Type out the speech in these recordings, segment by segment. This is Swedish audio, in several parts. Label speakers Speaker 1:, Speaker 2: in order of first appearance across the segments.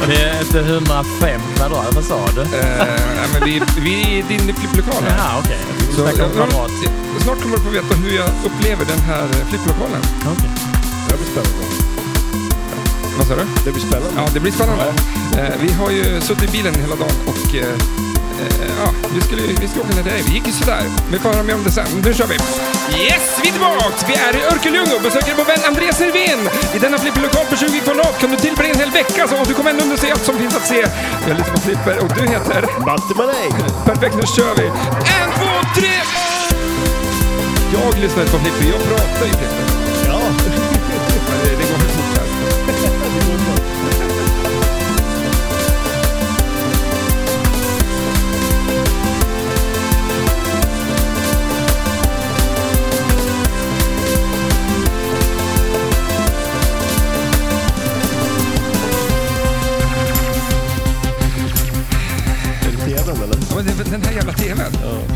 Speaker 1: Och det är efter 105 kvadrat, vad sa du?
Speaker 2: Eh, nej, men vi, vi är i din flipplokal här.
Speaker 1: Jaha, okej.
Speaker 2: Så
Speaker 1: Snacka om
Speaker 2: jag- jag-
Speaker 1: kvadrat.
Speaker 2: Snart kommer du få veta hur jag upplever den här eh, flipplokalen.
Speaker 1: Okej.
Speaker 3: Det blir spännande.
Speaker 2: Vad sa du?
Speaker 3: Det blir spännande.
Speaker 2: Ja, det blir spännande. Eh, vi har ju suttit i bilen hela dagen och eh, eh, ja, vi, skulle, vi skulle åka till dig. Vi gick ju sådär. Vi får höra mer om det sen. Nu kör vi! Yes, vi är tillbaks! Vi är i Örkelljunga och besöker vår vän Andreas Irvén. I denna flipperlokal på 20 kvadrat kan du tillbringa en hel vecka så, och du kommer ändå inte se allt som finns att se. Jag lyssnar på flipper och du heter?
Speaker 3: Matte Manej!
Speaker 2: Perfekt, nu kör vi! En, två, tre! Jag lyssnar inte på flipper, jag pratar ju flipper.
Speaker 3: Ja,
Speaker 2: Men det, det går för fort här.
Speaker 3: är det tvn eller?
Speaker 2: Ja, men det- Den här jävla TVn.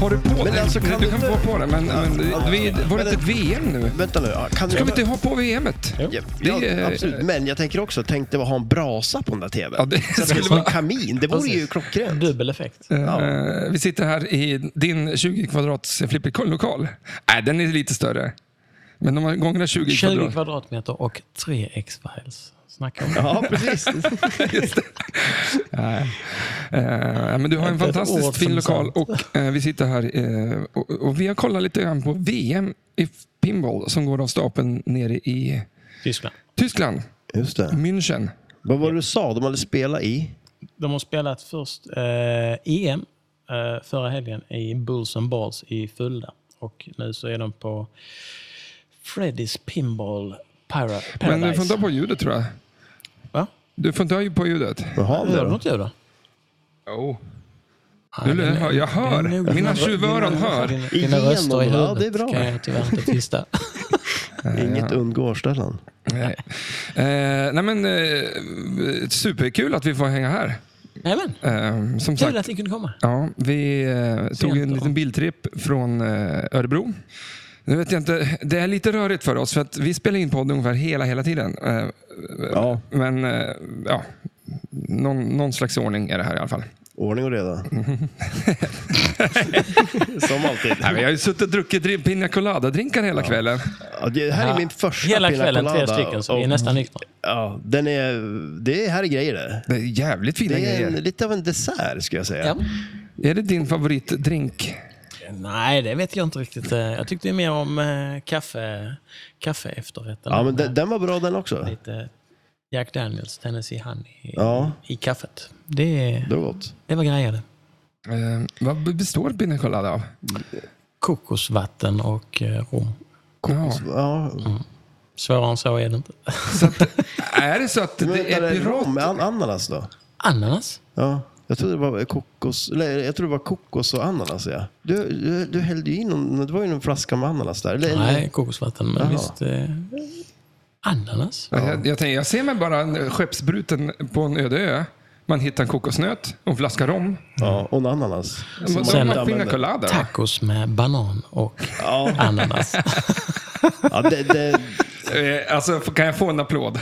Speaker 2: Har du på
Speaker 3: Men
Speaker 2: den?
Speaker 3: alltså, kan
Speaker 2: du
Speaker 3: du
Speaker 2: kan
Speaker 3: inte-
Speaker 2: få på den, men, men
Speaker 3: Ja.
Speaker 2: vi, var det
Speaker 3: Men
Speaker 2: inte ett VM nu?
Speaker 3: Vänta nu, ja, kan
Speaker 2: Ska vi
Speaker 3: jag...
Speaker 2: inte ha på VMet?
Speaker 3: Ja,
Speaker 2: Det
Speaker 3: ja,
Speaker 2: är-
Speaker 3: absolut. Men jag tänker också, tänk dig att ha en brasa på den där tvn.
Speaker 2: Ja, det
Speaker 3: så att det
Speaker 2: skulle
Speaker 3: är som en
Speaker 2: vara-
Speaker 3: kamin. Det vore ju klockrent.
Speaker 1: Dubbel effekt.
Speaker 2: Eh, Vi sitter här i din 20 kvadrats flipperlokal. Nej, den är lite större. Men de har gångerna 20,
Speaker 1: 20
Speaker 2: kvadrat.
Speaker 1: kvadratmeter och 3 X-files. Snacka om
Speaker 3: Ja, precis.
Speaker 2: Eh, men du har
Speaker 1: Inte ett
Speaker 2: en
Speaker 1: ord
Speaker 2: fantastiskt
Speaker 1: som
Speaker 2: fin lokal och eh, vi sitter här eh, och, och vi har kollat lite grann på VM i pinball som går av stapeln nere i
Speaker 1: Tyskland.
Speaker 2: Tyskland,
Speaker 3: Just det.
Speaker 2: München.
Speaker 3: Vad var det du sa? De hade spelat i?
Speaker 1: De har spelat först eh, EM eh, förra helgen i Bulls and Balls i Fulda. Och nu så är de på Freddy's Pinball Para
Speaker 2: Men du får
Speaker 1: Paradise.
Speaker 2: inte ha på ljudet tror jag.
Speaker 1: Va?
Speaker 2: Du får inte ha på ljudet.
Speaker 3: Jaha,
Speaker 1: Hörde du
Speaker 3: det
Speaker 1: något ljud då?
Speaker 2: Jo.
Speaker 1: Nej,
Speaker 2: Nu
Speaker 1: det är-
Speaker 2: hör- jag hör.
Speaker 1: det är nog
Speaker 2: Mina
Speaker 1: dina-
Speaker 2: tjuvöron
Speaker 1: dina-
Speaker 2: hör.
Speaker 1: Dina, dina
Speaker 3: Igenom,
Speaker 1: röster i
Speaker 3: ja,
Speaker 1: huvudet
Speaker 3: det är bra.
Speaker 1: kan jag tyvärr inte tysta.
Speaker 3: då. Inget undgår Stellan.
Speaker 2: Nej. Eh, nej men, eh, superkul att vi får hänga här.
Speaker 1: Nämen,
Speaker 2: Eh, som
Speaker 1: kul
Speaker 2: sagt,
Speaker 1: att ni kunde komma.
Speaker 2: ja, vi eh, tog en
Speaker 1: då.
Speaker 2: liten biltripp från eh, Örebro. Nu vet jag inte, det är lite rörigt för oss för att vi spelar in podden ungefär hela, hela tiden. Eh,
Speaker 3: Ja,
Speaker 2: men eh, ja, någon, någon slags ordning är det här i alla fall.
Speaker 3: ordning och reda. Som alltid.
Speaker 2: Nej, men jag har ju suttit och druckit dri- pina colada-drinkar hela kvällen.
Speaker 3: Ja, det här är min första
Speaker 1: Hela
Speaker 3: pina
Speaker 1: kvällen, tre
Speaker 3: colada
Speaker 1: stycken, så vi är
Speaker 3: och-
Speaker 1: nästan nyktra.
Speaker 3: Ja, den är, det är här är grejer det.
Speaker 2: Det är jävligt fina
Speaker 3: Det är
Speaker 2: grejer.
Speaker 3: en, lite av en dessert skulle jag säga.
Speaker 1: Ja.
Speaker 2: Är det din favoritdrink?
Speaker 1: Nej, det vet jag inte riktigt. Eh, Jag tyckte ju mer om eh, kaffe, kaffe efterrätten. Eh,
Speaker 3: Ja, men den, den var bra den också.
Speaker 1: Lite Jack Daniels, Tennessee Honey i,
Speaker 3: Ja.
Speaker 1: i kaffet. Det,
Speaker 3: Det var gott.
Speaker 1: det var grejer det.
Speaker 2: Eh, vad består pina colada av?
Speaker 1: Kokosvatten och eh, rom.
Speaker 2: Ja.
Speaker 3: Ja,
Speaker 1: Svårare än så är det inte.
Speaker 2: Är det så att
Speaker 3: men
Speaker 2: det
Speaker 3: vänta,
Speaker 2: är
Speaker 3: det är
Speaker 2: pirat?
Speaker 3: rom med an- ananas då?
Speaker 1: Ananas?
Speaker 3: Ja, jag trodde det var kokos, eller jag trodde det var kokos och ananas. Ja. Du, du, du hällde ju in någon, det var ju någon flaska med ananas där. Eller,
Speaker 1: Nej, kokosvatten. Men
Speaker 3: Jaha.
Speaker 1: visst. Eh, ananas?
Speaker 2: Ja. Jag, jag, tänker, jag ser mig bara en eh, skeppsbruten på en öde ö. Man hittar en kokosnöt och en flaska rom.
Speaker 3: Ja, och en ananas.
Speaker 2: Vad
Speaker 1: sen-
Speaker 2: har man pina
Speaker 3: använder.
Speaker 2: colada? då?
Speaker 1: Tacos med banan och
Speaker 3: Ja,
Speaker 1: ananas.
Speaker 3: ja det, det,
Speaker 2: Eh, alltså, f- kan jag få en applåd?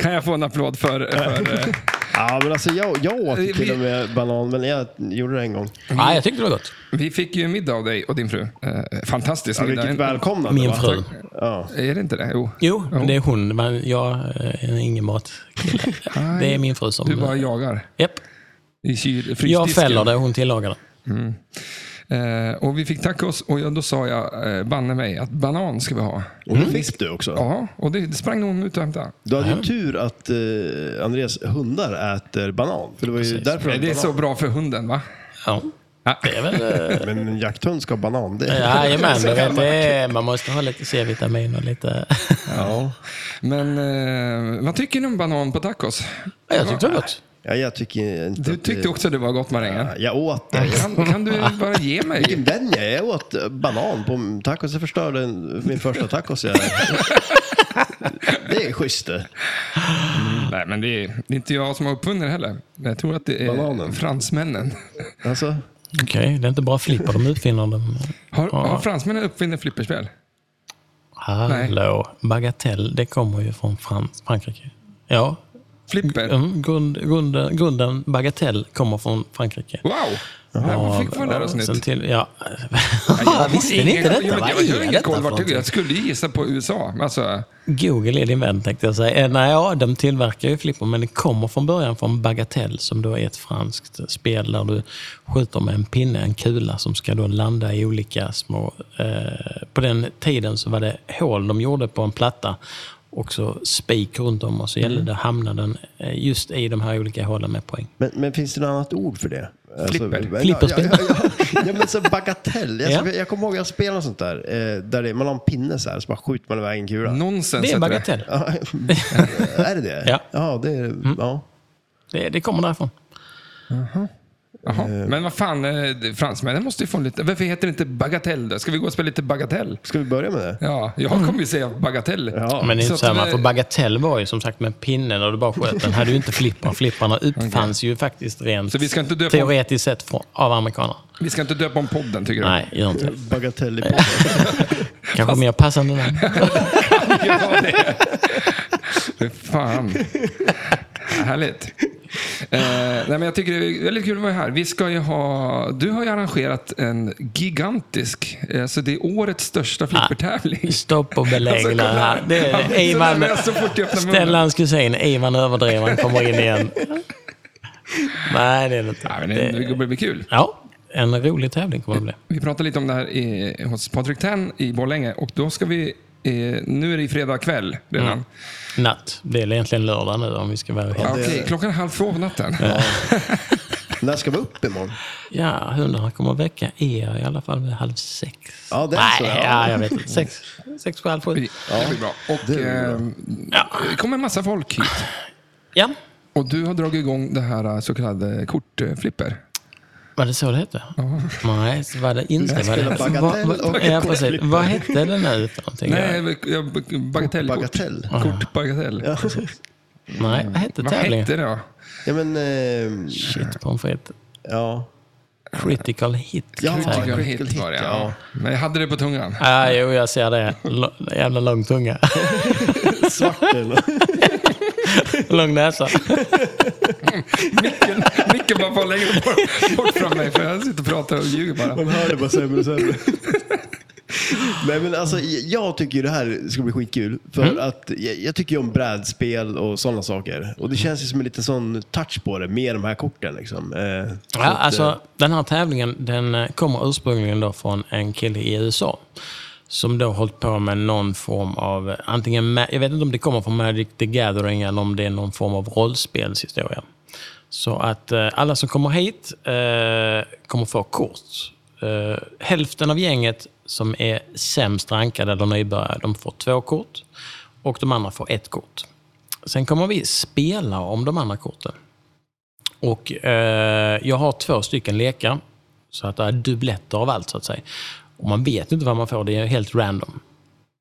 Speaker 2: Kan jag få en applåd för... för eh,
Speaker 3: ja men alltså jag, jag
Speaker 2: Vi-
Speaker 3: åt till och med banan, men jag gjorde det en gång.
Speaker 1: Nej, jag tyckte det var gott.
Speaker 2: vi fick ju en middag av dig och din fru. Eh, fantastisk
Speaker 3: Ja,
Speaker 2: middag.
Speaker 3: vilket välkomnande.
Speaker 1: Min
Speaker 3: va?
Speaker 1: fru.
Speaker 3: Ja.
Speaker 2: Är det inte det? Jo.
Speaker 1: Jo, men det är hon. Men jag eh, är ingen matkille. Det är min fru som... eh,
Speaker 2: Du bara jagar
Speaker 1: Japp.
Speaker 2: i kyl,
Speaker 1: Jag
Speaker 2: frysdisken.
Speaker 1: fäller det, hon tillagar det.
Speaker 2: Eh, och vi fick tacos och jag, då sa jag, eh, banne mig, att banan ska vi ha.
Speaker 3: Och
Speaker 1: Mm.
Speaker 3: det fick du också.
Speaker 2: Ja, och det, det sprang hon ut och hämtade.
Speaker 3: Du hade ju tur att eh, Andreas hundar äter banan. För det var ju
Speaker 1: Precis.
Speaker 3: därför
Speaker 2: Nej,
Speaker 3: han
Speaker 2: Det är
Speaker 3: åt
Speaker 2: så bra för hunden, va?
Speaker 1: Ja.
Speaker 2: Ja.
Speaker 1: Det är väl... eh,
Speaker 3: banan. Men en jakthund ska ha banan. Det.
Speaker 1: Jajamän, du vet, det är, man måste ha lite C-vitamin och lite...
Speaker 3: Ja.
Speaker 2: Men eh, vad tycker ni om banan på tacos?
Speaker 1: Ja, jag tyckte det var gott.
Speaker 3: Ja, jag tycker inte
Speaker 2: Du
Speaker 3: att
Speaker 2: tyckte också det var gott marängen.
Speaker 3: Ja, Jag åt det.
Speaker 2: Kan, kan du bara ge mig?
Speaker 3: Vilken vän jag är. Jag åt eh, banan på tacos. Jag förstörde en- min första tacos. Jag... Det är schysst det.
Speaker 2: Nej, men det är, det är inte jag som har uppfunnit det heller. Jag tror att det är
Speaker 3: Bananen.
Speaker 2: fransmännen.
Speaker 3: Alltså,
Speaker 1: Okej, det är inte bara flipper de uppfinner dem.
Speaker 2: Har,
Speaker 1: Ja.
Speaker 2: har fransmännen uppfunnit flipperspel?
Speaker 1: Hallå, bagatell, det kommer ju från Fran- Frankrike. Ja,
Speaker 2: Flipper.
Speaker 1: Mm, grund, grunden, grunden bagatell kommer från Frankrike.
Speaker 2: Wow! Ja, fick man där
Speaker 1: sen
Speaker 2: avsnitt.
Speaker 1: till, ja.
Speaker 2: har
Speaker 1: Visste ni
Speaker 2: ingen-
Speaker 1: inte detta?
Speaker 2: Jag,
Speaker 1: Vad
Speaker 2: jag, jag,
Speaker 1: är
Speaker 2: jag har ingen
Speaker 1: detta
Speaker 2: koll
Speaker 1: för
Speaker 2: vart det
Speaker 1: någonting?
Speaker 2: Jag skulle gissa på USA. men Alltså,
Speaker 1: Google är din vän tänkte jag säga. Eh, Nej, ja, de tillverkar ju flipper, men det kommer från början från Bagatell som då är ett franskt spel där du skjuter med en pinne, en kula som ska då landa i olika små... Eh, på den tiden så var det hål de gjorde på en platta och så spik runt om och så
Speaker 2: Mm.
Speaker 1: gällde det att hamna den eh, just i de här olika hålen med poäng.
Speaker 3: Men, men finns det något annat ord för det?
Speaker 2: Flipper.
Speaker 3: ja,
Speaker 1: Flipperspel.
Speaker 3: Ja, ja, ja, ja, men så bagatell. Jag,
Speaker 1: Ja.
Speaker 3: jag kommer ihåg att jag spelade sånt där. Eh, där det, man har en pinne så här, så bara skjuter man iväg en kula.
Speaker 2: nonsens.
Speaker 1: Det är
Speaker 2: heter
Speaker 1: Bagatell.
Speaker 3: Ja, är det det?
Speaker 1: Ja. Mm.
Speaker 3: ja, det är, ja.
Speaker 1: Det, det kommer därifrån.
Speaker 2: Jaha. Men vad fan, eh, det- fransmännen måste ju få en lite... Varför heter det inte bagatell då? Ska vi gå och spela lite bagatell?
Speaker 3: Ska vi börja med det?
Speaker 2: Ja, jag kommer ju säga bagatell.
Speaker 3: Ja.
Speaker 1: Men det är
Speaker 2: Så
Speaker 1: inte
Speaker 2: att eh,
Speaker 1: samma,
Speaker 2: det-
Speaker 1: för Bagatell var ju som sagt med pinnen och du bara sköt den. hade ju inte flipparna. Flipparna uppfanns ju faktiskt rent
Speaker 2: Så vi ska inte döpa-
Speaker 1: teoretiskt sett från, av amerikanerna.
Speaker 2: Vi ska inte döpa om podden tycker du?
Speaker 1: Nej, gör inte det.
Speaker 3: Bagatell i podden.
Speaker 1: Kanske mer passande namn.
Speaker 2: Ja, det. Fy Fan. Härligt. Eh, nej, men jag tycker det är väldigt kul att vara här. Vi ska ju ha, du har ju arrangerat en gigantisk, eh, så det är
Speaker 1: Ah.
Speaker 2: årets största flippertävling.
Speaker 1: Stopp och belägg
Speaker 2: Alltså,
Speaker 1: alltså,
Speaker 2: kolla här.
Speaker 1: Det
Speaker 2: Han
Speaker 1: är
Speaker 2: blir så
Speaker 1: Ivan,
Speaker 2: nervös så fort jag öppnar munnen.
Speaker 1: Stellans kusin, Ivan överdrev, han kommer in igen. Nej, det är det inte.
Speaker 2: Nej, men det, det kommer bli kul.
Speaker 1: Ja, en rolig tävling kommer det bli.
Speaker 2: Vi pratade lite om det här i, hos Patrik Tenn i Borlänge och då ska vi, eh, nu är det fredag kväll redan.
Speaker 1: Mm. Natt. Det är egentligen lördag nu om vi ska vara
Speaker 2: Ja,
Speaker 1: helt...
Speaker 2: okej, klockan är halv två på natten.
Speaker 3: När ska vi upp imorgon?
Speaker 1: Ja, hundarna kommer att väcka er i alla fall vid halv sex.
Speaker 3: Ja, det är
Speaker 1: Nej,
Speaker 3: så.
Speaker 1: ja,
Speaker 3: Ja.
Speaker 1: jag vet inte. Sex, sex och halv sju.
Speaker 2: Det blir bra. Och,
Speaker 3: det blir bra.
Speaker 2: ehm, det kommer en massa folk hit.
Speaker 1: Ja,
Speaker 2: Och du har dragit igång det här eh, så kallade kortflipper.
Speaker 1: var det så det hette? Nej, så var det inte. Var
Speaker 3: spelar
Speaker 1: det,
Speaker 3: bagatell
Speaker 1: vad- vad-
Speaker 3: och
Speaker 1: ja, precis.
Speaker 3: kortklipper.
Speaker 1: Vad hette det nu för någonting?
Speaker 2: Nej, jag- bagatellkort.
Speaker 3: Bagatell.
Speaker 2: Kort bagatell.
Speaker 3: Ja.
Speaker 1: Nej, vad hette
Speaker 2: Vad
Speaker 1: tävlingen?
Speaker 2: hette det då?
Speaker 3: Ja, men... Eh,
Speaker 1: Shit pommes frites.
Speaker 3: ja.
Speaker 1: Critical hit.
Speaker 3: Ja,
Speaker 1: kan jag
Speaker 2: Tycker
Speaker 1: säga.
Speaker 2: jag
Speaker 3: Critical
Speaker 2: hit
Speaker 3: hit,
Speaker 2: var det, ja.
Speaker 3: ja.
Speaker 2: Men jag hade det på tungan.
Speaker 1: Ah, jo, jag ser det. L- jävla lång tunga.
Speaker 3: Svart eller?
Speaker 1: lång näsa.
Speaker 2: Micken, micken bara far längre bort, bort från mig för jag sitter och pratar och ljuger bara.
Speaker 3: Man hör det bara sämre och sämre. Nej, men alltså, jag tycker ju det här ska bli skitkul. För
Speaker 1: Mm.
Speaker 3: att jag, jag tycker ju om brädspel och sådana saker. Och det känns ju som en liten sån touch på det med de här korten. Liksom. Eh,
Speaker 1: Ja, alltså, den här tävlingen den eh, kommer ursprungligen då från en kille i USA. Som då hållit på med någon form av, eh, antingen, ma- jag vet inte om det kommer från Magic the Gathering eller om det är någon form av rollspelshistoria. Så att eh, alla som kommer hit eh, kommer få kort. Eh, hälften av gänget som är sämst rankade eller nybörjare, de får två kort. Och de andra får ett kort. Sen kommer vi spela om de andra korten. Och eh, jag har två stycken lekar. Så att det är dubbletter av allt så att säga. Och man vet inte vad man får, det är helt random.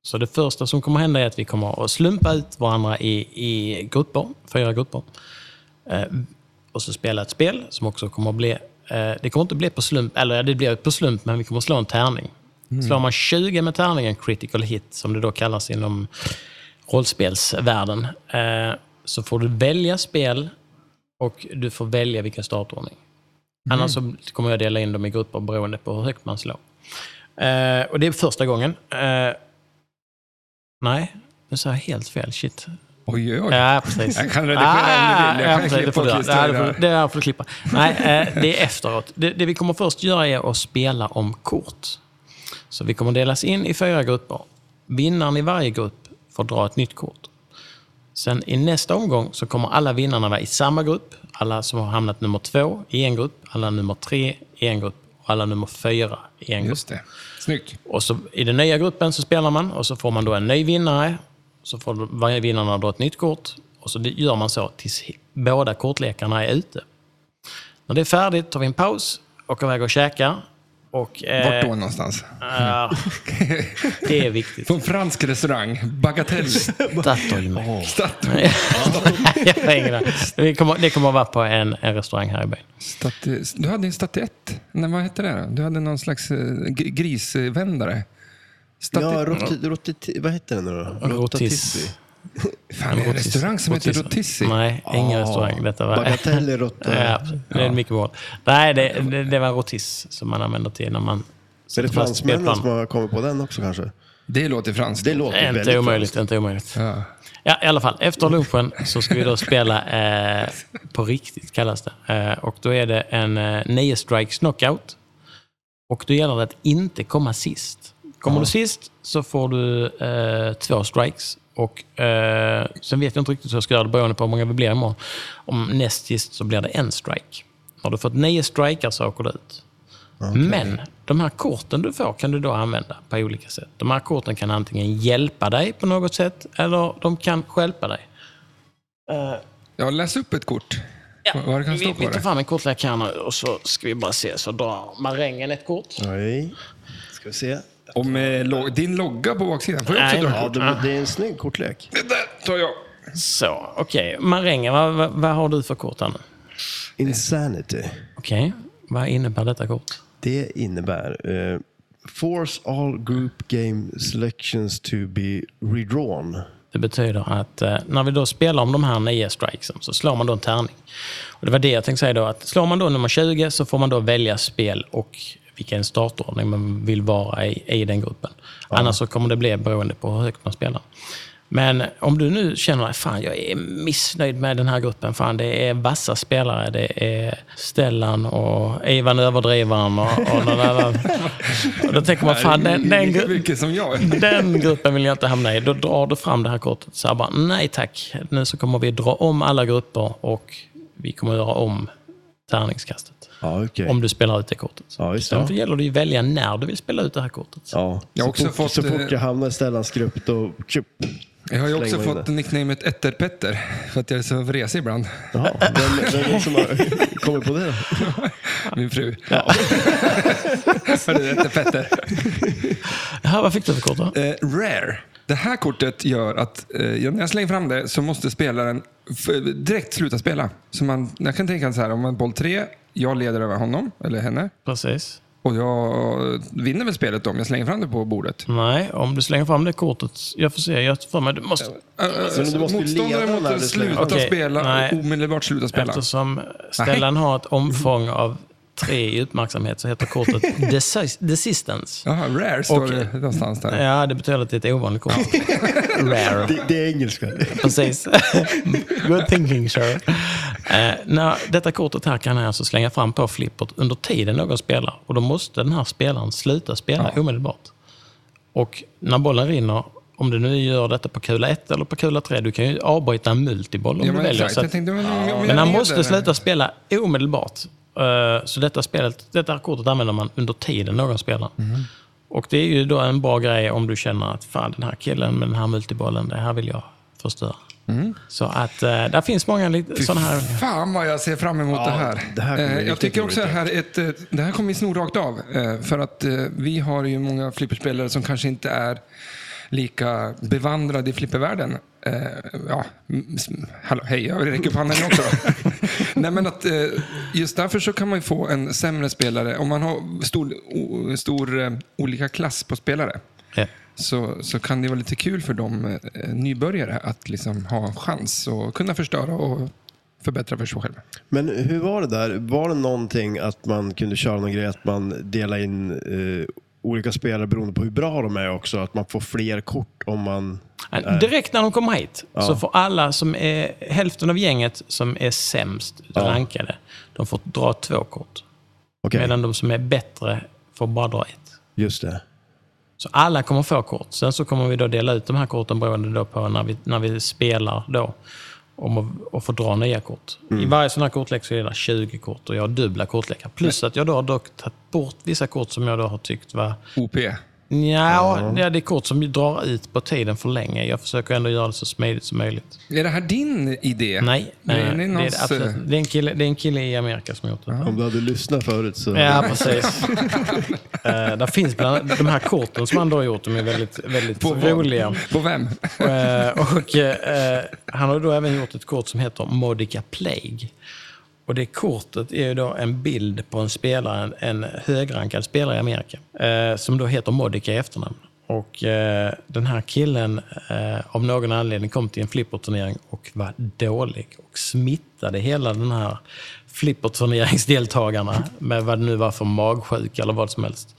Speaker 1: Så det första som kommer hända är att vi kommer att slumpa ut varandra i, i grupper, fyra grupper. Eh, och så spela ett spel som också kommer att bli... Eh, det kommer inte bli på slump, eller ja, det blir på slump, men vi kommer att slå en tärning. Slår man 20 med tärningen, critical hit, som det då kallas inom rollspelsvärlden, eh, så får du välja spel och du får välja vilken startordning. Annars så kommer jag dela in dem i grupper beroende på hur högt man slår. Eh, och det är första gången. Eh, nej, nu sa jag helt fel. Shit.
Speaker 2: Oj, oj, oj.
Speaker 1: Ja, precis.
Speaker 2: Jag kan redigera om du vill. Jag kan
Speaker 1: precis, det
Speaker 2: klippa
Speaker 1: får du
Speaker 2: och
Speaker 1: göra. Ja,
Speaker 2: klistra i
Speaker 1: det
Speaker 2: det
Speaker 1: får
Speaker 2: här.
Speaker 1: du- Det där får du klippa. Nej, eh, det är efteråt. Det, det vi kommer först göra är att spela om kort. Så vi kommer delas in i fyra grupper. Vinnaren i varje grupp får dra ett nytt kort. Sen i nästa omgång så kommer alla vinnarna vara i samma grupp. Alla som har hamnat nummer två i en grupp, alla nummer tre i en grupp och alla nummer fyra i en grupp.
Speaker 2: Just det. Snyggt.
Speaker 1: Och så, I den nya gruppen så spelar man och så får man då en ny vinnare. Så får varje vinnare då ett nytt kort. Och så det- gör man så tills he- båda kortlekarna är ute. När det är färdigt tar vi en paus, åker iväg och käkar. Och,
Speaker 2: Vart
Speaker 1: eh,
Speaker 2: då någonstans?
Speaker 1: eh, det är viktigt.
Speaker 2: På en fransk restaurang. Bagatell.
Speaker 1: Statoil.
Speaker 2: Stat-
Speaker 1: Jag har ingen aning. Det kommer, det kommer att vara på en, en restaurang här i byn.
Speaker 2: stat- du hade en statyett. Nej, vad hette det då? Du hade någon slags eh, gr- grisvändare. Staty-
Speaker 3: Ja, roti, roti, vad heter den nu då?
Speaker 1: Rotis.
Speaker 2: Fan, det är en
Speaker 1: Rotis-
Speaker 2: restaurang som heter Rotissi.
Speaker 1: Nej, ingen
Speaker 3: Ah,
Speaker 1: restaurang. Detta var...
Speaker 3: bagatell i råtta.
Speaker 1: Ja, absolut. Eh, det är en mikroboll. Nej, det, det, det var rotis som man använder till när man...
Speaker 3: Så är det
Speaker 1: sätter fast
Speaker 3: fransmännen
Speaker 1: spelplan.
Speaker 3: som har kommit på den också kanske?
Speaker 2: Det låter franskt.
Speaker 3: Det låter väldigt
Speaker 1: Inte omöjligt, inte omöjligt.
Speaker 2: Ja.
Speaker 1: Ja, i alla fall. Efter lunchen så ska vi då spela eh, på riktigt, kallas det. Eh, och då är det en eh, nio strikes knockout. Och då gäller det att inte komma sist. Kommer du sist så får du eh, två strikes. Och, eh, sen vet jag inte riktigt hur jag ska göra det beroende på hur många vi blir imorgon. Om näst sist så blir det en strike. Har du fått nio strikar så åker du ut. Men de här korten du får kan du då använda på olika sätt. De här korten kan antingen hjälpa dig på något sätt eller de kan stjälpa dig.
Speaker 2: Ja, läs upp ett kort. Vad vad det kan
Speaker 1: vi,
Speaker 2: stå
Speaker 1: vi
Speaker 2: på
Speaker 1: tar
Speaker 2: det.
Speaker 1: fram en kortlek här nu och så ska vi bara se. Så drar marängen ett kort.
Speaker 3: Nej. Ska vi se.
Speaker 2: Och med lo- eh, din logga på baksidan. Får jag också
Speaker 1: Nej,
Speaker 2: dra
Speaker 1: nej.
Speaker 2: ett
Speaker 3: Ja,
Speaker 2: kort?
Speaker 3: det, det är en snygg kortlek.
Speaker 2: Det där tar jag.
Speaker 1: Så, okej. Marängen, vad, vad, vad har du för kort här nu?
Speaker 3: Insanity.
Speaker 1: Okej, vad innebär detta kort?
Speaker 3: Det innebär eh, Force all group game selections to be redrawn.
Speaker 1: Det betyder att eh, när vi då spelar om de här nio strikesen så slår man då en tärning. Och det var det jag tänkte säga då, att slår man då nummer 20 så får man då välja spel och vilken startordning man vill vara i, i den gruppen. Annars så kommer det bli beroende på hur högt man spelar. Men om du nu känner att fan, jag är missnöjd med den här gruppen. Fan, det är vassa spelare. Det är Stellan och Ivan Överdrivaren och, och någon annan. Och då tänker man, fan, den, den,
Speaker 2: Lika
Speaker 1: gru-
Speaker 2: mycket som jag.
Speaker 1: den gruppen vill jag inte hamna i. Då drar du fram det här kortet så här bara, nej tack. Nu så kommer vi dra om alla grupper och vi kommer göra om tärningskastet.
Speaker 3: Ja, okej.
Speaker 1: Om du spelar ut det kortet.
Speaker 3: Ja, just det.
Speaker 1: Sen gäller det ju att välja när du vill spela ut det här kortet.
Speaker 3: Ja.
Speaker 2: Jag har
Speaker 3: så
Speaker 2: också
Speaker 3: fort,
Speaker 2: fått,
Speaker 3: så
Speaker 2: eh,
Speaker 3: fort jag hamnar i Stellans grupp då... Tjup.
Speaker 2: Jag har ju också
Speaker 3: Släng mig in
Speaker 2: fått nicknamet Etterpetter för att jag är så vresig ibland.
Speaker 3: Jaha, vem, vem är det som har kommit på det då?
Speaker 2: Min fru. Ja. för det är Etterpetter.
Speaker 1: Jaha, vad fick du för kort då?
Speaker 2: Eh, rare. Det här kortet gör att eh, jag- när jag slänger fram det så måste spelaren f- direkt sluta spela. Så man, jag kan tänka så här, om man boll tre, jag leder över honom eller henne
Speaker 1: Precis.
Speaker 2: och jag vinner väl spelet om jag slänger fram det på bordet.
Speaker 1: Nej, om du slänger fram det kortet. Jag får se, jag har för mig, du måste...
Speaker 2: Eh, eh,
Speaker 3: Men du måste ju
Speaker 2: Motståndaren
Speaker 3: leda när
Speaker 2: måste
Speaker 3: du slänger
Speaker 2: sluta
Speaker 3: fram
Speaker 1: det. Okej,
Speaker 2: spela,
Speaker 1: nej.
Speaker 2: omedelbart sluta spela.
Speaker 1: Eftersom Stellan har ett omfång av tre i uppmärksamhet så heter kortet Desi- Desistance.
Speaker 2: Jaha, rare står
Speaker 1: Okej. Mm.
Speaker 2: det någonstans där.
Speaker 1: Ja, det betyder att det är ett ovanligt kort. Rare.
Speaker 3: Det, det är engelska.
Speaker 1: Precis. Good thinking, sir. Eh, när detta kortet här kan jag alltså slänga fram på flippert under tiden någon spelar. Och då måste den här spelaren sluta spela omedelbart. Och när bollen rinner, om du nu gör detta på kula 1 eller på kula 3, du kan ju avbryta en multiboll om
Speaker 2: Ja,
Speaker 1: du
Speaker 2: men
Speaker 1: väljer.
Speaker 2: exakt.
Speaker 1: Så
Speaker 2: Jag
Speaker 1: att,
Speaker 2: tänkte, men, om jag
Speaker 1: men han
Speaker 2: leder
Speaker 1: måste
Speaker 2: den-
Speaker 1: sluta spela omedelbart. Eh, Så detta, spelet, detta här kortet använder man under tiden någon spelar. Och det är ju då en bra grej om du känner att fan den här killen med den här multibollen, det här vill jag förstöra. Så att eh, där finns många sådana här...
Speaker 2: Fan vad jag ser fram emot det här.
Speaker 3: det här kommer
Speaker 2: Eh,
Speaker 3: bli
Speaker 2: jag
Speaker 3: riktigt
Speaker 2: tycker också
Speaker 3: roligt.
Speaker 2: här ett, eh, det här kommer vi sno rakt av. eh, För att eh, vi har ju många flipperspelare som kanske inte är lika bevandrade i flippervärlden. Eh, Ja, mm, s- hallå, hej, jag räcker upp handen också. Nej, men att, eh, just därför så kan man ju få en sämre spelare. Om man har stor, o, stor eh, olika klass på spelare
Speaker 1: Ja.
Speaker 2: så, så kan det vara lite kul för de eh, nybörjare att liksom ha en chans och kunna förstöra och förbättra för sig själv.
Speaker 3: Men hur var det där? Var det någonting att man kunde köra någon grej att man delar in eh, olika spelare beroende på hur bra de är också? Att man får fler kort om man...
Speaker 1: Direkt när de kommer hit så får alla som är hälften av gänget som är sämst rankade, de får dra två kort.
Speaker 3: Okej,
Speaker 1: Medan de som är bättre får bara dra ett.
Speaker 3: just det.
Speaker 1: Så alla kommer få kort. Sen så kommer vi då dela ut de här korten beroende då på när vi, när vi spelar då. Om att, och få dra nya kort. I
Speaker 2: Mm.
Speaker 1: varje sån här kortlek så är det 20 kort och jag har dubbla kortlekar. Plus att jag då har dock tagit bort vissa kort som jag då har tyckt var...
Speaker 2: OP.
Speaker 1: Nja, ja. det är kort som ju drar ut på tiden för länge. Jag försöker ändå göra det så smidigt som möjligt.
Speaker 2: Är det här din idé?
Speaker 1: Nej, nej,
Speaker 2: är
Speaker 1: det, är
Speaker 2: någons, eh,
Speaker 1: det, absolut, det, är en kille, det är en kille i Amerika som har gjort det.
Speaker 3: Om du hade lyssnat förut så...
Speaker 1: Ja, precis. uh, där finns bland, de här korten som han då har gjort, de är väldigt, väldigt
Speaker 2: På vad?
Speaker 1: roliga.
Speaker 2: På vem?
Speaker 1: Eh, och, eh, han har då även gjort ett kort som heter Modica Plague. Och det kortet är ju då en bild på en spelare, en, en högrankad spelare i Amerika, eh, som då heter Modica i efternamn. Och eh, den här killen, eh, av någon anledning, kom till en flipperturnering och var dålig och smittade hela den här flipperturneringsdeltagarna med vad det nu var för magsjuka eller vad som helst.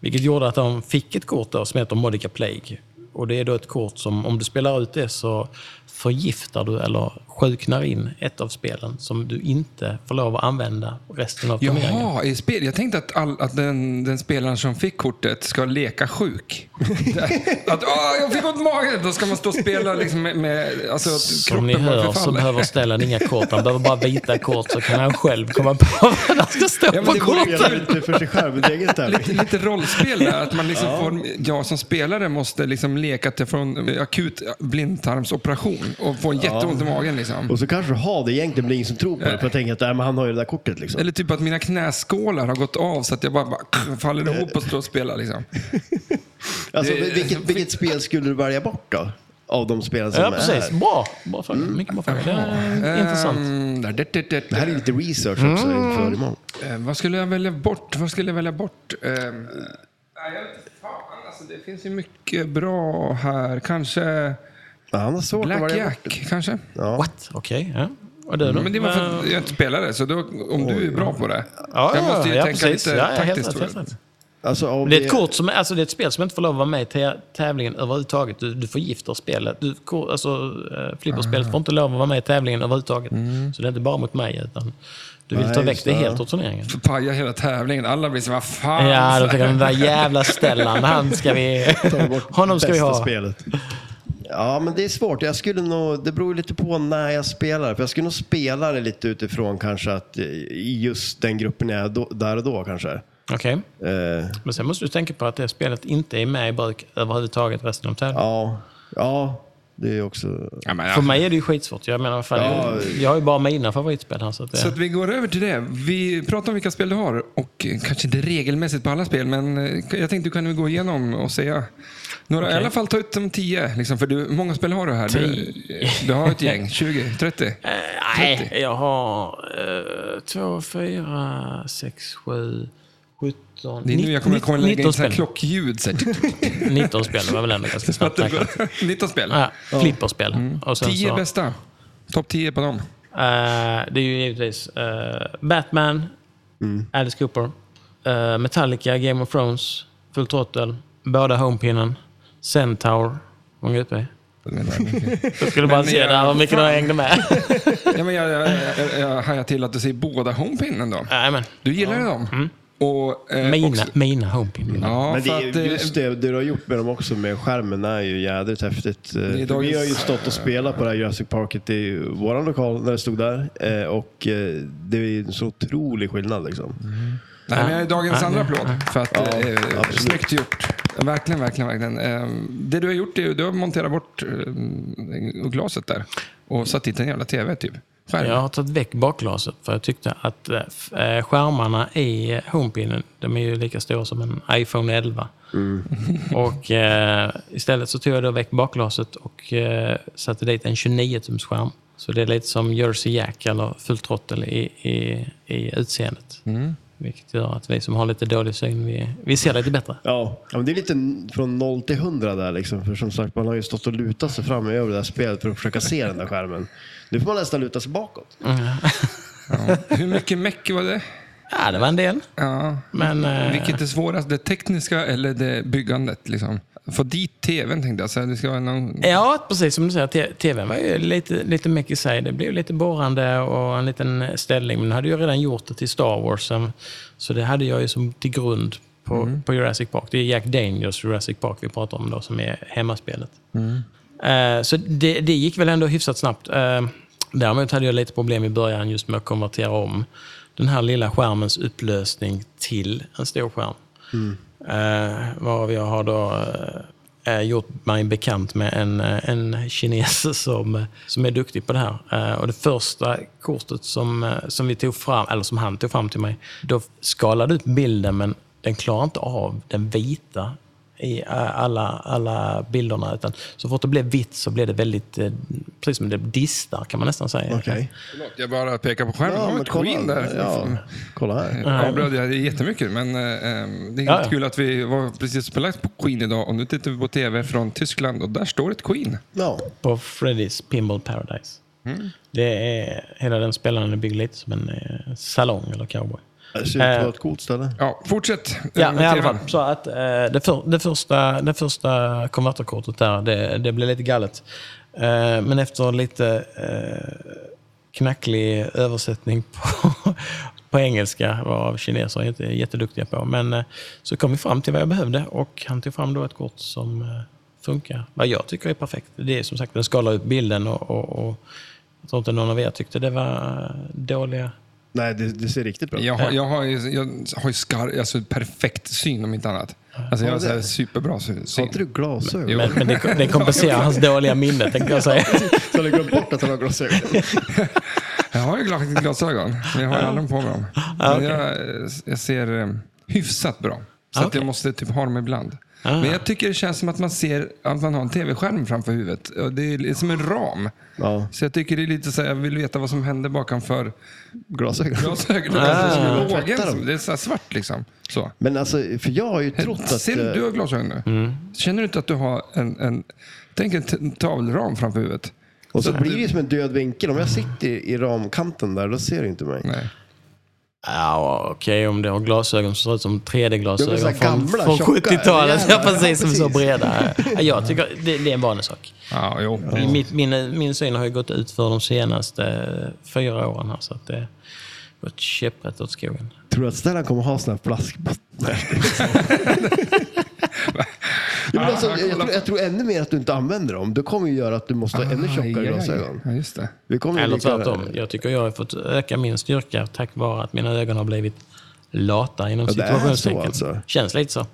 Speaker 1: Vilket gjorde att de fick ett kort då som heter Modica Plague. Och det är då ett kort som, om du spelar ut det så förgiftar du eller sjuknar in ett av spelen som du inte får lov att använda resten av turneringen.
Speaker 2: Jaha, i spel. jag tänkte att, all, att den, den spelaren som fick kortet ska leka sjuk. att åh, jag fick ont i magen! Då ska man stå och spela liksom med, med alltså, att
Speaker 1: Som
Speaker 2: kroppen
Speaker 1: ni
Speaker 2: bara
Speaker 1: hör så
Speaker 2: förfaller.
Speaker 1: behöver Stellan inga kort. Han behöver bara vita kort så kan han själv komma på vad han ska stå
Speaker 2: Ja, men
Speaker 1: på
Speaker 2: det vore
Speaker 1: kortet.
Speaker 3: spelar lite för sig själv, men det är egen tävling.
Speaker 2: Lite, lite rollspel där, att man liksom får, jag som spelare måste liksom leka till från akut blindtarmsoperation och få en jätteont i magen. Liksom.
Speaker 3: Och så kanske du har det egentligen, men det är ingen som tror på det. För jag tänker att nej, men han har ju det där kortet liksom.
Speaker 2: Eller typ att mina knäskålar har gått av så att jag bara, bara faller ihop och står och spelar. Liksom.
Speaker 3: Alltså, vilket, vilket spel skulle du välja bort då? Av de spelen som
Speaker 1: Ja,
Speaker 3: är
Speaker 1: precis.
Speaker 3: här.
Speaker 1: Bra. Bra fråga. Mycket bra fråga. Det
Speaker 2: Mm.
Speaker 1: är intressant.
Speaker 2: Ehm, där, där, där, där,
Speaker 3: Det här är lite research också
Speaker 1: Mm.
Speaker 3: inför imorgon.
Speaker 2: Eh, vad skulle jag välja bort? Vad skulle jag välja bort? Eh, nej, jag vet inte fan, alltså, det finns ju mycket bra här. Kanske
Speaker 3: Ja, han har svårt att
Speaker 2: Black
Speaker 3: välja bort.
Speaker 2: Jack, kanske?
Speaker 3: Ja.
Speaker 1: What? Okej. ja. Och du då?
Speaker 2: Men det var för att jag inte spelade, så då, om du är bra på det.
Speaker 1: Ja,
Speaker 2: jag måste ju
Speaker 1: ja,
Speaker 2: tänka
Speaker 1: precis.
Speaker 2: lite
Speaker 1: ja, ja,
Speaker 2: taktiskt.
Speaker 1: helt
Speaker 2: tror
Speaker 1: rätt,
Speaker 2: jag.
Speaker 1: helt rätt.
Speaker 3: Alltså, av
Speaker 1: Det är ett kort som, alltså det är ett spel som inte får lov att vara med i tä- tävlingen överhuvudtaget. Du, du förgiftar spelet. Du, ko- alltså, eh, flipperspelet får inte lov att vara med i tävlingen överhuvudtaget. Så det är inte bara mot mig, utan du vill
Speaker 3: Nej,
Speaker 1: ta väck
Speaker 3: just
Speaker 1: Mm. det
Speaker 3: det.
Speaker 1: helt ur turneringen.
Speaker 2: Paja hela tävlingen. Alla blir så vad fan.
Speaker 1: Ja, då tänker de, den där jävla Stellan, han ska vi...
Speaker 3: tar bort
Speaker 1: Honom ska vi
Speaker 3: bästa
Speaker 1: ha.
Speaker 3: Spelet. Ja, men det är svårt. Jag skulle nog, det beror ju lite på när jag spelar. För jag skulle nog spela det lite utifrån kanske att eh, i just den gruppen jag är då, där och då kanske.
Speaker 1: Okej,
Speaker 3: Eh,
Speaker 1: men sen måste du tänka på att det spelet inte är med i bruk överhuvudtaget resten av tävlingen.
Speaker 3: ja, ja, det är också...
Speaker 2: Ja, men,
Speaker 1: För
Speaker 2: ja.
Speaker 1: mig är det ju skitsvårt. Jag menar, vad fan,
Speaker 3: Ja.
Speaker 1: jag, jag har ju bara mina favoritspel här. Så att det,
Speaker 2: Så att vi går över till det. Vi pratar om vilka spel du har och eh, kanske inte regelmässigt på alla spel, men eh, jag tänkte du kan väl gå igenom och säga några, i alla fall ta ut de tio, liksom, för du, hur många spel har du här? Du, du har ett gäng, 20, 30?
Speaker 1: Eh, nej, jag har eh, två, fyra, sex, sju, sjutton,
Speaker 2: Det är nu jag kommer, kommer lägga in så här
Speaker 1: spel.
Speaker 2: klockljud. Så här,
Speaker 1: 19 spel, det var väl ändå ganska snabbt räknat.
Speaker 2: 19 spel.
Speaker 1: Ja, flipperspel. Och sen
Speaker 2: 10
Speaker 1: så,
Speaker 2: bästa. Topp 10 på dem.
Speaker 1: Eh, det är ju givetvis eh, Batman,
Speaker 2: Mm.
Speaker 1: Alice Cooper, eh, Metallica, Game of Thrones, Full Throttle, båda Homepinnen, Centaur. Hur många är uppe i? Jag skulle bara
Speaker 2: Men
Speaker 1: se
Speaker 2: jag-
Speaker 1: där hur mycket de hängde med.
Speaker 2: Ja, men jag, jag, jag, jag hajar till att du säger båda homepinnen då.
Speaker 1: Jajamän.
Speaker 2: Du gillar ju dem. Och, eh,
Speaker 1: Mina,
Speaker 2: också-
Speaker 1: mina homepin.
Speaker 2: Ja,
Speaker 3: Men det,
Speaker 2: för
Speaker 3: är-
Speaker 2: att, eh,
Speaker 3: just det, det du har gjort med dem också med skärmen är ju jädrigt häftigt. Eh, för
Speaker 2: dagens-
Speaker 3: Vi har ju stått och spelat på det här Jurassic Parket i vår lokal när det stod där. Eh, Och eh, det är ju en så otrolig skillnad liksom.
Speaker 2: Nej, men jag är dagens
Speaker 1: Ja,
Speaker 2: andra
Speaker 1: ja,
Speaker 2: applåd. För att,
Speaker 3: Ja,
Speaker 2: eh,
Speaker 3: absolut.
Speaker 2: snyggt gjort. Verkligen, verkligen, verkligen. Eh, det du har gjort är ju, du har monterat bort eh, glaset där och satt dit en jävla tv typ. Skärm.
Speaker 1: Jag har tagit väck bakglaset för jag tyckte att eh, f- eh, skärmarna i eh, homepinnen, de är ju lika stora som en iPhone 11. Mm. och eh, istället så tog jag då väck bakglaset och eh, satte dit en 29-tums skärm. Så det är lite som Jersey Jack eller Full Throttle i, i, i utseendet. Vilket gör att vi som har lite dålig syn, vi, vi ser lite bättre.
Speaker 3: Ja, ja, men det är lite n- från 0 till 100 där liksom. För som sagt, man har ju stått och lutat sig fram över det här spelet för att försöka se den där skärmen. Nu får man nästan luta sig bakåt.
Speaker 2: Ja. Hur mycket meck var det?
Speaker 1: Ja, det var en del.
Speaker 2: Ja.
Speaker 1: Men, eh,
Speaker 2: Vilket är svårast, det tekniska eller det byggandet? Liksom? Få dit tvn tänkte jag. Så det ska vara någon...
Speaker 1: Ja, precis som du säger. T- TVn var ju lite, lite mycket i sig. Det blev lite borrande och en liten ställning. Men nu hade jag redan gjort det till Star Wars. sen. Så det hade jag ju som till grund på, på Jurassic Park. Det är Jack Daniels Jurassic Park vi pratar om då, som är hemmaspelet. Eh, så det, det gick väl ändå hyfsat snabbt. Eh, däremot hade jag lite problem i början just med att konvertera om den här lilla skärmens upplösning till en stor skärm. Eh, varav jag har då eh, eh, gjort mig bekant med en, eh, en kines som, som är duktig på det här. Eh, och det första kortet som, eh, som vi tog fram, eller som han tog fram till mig, då skalade ut bilden men den klarar inte av den vita i eh, alla, alla bilderna. Utan så fort det blev vitt så blev det väldigt, eh, precis som det distar kan man nästan säga.
Speaker 3: Okej.
Speaker 2: Förlåt, jag bara pekar på skärmen. Ja, men kolla. där.
Speaker 3: Ja, kolla här.
Speaker 2: avbröt jag jättemycket, men eh, eh, det är
Speaker 1: Ja,
Speaker 2: ja,
Speaker 1: ja.
Speaker 2: kul att vi var precis belagt på Queen idag och nu tittar vi på TV från Tyskland och där står ett Queen.
Speaker 3: Ja.
Speaker 1: På Freddy's Pinball Paradise. Det är, hela den spelaren är byggd lite som en eh, salong eller cowboy.
Speaker 3: Det ser ut att
Speaker 1: Eh.
Speaker 3: vara ett coolt ställe.
Speaker 2: Ja, fortsätt. eh,
Speaker 1: Ja, men i
Speaker 2: med
Speaker 1: alla
Speaker 2: TVn.
Speaker 1: fall. Så att, eh, det, för, det första, det första konverterkortet där, det, det blev lite galet. Eh, men efter lite eh, knacklig översättning på, på engelska, vad kineser är inte jätteduktiga på, men eh, så kom vi fram till vad jag behövde och han tog fram då ett kort som eh, funkar. Vad jag tycker är perfekt. Det är som sagt, den skalar upp bilden och, och, och jag tror inte någon av er tyckte det var dåliga
Speaker 3: Nej, det, det ser riktigt bra ut.
Speaker 2: Jag har, jag har, ju- jag har ju skar, alltså, perfekt syn om inte annat. Alltså, jag har så här superbra sy-
Speaker 3: Har
Speaker 2: syn.
Speaker 3: inte du glasögon?
Speaker 2: Jo.
Speaker 1: men, men det, det kompenserar hans dåliga minne, tänkte jag säga.
Speaker 3: Så har du glömt bort att han har glasögon?
Speaker 2: Jag har ju glas- glasögon, men jag har ju aldrig på mig dem. Men jag, jag ser eh, hyfsat bra.
Speaker 1: Ah,
Speaker 2: Så att jag
Speaker 1: okej.
Speaker 2: måste typ ha dem ibland. Men jag tycker det känns som att man ser att man har en tv-skärm framför huvudet. Och Det är som en ram.
Speaker 3: Ja,
Speaker 2: Så jag tycker det är lite så här, jag vill veta vad som hände bakanför
Speaker 3: glasögon. Ah.
Speaker 2: glasögonen. Alltså, som lågen,
Speaker 3: Tvätta dem.
Speaker 2: som- det är så här svart liksom. Så.
Speaker 3: Men alltså, för jag har ju trott att... eh, Mm.
Speaker 2: Ser du, du har glasögon nu. Känner du inte att du har en, en tänk en t- tavelram framför huvudet?
Speaker 3: Och så blir det ju som en död vinkel. Om jag sitter i ramkanten där, då ser du inte mig.
Speaker 2: Nej.
Speaker 1: Ja, okej om du har glasögon som ser ut som
Speaker 3: Ja, men så
Speaker 1: 3D-glasögon
Speaker 3: här
Speaker 1: från,
Speaker 3: gamla,
Speaker 1: från
Speaker 3: tjocka,
Speaker 1: 70-talet. Ja,
Speaker 3: rejäla.
Speaker 1: precis. Som är så
Speaker 3: Precis.
Speaker 1: breda. Ja, Jag tycker det, det är en vanesak.
Speaker 2: Ja, jo.
Speaker 1: Min, min, min syn har ju gått ut för de senaste eh, fyra åren här, så att det har gått käpprätt åt skogen.
Speaker 3: Tror du att Stellan kommer ha såna här flaskbottnar? ja, men alltså,
Speaker 2: Ah,
Speaker 3: jag, jag,
Speaker 2: kolla
Speaker 3: tror, jag tror ännu mer att du inte använder dem. Det kommer ju göra att du måste ha ännu
Speaker 2: Aj,
Speaker 3: tjockare
Speaker 2: aj, aj.
Speaker 3: glasögon.
Speaker 2: Ja, just det.
Speaker 3: Vi kommer ju
Speaker 1: Eller
Speaker 3: lika-
Speaker 1: tvärtom. Jag tycker jag har fått öka min styrka tack vare att mina ögon har blivit lata inom
Speaker 3: Ja, det är så
Speaker 1: situationstecken.
Speaker 3: alltså.
Speaker 1: Känns lite så.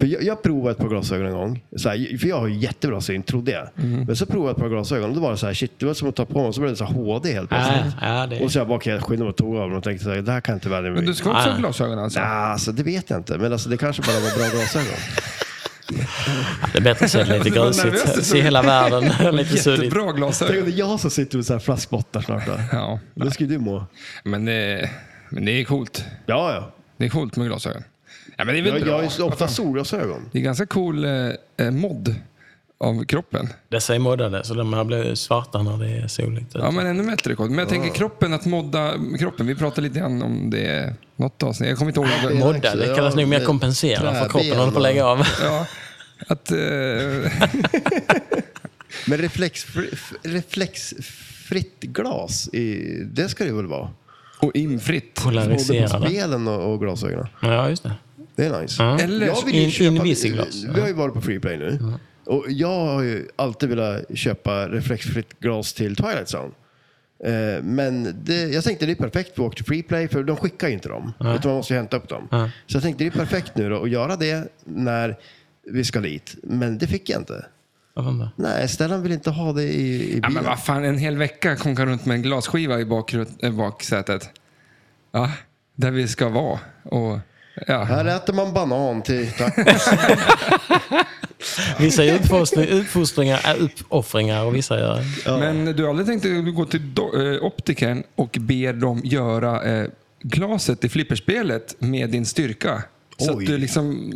Speaker 3: För jag, jag provade ett par glasögon en gång. Så här, för jag har ju jättebra syn, trodde jag. Men så provade jag ett par glasögon och då var det så här, shit, det var som att ta på dem. Så blev det så här HD helt
Speaker 1: Ja,
Speaker 3: plötsligt.
Speaker 1: ja, det
Speaker 3: Och så jag bara, okej, jag skyndade mig och tog av dem och tänkte så här, det här kan jag inte vänja mig
Speaker 2: Men du
Speaker 3: vid.
Speaker 2: ska också ha
Speaker 1: Nej.
Speaker 2: glasögon alltså?
Speaker 3: Ah. Nej, alltså det vet jag inte. Men alltså, det kanske bara var bra glasögon.
Speaker 1: det är bättre att se lite
Speaker 2: Du var nervös,
Speaker 1: grusigt.
Speaker 2: det
Speaker 1: Se hela världen lite suddigt.
Speaker 2: Jättebra
Speaker 3: Tänk om
Speaker 2: glasögon.
Speaker 3: det är jag som sitter med så här flaskbottnar snart då.
Speaker 2: Ja,
Speaker 3: Då skulle du må.
Speaker 2: men, eh, men det är coolt.
Speaker 3: Ja, ja.
Speaker 2: Det är coolt med glasögon. Ja, men det är väl
Speaker 3: Jag,
Speaker 2: bra.
Speaker 3: jag har ju ofta solglasögon.
Speaker 2: Det är ganska cool eh, eh, mod av kroppen.
Speaker 1: Dessa är moddade, så de här blir svarta när det är soligt.
Speaker 2: Ja, men ännu bättre koll. Men jag tänker kroppen, att modda kroppen. Vi pratade lite grann om det något avsnitt. Jag kommer inte ihåg. vad det-
Speaker 1: Modda, det kallas nog mer kompensera för kroppen håller på att lägga av.
Speaker 2: Ja, att, eh,
Speaker 3: Men reflexfri, f- reflexfritt glas, i, det ska det väl vara?
Speaker 2: och infritt.
Speaker 3: Både på
Speaker 1: Polariserade.
Speaker 3: spelen och, och glasögonen.
Speaker 1: Ja, just det.
Speaker 3: Det är nice.
Speaker 1: Ja.
Speaker 2: Eller
Speaker 3: Jag vill ju
Speaker 1: in-
Speaker 3: köpa,
Speaker 1: invisiglas.
Speaker 3: vi har ju varit på Freeplay nu. Och jag har ju alltid velat köpa reflexfritt glas till Twilight Zone. Eh, Men det, jag tänkte det är perfekt på Walk to Freeplay för de skickar ju inte dem. Utan man måste ju hämta upp dem.
Speaker 1: Nej.
Speaker 3: Så jag tänkte det är perfekt nu då att göra det när vi ska dit. Men det fick jag inte.
Speaker 1: Varför inte?
Speaker 3: Nej, Stellan vill inte ha det i, i
Speaker 2: Ja, men
Speaker 3: bilen.
Speaker 2: vad fan, en hel vecka konkar runt med en glasskiva i bakrut- eh, baksätet. Ja, där vi ska vara. Och, ja.
Speaker 3: Här äter man banan till tacos.
Speaker 1: Vissa gör uppfostring- uppfostringar, äh, uppoffringar och vissa gör...
Speaker 2: Men du har aldrig tänkt att gå till do- eh, optikern och be dem göra eh, glaset i flipperspelet med din styrka? Så
Speaker 3: Oj.
Speaker 2: att du liksom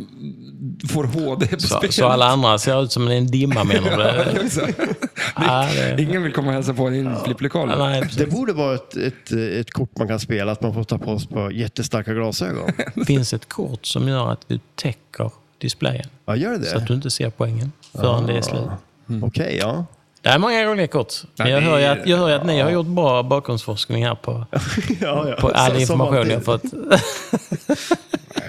Speaker 2: får HD på
Speaker 1: Så,
Speaker 2: spelet.
Speaker 1: så alla andra ser ut som en dimma menar du?
Speaker 2: Så-
Speaker 1: Ja, det-
Speaker 2: Ingen vill komma och hälsa på i din flipplokal.
Speaker 1: Nej,
Speaker 3: Det
Speaker 1: precis.
Speaker 3: borde vara ett, ett, ett kort man kan spela, att man får ta på sig på jättestarka glasögon.
Speaker 1: det finns ett kort som gör att du täcker displayen.
Speaker 3: Ja, gör det
Speaker 1: Så att
Speaker 3: det?
Speaker 1: du inte ser poängen förrän det är slut.
Speaker 3: Okej, ja.
Speaker 1: Det är många roliga kort. Men
Speaker 2: Ja,
Speaker 1: jag
Speaker 2: det
Speaker 1: hör ju
Speaker 2: är-
Speaker 1: att, jag hör ju att ni har gjort bra bakgrundsforskning här på,
Speaker 3: ja, ja.
Speaker 1: på all
Speaker 3: Som- som
Speaker 1: information
Speaker 3: alltid.
Speaker 1: jag har fått.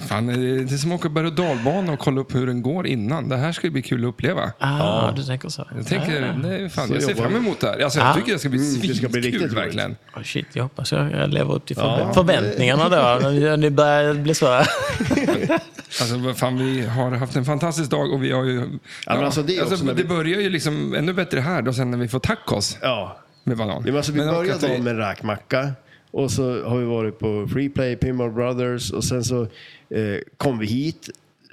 Speaker 2: Fan, det är det är som att åka berg och dalbana och kolla upp hur den går innan. Det här ska ju bli kul att uppleva.
Speaker 1: Ah, du tänker så.
Speaker 2: Jag, tänker, nej, fan,
Speaker 3: Så
Speaker 2: jag ser
Speaker 3: jobbar
Speaker 2: fram
Speaker 3: vi.
Speaker 2: emot det här. Alltså, jag
Speaker 1: Ja.
Speaker 2: tycker det ska bli
Speaker 3: Mm, det ska bli riktigt
Speaker 2: svinkul
Speaker 3: roligt.
Speaker 2: verkligen.
Speaker 1: Oh shit, jag hoppas jag jag lever upp till förvä- förväntningarna då. Nu- Nu börjar det bli så.
Speaker 2: Alltså, vad fan, vi har haft en fantastisk dag och vi har ju... Ja,
Speaker 3: men alltså, det är också när
Speaker 2: det
Speaker 3: vi-
Speaker 2: börjar ju liksom ännu bättre här då sen när vi får tacos
Speaker 3: Ja.
Speaker 2: med banan.
Speaker 3: Det var alltså, vi
Speaker 2: Men och
Speaker 3: började
Speaker 2: att vi-
Speaker 3: dagen med en räkmacka. Och så har vi varit på Freeplay, Pinball Brothers och sen så eh, kom vi hit,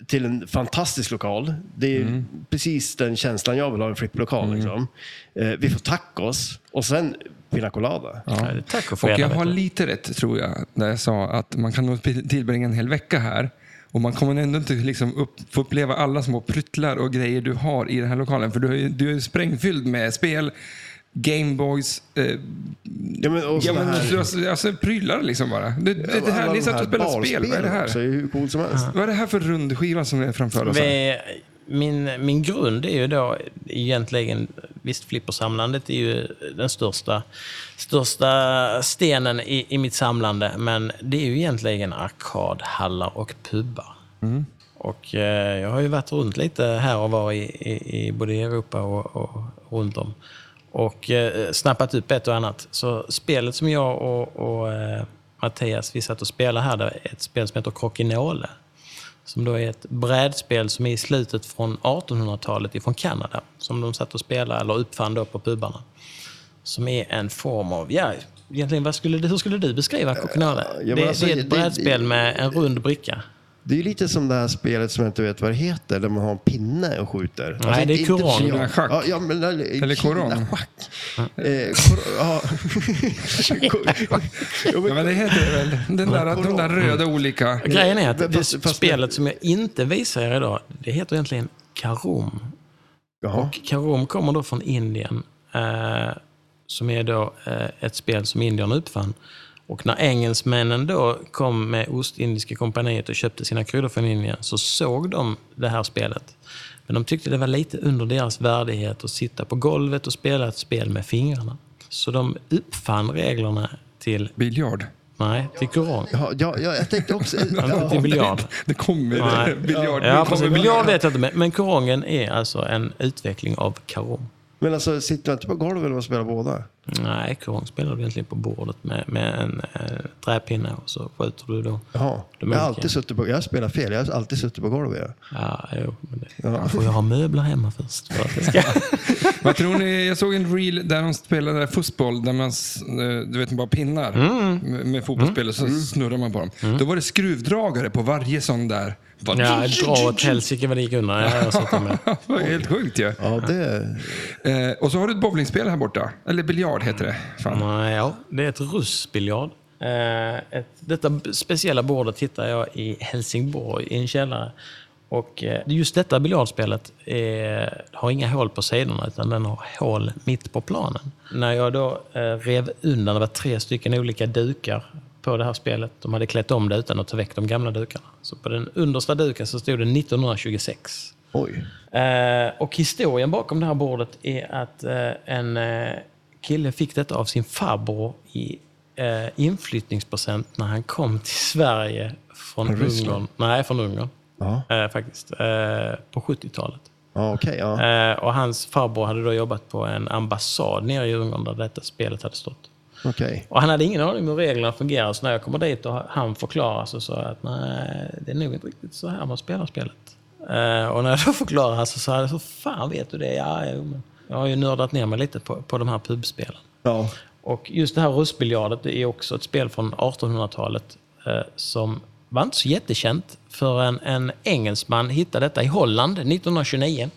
Speaker 3: till en fantastisk lokal. Det är
Speaker 1: Mm.
Speaker 3: precis den känslan jag vill ha i en flipplokal. Liksom. Eh, vi får tacos och sen pina colada.
Speaker 1: Ja, det är tack och
Speaker 2: Och jag
Speaker 1: fredag,
Speaker 2: har
Speaker 1: vet du.
Speaker 2: lite rätt tror jag, när jag sa att man kan nog tillbringa en hel vecka här. Och man kommer ändå inte liksom upp, få uppleva alla små pryttlar och grejer du har i den här lokalen. För du är ju, du är ju sprängfylld med spel, Gameboys, eh,
Speaker 3: Ja, men, och
Speaker 2: ja,
Speaker 3: såna
Speaker 2: men,
Speaker 3: här-
Speaker 2: alltså, alltså prylar liksom bara. Det, det, det,
Speaker 3: alla
Speaker 2: här, ni
Speaker 3: de
Speaker 2: satt och spelade spel, vad är det
Speaker 3: barspelen
Speaker 2: här?
Speaker 3: Också, är ju hur coolt som helst.
Speaker 2: Vad är det här för rundskiva som är framför oss? här?
Speaker 1: Vi, min, min grund är ju då egentligen, visst flippersamlandet är ju den största, största stenen i, i mitt samlande, men det är ju egentligen arkadhallar och pubar. Och eh, jag har ju varit runt lite här och var i, i, i både i Europa och, och runt om. Och eh, snappat upp ett och annat. Så spelet som jag och, och eh, Mattias, vi satt och spelade här, det är ett spel som heter Crokinole. Som då är ett brädspel som är i slutet från 1800-talet ifrån Kanada. Som de satt och spelade, eller uppfann då på pubarna. Som är en form av, ja, egentligen vad skulle, du- hur skulle du beskriva Crokinole?
Speaker 3: men
Speaker 1: det,
Speaker 3: alltså,
Speaker 1: det är
Speaker 3: det-
Speaker 1: ett brädspel
Speaker 3: det-
Speaker 1: med en rund bricka.
Speaker 3: Det är ju lite som det här spelet som jag inte vet vad det heter, där man har en pinne och skjuter. Nej,
Speaker 1: det är koran.
Speaker 2: Schack.
Speaker 3: Ja, ja, men,
Speaker 2: Eller koran.
Speaker 3: Schack. Eh, kor, ja. Kor- ja,
Speaker 2: Ja,
Speaker 3: men,
Speaker 2: men det heter det väl. Den där, de där röda olika.
Speaker 1: Grejen är att
Speaker 3: Men
Speaker 1: det
Speaker 3: fast- fast-
Speaker 1: spelet som jag inte visar er idag, det heter egentligen Karom.
Speaker 3: jaha.
Speaker 1: Karom kommer då från Indien, eh, som är då eh, ett spel som Indien uppfann. Och när engelsmännen då kom med Ostindiska kompaniet och köpte sina kryddor från Indien så såg de det här spelet. Men de tyckte det var lite under deras värdighet att sitta på golvet och spela ett spel med fingrarna. Så de uppfann reglerna till,
Speaker 2: Biljard.
Speaker 1: nej, till Koran.
Speaker 3: Jaha, ja, ja, jag tänkte också...
Speaker 1: Inte till
Speaker 3: Ja,
Speaker 1: biljard.
Speaker 2: Det kommer
Speaker 1: Nej.
Speaker 2: biljard.
Speaker 1: Ja,
Speaker 2: det
Speaker 1: precis.
Speaker 2: kommer
Speaker 1: Men jag vet inte. Men men korongen är alltså en utveckling av karom.
Speaker 3: men alltså, sitter man inte på golvet och spelar båda?
Speaker 1: Nej, korong spelar du egentligen på bordet med, med en eh, träpinne och så skjuter du då.
Speaker 3: Jaha.
Speaker 1: De
Speaker 3: Jag har
Speaker 1: olika.
Speaker 3: alltid suttit på... Jag har spelat fel. Jag har alltid suttit på golvet.
Speaker 1: Ja, jo, men det, Man får ju ha möbler hemma först. För att det ska...
Speaker 2: Vad tror ni? Jag såg en reel där de spelade fotboll, där man, s- eh, du vet bara pinnar
Speaker 1: Mm.
Speaker 2: med, med fotbollsspel och så snurrar man på dem. Då var det skruvdragare på varje sån där. Bara,
Speaker 1: ja, dra åt helsike vad det gick undan. Ja, jag har sett det med.
Speaker 2: det var helt sjukt ju.
Speaker 3: Ja, ja det...
Speaker 2: Eh, och så har du ett bowlingspel här borta. Eller biljard heter det. Fan.
Speaker 1: Nej, ja, det är ett russbiljard. Eh, ett, detta b- speciella bordet hittar jag i Helsingborg i en källare. Och eh, just detta biljardspelet eh, har inga hål på sidorna utan den har hål mitt på planen. När jag då eh, rev undan, det var tre stycken olika dukar på det här spelet. De hade klätt om det utan att ta väck de gamla dukarna. Så på den understa duken så stod det 1926.
Speaker 3: Oj.
Speaker 1: Eh, och historien bakom det här bordet är att eh, en eh, kille fick detta av sin farbror i eh, inflyttningspresent när han kom till Sverige från Ungern. Nej, från Ungern.
Speaker 3: Ja,
Speaker 1: Eh, faktiskt. Eh, på 70-talet.
Speaker 3: ja okej. ja.
Speaker 1: Eh, och hans farbror hade då jobbat på en ambassad nere i Ungern där detta spelet hade stått.
Speaker 3: Okej.
Speaker 1: Och han hade ingen aning om hur reglerna fungerar, så när jag kommer dit och han förklarar så sa jag att nej, det är nog inte riktigt så här man spelar spelet. Eh, och när jag då förklarade så sa han, så fan vet du det? Ja, jo, men jag har ju nördat ner mig lite på, på de här pubspelen.
Speaker 3: Ja.
Speaker 1: Och just det här russbiljardet det är också ett spel från 1800-talet eh, som var inte så jättekänt förrän en engelsman hittade detta i Holland 1929.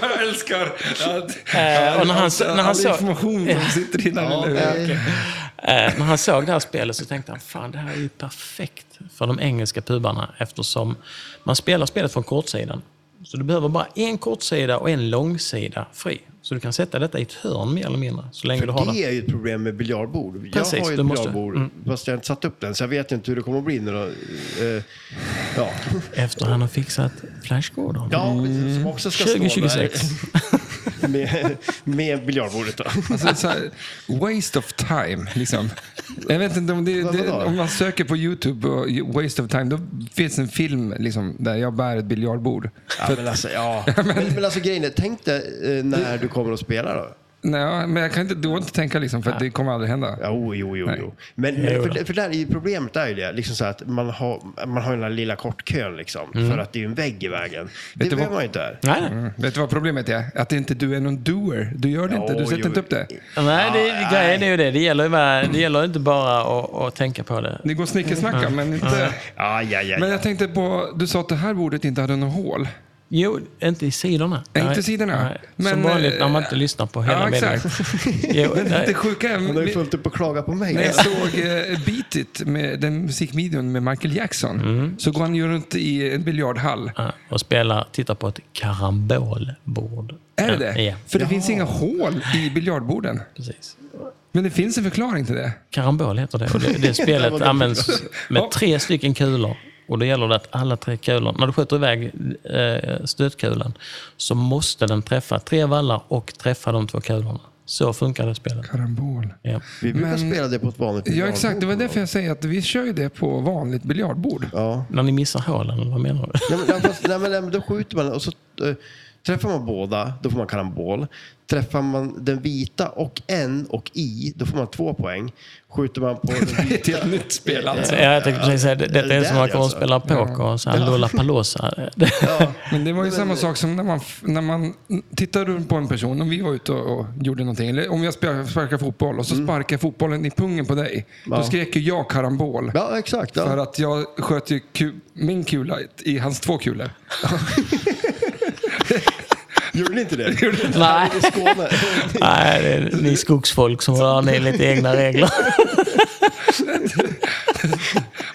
Speaker 2: Jag älskar att...
Speaker 1: Eh, och när han, när han
Speaker 2: all
Speaker 1: såg...
Speaker 2: information som sitter i den här lilla huvudet.
Speaker 3: det-
Speaker 1: Eh, när han såg det här spelet så tänkte han, fan det här är ju perfekt för de engelska pubarna eftersom man spelar spelet från kortsidan. Så du behöver bara en kortsida och en långsida fri. Så du kan sätta detta i ett hörn mer eller mindre, så länge du har
Speaker 3: Det
Speaker 1: det.
Speaker 3: är ju ett problem med biljardbord. jag
Speaker 1: Precis,
Speaker 3: har ju
Speaker 1: du
Speaker 3: ett
Speaker 1: måste-
Speaker 3: biljardbord,
Speaker 2: mm.
Speaker 3: fast jag har inte satt upp den, så jag vet inte hur det kommer att bli. När det, eh, ja,
Speaker 1: Efter han har fixat flashgården.
Speaker 3: ja precis, som också ska stå
Speaker 1: 2026.
Speaker 3: där med, med biljardbordet. Då.
Speaker 2: Alltså, så här, waste of time, liksom. Jag vet inte om, det,
Speaker 3: Vadå?
Speaker 2: det, om man söker på YouTube och ju- waste of time, då finns en film liksom, där jag bär ett biljardbord.
Speaker 3: Ja, men alltså, ja. men, men alltså grejen är, tänk dig eh, när du kommer att spela då.
Speaker 2: Nej, men jag kan inte, du får inte tänka liksom, för att det kommer aldrig hända.
Speaker 3: Ja, jo, jo, jo.
Speaker 2: Nej.
Speaker 3: jo. Men,
Speaker 1: Jo
Speaker 3: men
Speaker 1: då.
Speaker 3: för, för där är ju problemet är ju det, liksom så att man har, man har den där lilla kortkön liksom, för att det är ju en vägg i vägen.
Speaker 2: Mm. du
Speaker 3: Det
Speaker 2: vad-
Speaker 3: behöver man ju inte här.
Speaker 1: Nej, nej.
Speaker 2: Mm. Vet du vad problemet är? Att inte du är någon doer. Du gör det inte. Du
Speaker 3: Ja,
Speaker 2: sätter
Speaker 3: jo.
Speaker 2: inte upp det.
Speaker 1: nej det,
Speaker 3: Ja,
Speaker 1: grejen är ju det. Det gäller, ju bara, det gäller inte bara att, att tänka på det.
Speaker 2: Ni går och snickersnackar, men inte...
Speaker 3: Ja, ja, ja.
Speaker 2: Men jag tänkte på, du sa att det här bordet inte hade något hål.
Speaker 1: Jo, inte i sidorna.
Speaker 2: Nej,
Speaker 1: Nej,
Speaker 2: inte i sidorna.
Speaker 1: nej. Som
Speaker 2: Men,
Speaker 1: vanligt
Speaker 2: eh,
Speaker 1: när man inte lyssnar på hela
Speaker 2: ja,
Speaker 1: meningen. Jo,
Speaker 2: Det
Speaker 1: nej.
Speaker 2: sjuka är,
Speaker 3: Han har ju fullt upp att klaga på mig.
Speaker 2: när jag såg eh, Beat It, med den musikvideon med Michael Jackson, så går han ju runt i en biljardhall.
Speaker 1: Ja, Eh, Och spela, titta på ett karambolbord.
Speaker 2: Är det
Speaker 1: Ja,
Speaker 2: det?
Speaker 1: Ja,
Speaker 2: För det finns inga hål i biljardborden.
Speaker 1: precis.
Speaker 2: Men det finns en förklaring till det.
Speaker 1: Karambol heter det. Och det, det spelet används
Speaker 2: Ja.
Speaker 1: med tre stycken kulor. Och det gäller det att alla tre kulor, när du skjuter iväg eh, stötkulan, så måste den träffa tre vallar och träffa de två kulorna. Så funkar det spelet.
Speaker 2: Karambol.
Speaker 1: Ja.
Speaker 3: Vi brukar
Speaker 2: Men-
Speaker 3: spela det på ett vanligt
Speaker 2: Ja,
Speaker 3: biljardbord.
Speaker 2: exakt. Det var därför jag säger att vi kör ju det på vanligt biljardbord.
Speaker 3: Ja.
Speaker 1: När ni missar hålen, eller vad menar du?
Speaker 3: Nej, men, nej, fast- nej, men, nej, men då skjuter man och så eh, träffar man båda, då får man karambol. Träffar man den vita och en och i, då får man två poäng. Skjuter man på den
Speaker 2: Det är
Speaker 3: vita...
Speaker 2: ett nytt spel alltså.
Speaker 1: Ja, jag tänkte precis säga det. Detta är
Speaker 3: det
Speaker 1: som när man
Speaker 3: är
Speaker 1: kommer och
Speaker 3: alltså.
Speaker 1: spelar poker och så här Lollapalooza. Det-
Speaker 3: Ja.
Speaker 2: Men det var ju samma sak som när man, när man tittar runt på en person. Om vi var ute och, och gjorde någonting, eller om jag sparkar, sparkar fotboll och så sparkar jag fotbollen i pungen på dig. Då
Speaker 3: Ja.
Speaker 2: skrek ju jag karambol.
Speaker 3: Ja, exakt.
Speaker 2: För
Speaker 3: Ja.
Speaker 2: att jag sköt ju ku- min kula i hans två kulor.
Speaker 3: Gjorde ni inte det? Gjorde ni
Speaker 1: Nej.
Speaker 3: I Skåne?
Speaker 1: Nej, det är ni skogsfolk som har ni lite egna regler.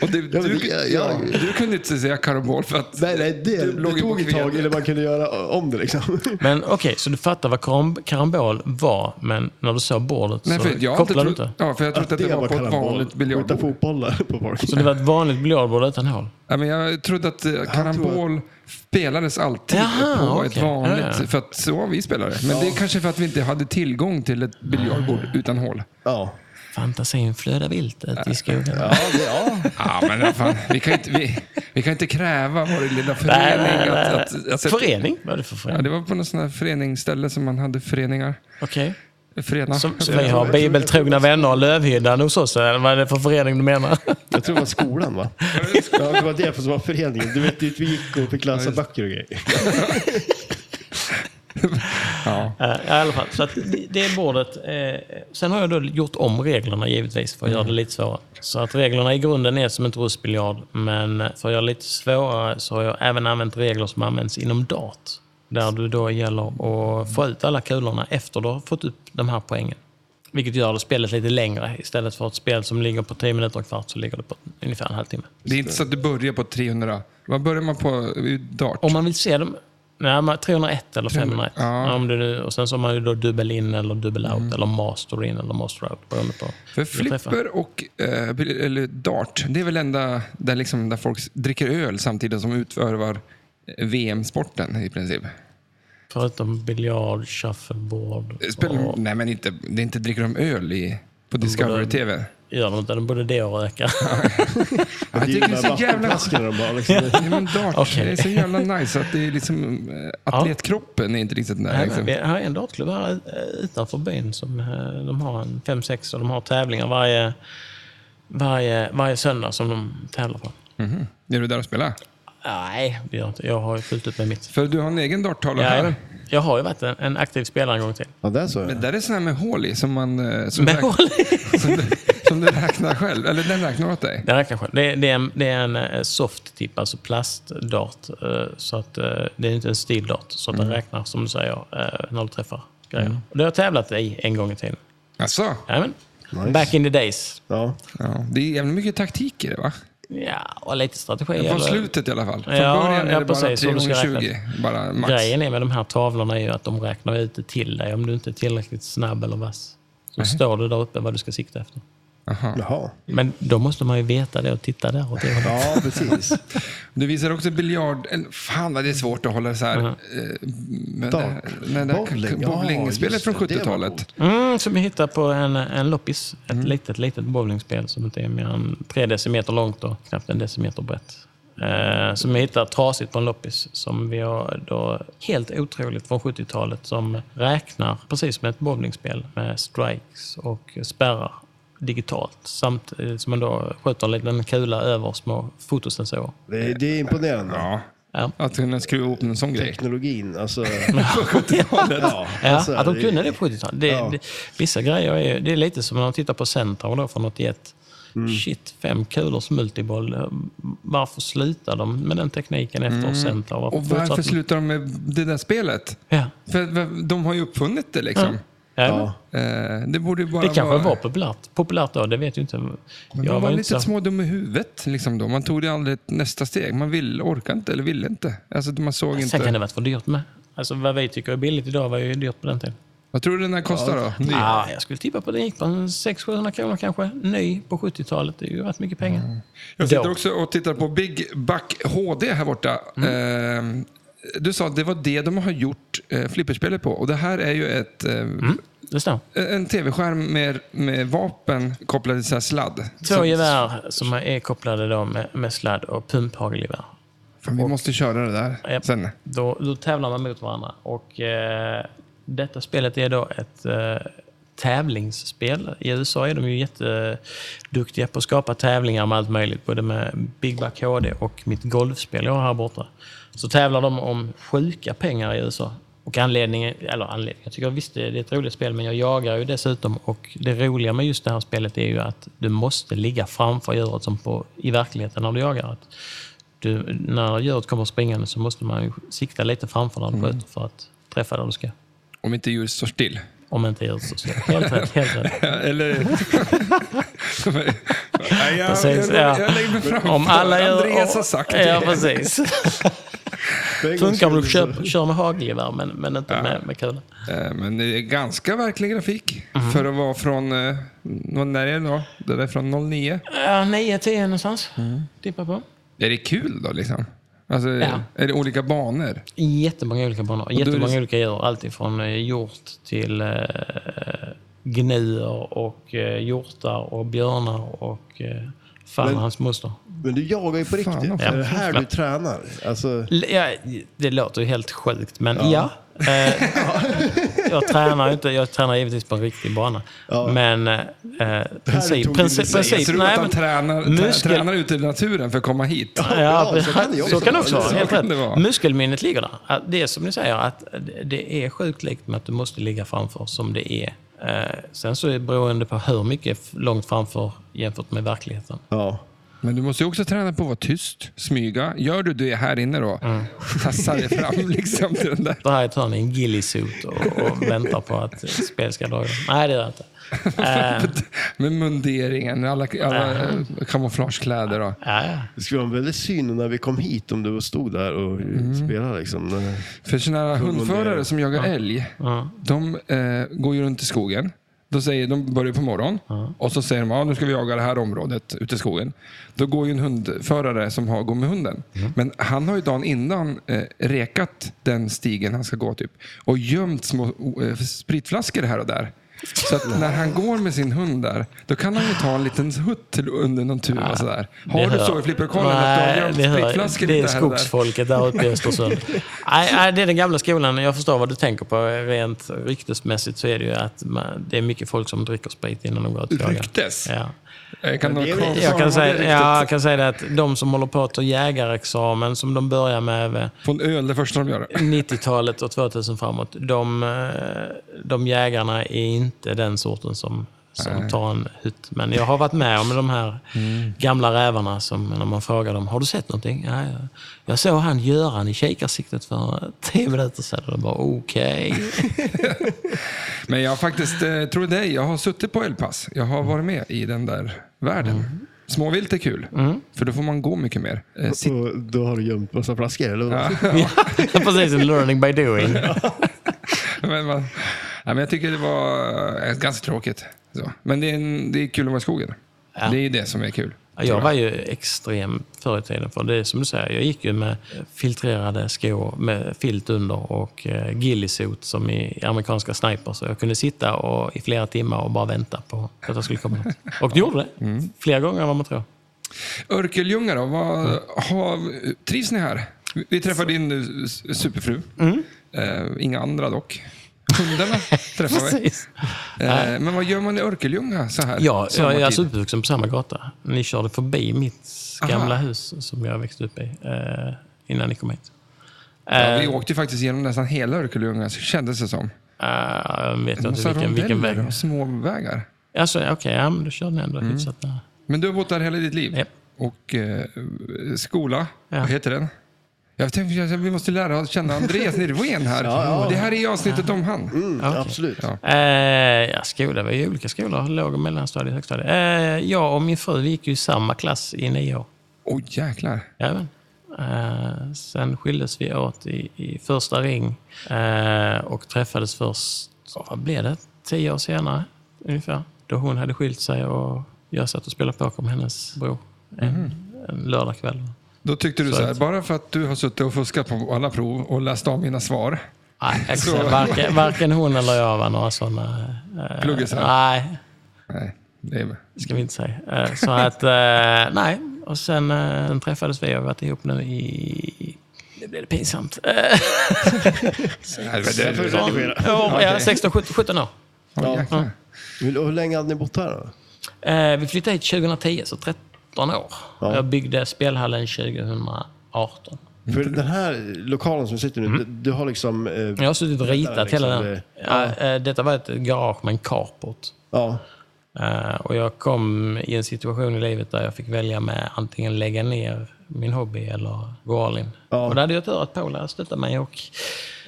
Speaker 2: Och du,
Speaker 3: Ja, men
Speaker 2: du,
Speaker 3: det- ja,
Speaker 2: ja,
Speaker 3: jag-
Speaker 2: du kunde inte säga karambol för att
Speaker 3: Nej, nej, det,
Speaker 2: Du låg
Speaker 3: det
Speaker 2: ju
Speaker 3: tog
Speaker 2: på
Speaker 3: ett tag
Speaker 2: kven.
Speaker 3: eller man kunde göra om det liksom.
Speaker 1: Men okej, så du fattar vad karam- karambol var, men när du såg bordet
Speaker 2: Nej,
Speaker 1: så
Speaker 2: för jag har inte
Speaker 1: kopplade du
Speaker 2: trott,
Speaker 1: inte?
Speaker 2: ja, för jag trodde att det, var på ett vanligt
Speaker 3: Skjuta
Speaker 2: biljardbord.
Speaker 3: fotbollar på folk.
Speaker 1: Så det var ett vanligt biljardbord utan hål?
Speaker 2: Ja, men jag trodde att eh, karambol spelades alltid
Speaker 1: Jaha,
Speaker 2: på ett
Speaker 1: okej.
Speaker 2: vanligt,
Speaker 1: Ja, ja.
Speaker 2: för att så var vi spelare. Men det är kanske för att vi inte hade tillgång till ett biljardbord utan hål.
Speaker 3: Ja.
Speaker 1: Fantasin flödar vilt ute i skogen.
Speaker 3: Ja, det, ja.
Speaker 2: Ja, men vad fan, vi, kan inte, vi, vi kan inte kräva vår lilla förening
Speaker 1: Nej, nej, nej.
Speaker 2: att... att, att, att
Speaker 1: Förening? Vad är det för
Speaker 2: Ja,
Speaker 1: förening?
Speaker 2: det var på någon sån här föreningsställe som man hade föreningar.
Speaker 1: Okej.
Speaker 2: Förena.
Speaker 1: Som, som vi har bibeltrogna vänner och Lövhyddan hos oss, eller vad är det för förening du menar?
Speaker 3: Jag tror det var skolan va? Ja, det var det som var föreningen. Du vet dit vi gick och fick läsa böcker och grejer.
Speaker 2: Ja.
Speaker 1: Eh, I alla fall, så att det- det är bordet. Eh, sen har jag då gjort om reglerna givetvis för att göra det lite svårare. Så att reglerna i grunden är som ett russbiljard, men för att göra det lite svårare så har jag även använt regler som används inom dart. Där du då gäller att få ut alla kulorna efter du har fått upp de här poängen. Vilket gör det spelet lite längre. Istället för ett spel som ligger på 10 minuter och en kvart så ligger det på ungefär en halvtimme.
Speaker 2: Det är inte så att du börjar på 300. Vad börjar man på i dart?
Speaker 1: Om man vill se dem... Nej, men 301 eller 501.
Speaker 2: Ja. Mm.
Speaker 1: Om det nu, och sen så har man ju då dubbel in eller dubbel out eller master in eller master out beroende på.
Speaker 2: För
Speaker 1: hur det träffar.
Speaker 2: flipper och eh, bil- eller dart, det är väl enda där, liksom, där folk dricker öl samtidigt som utförvar eh, VM-sporten i princip? Eh,
Speaker 1: Förutom biljard, shuffleboard.
Speaker 2: Spel, Nej, men inte, det är inte dricker de öl i, på Discovery TV.
Speaker 1: Gör de inte det? Både det och röka.
Speaker 2: Ja, jag tycker det är så jävla...
Speaker 3: vattenflaskorna de har. Liksom.
Speaker 2: Ja, men dart,
Speaker 1: Okej.
Speaker 2: det är så jävla nice att det är liksom, eh, atletkroppen är inte riktigt där.
Speaker 1: Nej, men
Speaker 2: Liksom.
Speaker 1: Vi har en dartklubb här eh, utanför byn. Som, eh, de har en fem, sex och de har tävlingar varje, varje, varje söndag som de tävlar på.
Speaker 2: Mhm. Är du där och spelar?
Speaker 1: Nej, det gör jag inte. Jag har ju fullt upp med mitt.
Speaker 2: För du har en egen darttavla
Speaker 1: Ja,
Speaker 2: här.
Speaker 1: jag har ju varit en, en aktiv spelare en gång till.
Speaker 3: Ja, det är så. ja.
Speaker 2: Men där är sådana här med hål i som man... eh, Som
Speaker 1: Med
Speaker 2: räk-
Speaker 1: hål
Speaker 2: Som du, som du räknar själv. Eller den räknar åt dig.
Speaker 1: Den räknar själv. Det är, det är en, det är en eh, soft tip, alltså plastdart. eh, Så att, eh, det är inte en stildart. Så att den räknar, som du säger, eh, när du träffar grejerna. Och det har jag tävlat i en gång i tiden.
Speaker 2: Alltså,
Speaker 1: Jajamän.
Speaker 3: Nice.
Speaker 1: Back in the days.
Speaker 3: Ja.
Speaker 2: ja, det är jävligt mycket taktik i det va?
Speaker 1: Ja, och lite strategi.
Speaker 2: På
Speaker 1: eller-
Speaker 2: slutet i alla fall. Från
Speaker 1: Ja,
Speaker 2: början är
Speaker 1: ja,
Speaker 2: det bara
Speaker 1: precis, som du ska
Speaker 2: 320. Bara max.
Speaker 1: Grejen är med de här tavlorna är ju att de räknar ut det till dig om du inte är tillräckligt snabb eller vass. Så står det där uppe vad du ska sikta efter.
Speaker 2: Jaha.
Speaker 3: Jaha.
Speaker 1: Men då måste man ju veta det och titta där åt det hållet.
Speaker 3: Ja, precis.
Speaker 2: Du visar också biljard... eller, Fan vad det är svårt att hålla det så här.
Speaker 1: Mhm.
Speaker 2: eh, men det-
Speaker 3: Dart.
Speaker 2: men det-
Speaker 3: Bowling. Ja,
Speaker 2: Bowlingspelet
Speaker 3: just
Speaker 2: från
Speaker 3: det. Det var
Speaker 2: 70-talet.
Speaker 3: coolt.
Speaker 1: Mm, som jag hittade på en, en loppis. Ett litet, litet bowlingspel som inte är mer än tre decimeter långt och knappt en decimeter brett. Eh, som jag hittade trasigt på en loppis. Som vi har då helt otroligt från 70-talet som räknar precis som ett bowlingspel med strikes och spärrar digitalt. Samt eh, som man då skjuter en liten kula över små fotosensorer.
Speaker 3: Det, är- det är imponerande.
Speaker 2: Ja.
Speaker 1: Ja.
Speaker 2: Att kunna skruva ihop en sån grej.
Speaker 3: Teknologin, alltså. ja,
Speaker 1: Ja,
Speaker 3: alltså,
Speaker 1: att de kunde det på 70-talet. Det,
Speaker 3: Ja.
Speaker 1: det, vissa grejer är, det är lite som när man tittar på Centaur då från 81. Shit, fem kulors multiboll. Varför slutar de med den tekniken efter Centaur? Varför
Speaker 2: Och varför
Speaker 1: fortsatte de?
Speaker 2: slutar de med det där spelet?
Speaker 1: Ja.
Speaker 2: För v- de har ju uppfunnit det liksom.
Speaker 1: Ja.
Speaker 3: Ja.
Speaker 2: Eh, Det borde ju bara
Speaker 1: Det kanske
Speaker 2: vara...
Speaker 1: var populärt, populärt då, det vet ju inte.
Speaker 2: Men
Speaker 1: Jag
Speaker 2: de var,
Speaker 1: var inte
Speaker 2: lite
Speaker 1: så...
Speaker 2: små dum i huvudet liksom då. Man tog det aldrig ett nästa steg. Man ville, orkade inte eller ville inte. Alltså man såg
Speaker 1: Sen kan
Speaker 2: inte.
Speaker 1: det varit för dyrt med. Alltså vad vi tycker är billigt idag var ju dyrt på den tiden.
Speaker 2: Vad tror du den här kostar då? Ny.
Speaker 1: Ah, jag skulle tippa på att det gick på en 600-700 kronor kanske. Ny på 70-talet, det är ju rätt mycket pengar.
Speaker 2: Mm. Jag sitter
Speaker 1: Då.
Speaker 2: också och tittar på Big Buck HD här borta.
Speaker 1: Mm.
Speaker 2: Eh, Du sa att det var det de har gjort eh, flipperspelet på. Och det här är ju ett, eh,
Speaker 1: Mm. Det står.
Speaker 2: en tv-skärm med, med vapen kopplade till så här sladd.
Speaker 1: Två
Speaker 2: Så-
Speaker 1: gevär som är kopplade då med, med sladd och pumphagelgevär.
Speaker 2: Fan, vi måste köra det där
Speaker 1: Japp.
Speaker 2: sen.
Speaker 1: Då, då tävlar man mot varandra. Och, eh, detta spelet är då ett eh, tävlingsspel. I USA är de ju jätteduktiga på att skapa tävlingar med allt möjligt. Både med Big Back HD och mitt golfspel jag har här borta. Så tävlar de om sjuka pengar i USA. Och anledningen, eller anledningen, jag tycker visst det det är ett roligt spel men jag jagar ju dessutom och det roliga med just det här spelet är ju att du måste ligga framför djuret som på, i verkligheten när du jagar. Att du, när djuret kommer springande så måste man ju sikta lite framför när du
Speaker 2: Mm.
Speaker 1: skjuter för att träffa där du ska.
Speaker 2: Om inte djuret står still.
Speaker 1: Om inte djuret står still. Helt rätt, helt rätt.
Speaker 2: Eller... Nej, jag,
Speaker 1: Precis,
Speaker 2: jag, jag,
Speaker 1: ja.
Speaker 2: lägger mig fram.
Speaker 1: Om alla gör...
Speaker 2: Andreas
Speaker 1: om-
Speaker 2: har sagt det.
Speaker 1: Ja, precis.
Speaker 3: För en gångs
Speaker 1: Funkar om du
Speaker 3: skull så-
Speaker 1: kör, kör med hagelgevär, men, men inte med, med kula.
Speaker 2: Eh, Men det är ganska verklig grafik.
Speaker 1: Mhm.
Speaker 2: För att vara från... eh, vad- När är det då? Det där är från 09.
Speaker 1: Ja, 9-10 någonstans.
Speaker 2: Mm.
Speaker 1: Tippar på.
Speaker 2: Är det kul då liksom? Alltså,
Speaker 1: Ja.
Speaker 2: är det olika banor?
Speaker 1: Jättemånga olika banor.
Speaker 2: är det
Speaker 1: Jättemånga
Speaker 2: så-
Speaker 1: olika djur. Alltifrån eh, hjort till eh, gnuer och eh, hjortar och björnar och eh, fan
Speaker 3: Men-
Speaker 1: hans moster.
Speaker 3: alltså, Men du jagar ju
Speaker 2: Fan,
Speaker 3: på riktigt.
Speaker 2: vad
Speaker 3: Är det här
Speaker 1: fan.
Speaker 3: du tränar? Alltså,
Speaker 1: L- Ja, det låter ju helt sjukt, men ja. Eh, jag tränar ju inte. Jag tränar givetvis på en riktig bana. Men eh, princip...
Speaker 3: tog du
Speaker 1: princip,
Speaker 3: inte sig.
Speaker 2: Jag
Speaker 1: princip
Speaker 2: tror
Speaker 1: Typ. nej,
Speaker 2: att han
Speaker 1: men,
Speaker 2: tränar,
Speaker 1: muskel-
Speaker 2: trä, tränar ute i naturen för att komma hit.
Speaker 1: Ja,
Speaker 3: Ja, så kan det ju
Speaker 1: så
Speaker 3: också
Speaker 1: kan det
Speaker 3: vara.
Speaker 1: också vara.
Speaker 2: Så
Speaker 1: Helt
Speaker 2: kan det vara.
Speaker 1: rätt. Muskelminnet ligger där. Att Det är som ni säger, att det är sjukt likt med att du måste ligga framför som det är. Eh, Sen så är det beroende på hur mycket f- långt framför jämfört med verkligheten.
Speaker 3: ja.
Speaker 2: Men du måste ju också träna på att vara tyst, smyga. Gör du det här inne då,
Speaker 1: Mm.
Speaker 2: tassar dig fram liksom till den där.
Speaker 1: Det här är ett hörn i en gillisot och, och väntar på att spel ska dra igång. Nej, det är det inte. Eh,
Speaker 2: Med munderingen, alla, alla eh, kamouflagekläder. Och.
Speaker 1: ja, ja.
Speaker 3: Det skulle vara en väldig syn när vi kom hit om du stod där och
Speaker 2: Mm.
Speaker 3: spelade. Liksom.
Speaker 2: För sådana här hundförare
Speaker 3: mundering.
Speaker 2: som jagar älg,
Speaker 1: Mm.
Speaker 2: de eh, går ju runt i skogen. Då säger, de börjar på morgonen och så säger de att ah, nu ska vi jaga det här området ute i skogen. Då går ju en hundförare som har, går med hunden. Men han har ju dagen innan eh, rekat den stigen han ska gå typ. Och gömt små eh, spritflaskor här och där. Så att när han går med sin hund där, då kan han ju ta en liten hutt till under någon tuva. sådär. Har
Speaker 1: Det
Speaker 2: du så
Speaker 1: hör-
Speaker 2: i flipperkollen att du har gömt
Speaker 1: det hör-
Speaker 2: spritflaskor
Speaker 1: Det är
Speaker 2: lite här och där?
Speaker 1: skogsfolket där ute i Östersund. nej, nej, det är den gamla skolan. Jag förstår vad du tänker på. Rent ryktesmässigt så är det ju att man, det är mycket folk som dricker sprit innan de går ut och jagar.
Speaker 2: Ryktes?
Speaker 1: Ja.
Speaker 2: Jag kan, nog
Speaker 3: det är väl-
Speaker 2: konfirmera
Speaker 1: Jag, kan
Speaker 2: det
Speaker 1: säga,
Speaker 2: riktigt.
Speaker 1: ja, jag kan säga det att de som håller på att ta jägarexamen, som de börjar med eh,
Speaker 2: På en öl, det första de gör.
Speaker 1: 90-talet och 2000 framåt, de, eh, de jägarna är inte den sorten som, som tar en hytt. Men jag har varit med om de här gamla rävarna som när man frågar dem, har du sett någonting? Ja, jag, jag såg han Göran i kikarsiktet för tio minuter sedan. Och de bara, okej.
Speaker 2: Men jag har faktiskt, eh, tror dig, jag har suttit på älgpass. Jag har varit med i den där världen.
Speaker 1: Mm.
Speaker 2: Småvilt är kul, för då får man gå mycket mer. Eh, sit-
Speaker 3: Och då har du gömt massa flaskor, eller vad?
Speaker 1: Precis, learning by doing. Mm.
Speaker 2: men, man, ja, men jag tycker det var eh, ganska tråkigt. Så. Men det är, en, det är kul att vara i skogen.
Speaker 1: Ja.
Speaker 2: Det är det som är kul.
Speaker 1: Ja, Jag var ju extrem förr i tiden. För det är som du säger, jag gick ju med filtrerade skor med filt under och eh, gillisot som i amerikanska snipers. Så jag kunde sitta
Speaker 2: Mm.
Speaker 1: och, i flera timmar och bara vänta på att jag skulle komma något. Och det gjorde det. Flera gånger än vad man tror.
Speaker 2: Örkelljunga då, vad,
Speaker 1: Mm.
Speaker 2: har, trivs ni här? Vi träffar din eh, s- superfru.
Speaker 1: Mm.
Speaker 2: Eh, inga andra dock. Hundarna träffar vi.
Speaker 1: Precis.
Speaker 2: Eh, men vad gör man i Örkelljunga så här?
Speaker 1: Ja, jag är
Speaker 2: sommartid?
Speaker 1: alltså uppvuxen på samma gata. Ni körde förbi mitt
Speaker 2: Aha.
Speaker 1: gamla hus som jag växte upp i eh, innan ni kom hit.
Speaker 2: Ja,
Speaker 1: Eh,
Speaker 2: vi åkte ju faktiskt genom nästan hela Örkelljunga, kändes det som.
Speaker 1: eh, jag vet inte
Speaker 2: Massa
Speaker 1: vilken, vilken
Speaker 2: rondeller
Speaker 1: väg.
Speaker 2: och småvägar.
Speaker 1: Alltså, okej, ja, men då körde ni ändå
Speaker 2: Mm.
Speaker 1: hyfsat nära.
Speaker 2: Men du har bott där hela ditt liv?
Speaker 1: Japp.
Speaker 2: Och eh, skola,
Speaker 1: Ja.
Speaker 2: vad heter den? Jag tänkte, jag- vi måste lära känna Andreas Nirvén här.
Speaker 3: Ja, ja.
Speaker 2: Det här är avsnittet om han.
Speaker 3: Mm,
Speaker 1: okej.
Speaker 3: Absolut.
Speaker 2: Ja.
Speaker 1: Eh, ja, skola, vi är ju olika skolor. Låg och mellanstadiet, högstadiet. Eh, jag och min fru vi gick ju i samma klass i nio år.
Speaker 2: Åh jäklar.
Speaker 1: Jajamän. Eh, sen skildes vi åt i, i första ring eh, och träffades först, ja, vad blev det? Tio år senare ungefär. Då hon hade skilt sig och jag satt och spelade poker med hennes bror en,
Speaker 2: Mhm.
Speaker 1: en lördagkväll.
Speaker 2: Då tyckte du så,
Speaker 1: Så
Speaker 2: här,
Speaker 1: att-
Speaker 2: bara för att du har suttit och fuskat på alla prov och läst av mina svar.
Speaker 1: Nej, jag kan
Speaker 2: Så-
Speaker 1: säga, varken, varken hon eller jag var några sådana... Eh,
Speaker 2: Pluggisar.
Speaker 1: Nej,
Speaker 2: Nej, det är...
Speaker 1: det ska vi inte säga. Eh, så att, eh, nej. Och sen, eh, sen träffades vi och har varit ihop nu i... Nu blev det pinsamt. Eh,
Speaker 2: Nej, det
Speaker 3: Jag får
Speaker 2: är...
Speaker 3: redigera.
Speaker 1: ja,
Speaker 3: Okej.
Speaker 1: 16, 17, 17 år.
Speaker 2: Åh, jäklar.
Speaker 3: Hur, och hur länge hade ni bott här då?
Speaker 1: Eh, vi flyttade hit 2010, så 13 år.
Speaker 3: Ja.
Speaker 1: Jag byggde spelhallen 2018.
Speaker 3: För den här lokalen som vi sitter nu, du, du har liksom... eh,
Speaker 1: Jag har suttit och ritat
Speaker 3: liksom,
Speaker 1: hela den.
Speaker 3: det-
Speaker 1: Ja, eh, detta var ett garage med en carport.
Speaker 3: ja.
Speaker 1: Eh, och jag kom i en situation i livet där jag fick välja med antingen lägga ner min hobby eller gå all in.
Speaker 3: Ja.
Speaker 1: Och där hade jag tur att Paula stöttade mig och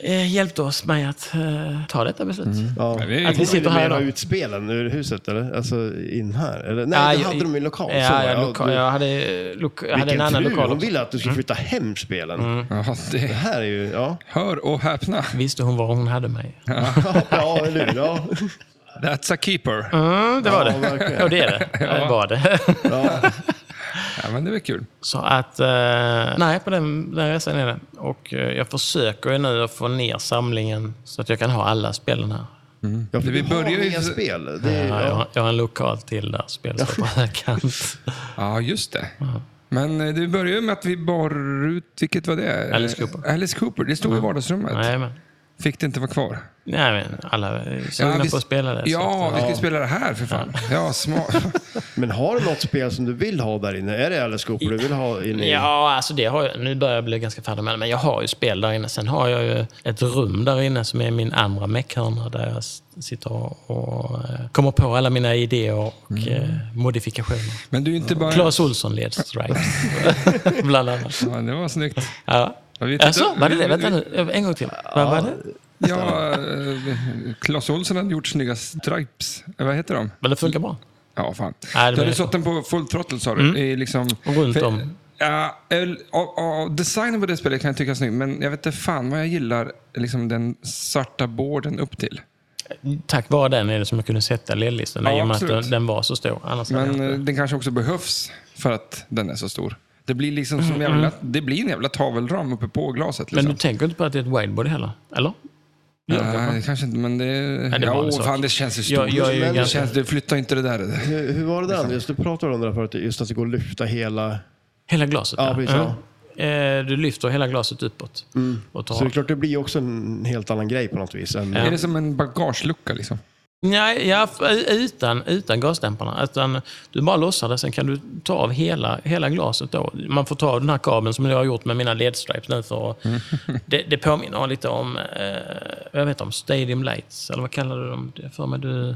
Speaker 1: eh, hjälpte oss med att eh, ta detta beslut.
Speaker 3: Mm. ja.
Speaker 2: Nej, det är-
Speaker 1: Att vi sitter här
Speaker 3: Hade ni
Speaker 1: idag.
Speaker 3: mera ut spelen ur huset eller? Alltså in här? Eller? Nej,
Speaker 1: Ja,
Speaker 3: det
Speaker 1: jag-
Speaker 3: hade de i lokal. så var
Speaker 1: Ja,
Speaker 3: det.
Speaker 1: jag, loka-
Speaker 3: du-
Speaker 1: jag hade, eh, loka- jag hade en
Speaker 3: vilken
Speaker 1: annan
Speaker 3: tur,
Speaker 1: lokal
Speaker 3: Hon
Speaker 1: också. Mm.
Speaker 3: ville att du skulle flytta hem spelen.
Speaker 2: Ja,
Speaker 3: Det
Speaker 2: det...
Speaker 3: här är ju... Ja,
Speaker 2: Hör och häpna.
Speaker 1: Visste hon var hon hade mig?
Speaker 3: ja eller hur? Ja.
Speaker 2: That's a keeper.
Speaker 1: Mm, det var
Speaker 3: Ja,
Speaker 1: det.
Speaker 3: verkligen.
Speaker 1: Ja, det är det. Det var det.
Speaker 3: Ja.
Speaker 2: Ja, men det var kul.
Speaker 1: Så att, eh, nej, på den, den resan är det. Och eh, jag försöker ju nu att få ner samlingen så att jag kan ha alla spelen här.
Speaker 3: Ja, för
Speaker 2: Vi
Speaker 3: vi
Speaker 2: börjar
Speaker 3: börjar
Speaker 2: ju-
Speaker 3: ju... spel. Det är,
Speaker 1: Ja, jag,
Speaker 3: ja.
Speaker 1: har- jag har en lokal till där spel står på högkant.
Speaker 2: Ja, just det. Men eh, det började ju med att vi bar ut, vilket var det?
Speaker 1: Alice Cooper.
Speaker 2: Alice Cooper, det stod i vardagsrummet.
Speaker 1: Nej, men,
Speaker 2: Fick det inte vara kvar.
Speaker 1: nej, men alla är sugna
Speaker 2: vi-
Speaker 1: på att spela det. så
Speaker 2: Ja,
Speaker 1: att- eh,
Speaker 2: vi ska ju spela det här för fan. Ja, smart.
Speaker 3: Men har du något spel som du vill ha där inne? Är det Alice Cooper du vill ha inne i?
Speaker 1: Ja, alltså det har jag, nu börjar jag bli ganska färdig med det, men jag har ju spel där inne. Sen har jag ju ett rum där inne som är min andra meckhörna där jag s- sitter och, och eh, kommer på alla mina idéer och
Speaker 2: Mm.
Speaker 1: eh, modifikationer.
Speaker 2: Men du är inte bara...
Speaker 1: Claes Olsson led Stripes, bland annat.
Speaker 2: Ja, det var snyggt.
Speaker 1: Ja.
Speaker 2: Jag vet
Speaker 1: Alltså,
Speaker 2: inte-
Speaker 1: var det det? Vänta nu, en gång till. Vad var det?
Speaker 2: Ja, eh, Claes Olsson hade gjort snygga stripes. Eh, Vad heter de?
Speaker 1: Men det funkar bra.
Speaker 2: Ja, fan.
Speaker 1: Nej, det Mm.
Speaker 2: du hade
Speaker 1: blir-
Speaker 2: satt den på full throttle sa du. I liksom,
Speaker 1: Runt om.
Speaker 2: Ja, el- ja, ja, designen på det spelet kan jag tycka är snygg, men jag vet inte fan vad jag gillar liksom, den svarta borden upp till.
Speaker 1: Tack vare den är det som jag kunde sätta ledlistan
Speaker 2: Ja,
Speaker 1: i och med att
Speaker 2: absolut.
Speaker 1: den, den var så stor. Annars hade jag
Speaker 2: Men
Speaker 1: inte-
Speaker 2: eh, den kanske också behövs för att den är så stor. Det blir liksom som jävla, det blir en jävla tavelram uppe på glaset.
Speaker 1: Mm, men
Speaker 2: Liksom.
Speaker 1: du tänker inte på att det är ett wideboard heller? Eller?
Speaker 2: Nej, det kanske inte, men det...
Speaker 1: är
Speaker 2: ja,
Speaker 1: bara en
Speaker 2: åh,
Speaker 1: sak.
Speaker 2: fan, det känns ju stort.
Speaker 1: Jag, jag är ju
Speaker 3: Men-
Speaker 2: det,
Speaker 1: ganska...
Speaker 2: känns, det flyttar inte det där.
Speaker 3: Hur, hur var det
Speaker 1: Liksom.
Speaker 3: där Andreas? Du pratade om det där förut, just att det går att lyfta hela...
Speaker 1: Hela glaset?
Speaker 3: Ja, precis, ja. Mm.
Speaker 1: Mm. Eh, Du lyfter hela glaset uppåt. Och
Speaker 3: Så det är
Speaker 1: tar...
Speaker 3: klart, det blir ju också en helt annan grej på något vis. Än,
Speaker 2: Är det som en bagagelucka liksom?
Speaker 1: Nej, ja, f- eh, utan, utan gasdämparna. Utan du bara lossar det, sen kan du ta av hela, hela glaset. Då. Man får ta av den här kabeln som jag har gjort med mina ledstripes nu. För att,
Speaker 3: Mm.
Speaker 1: det, det påminner lite om, eh, jag vet om Stadium Lights, eller vad kallar du dem? Det för mig, du...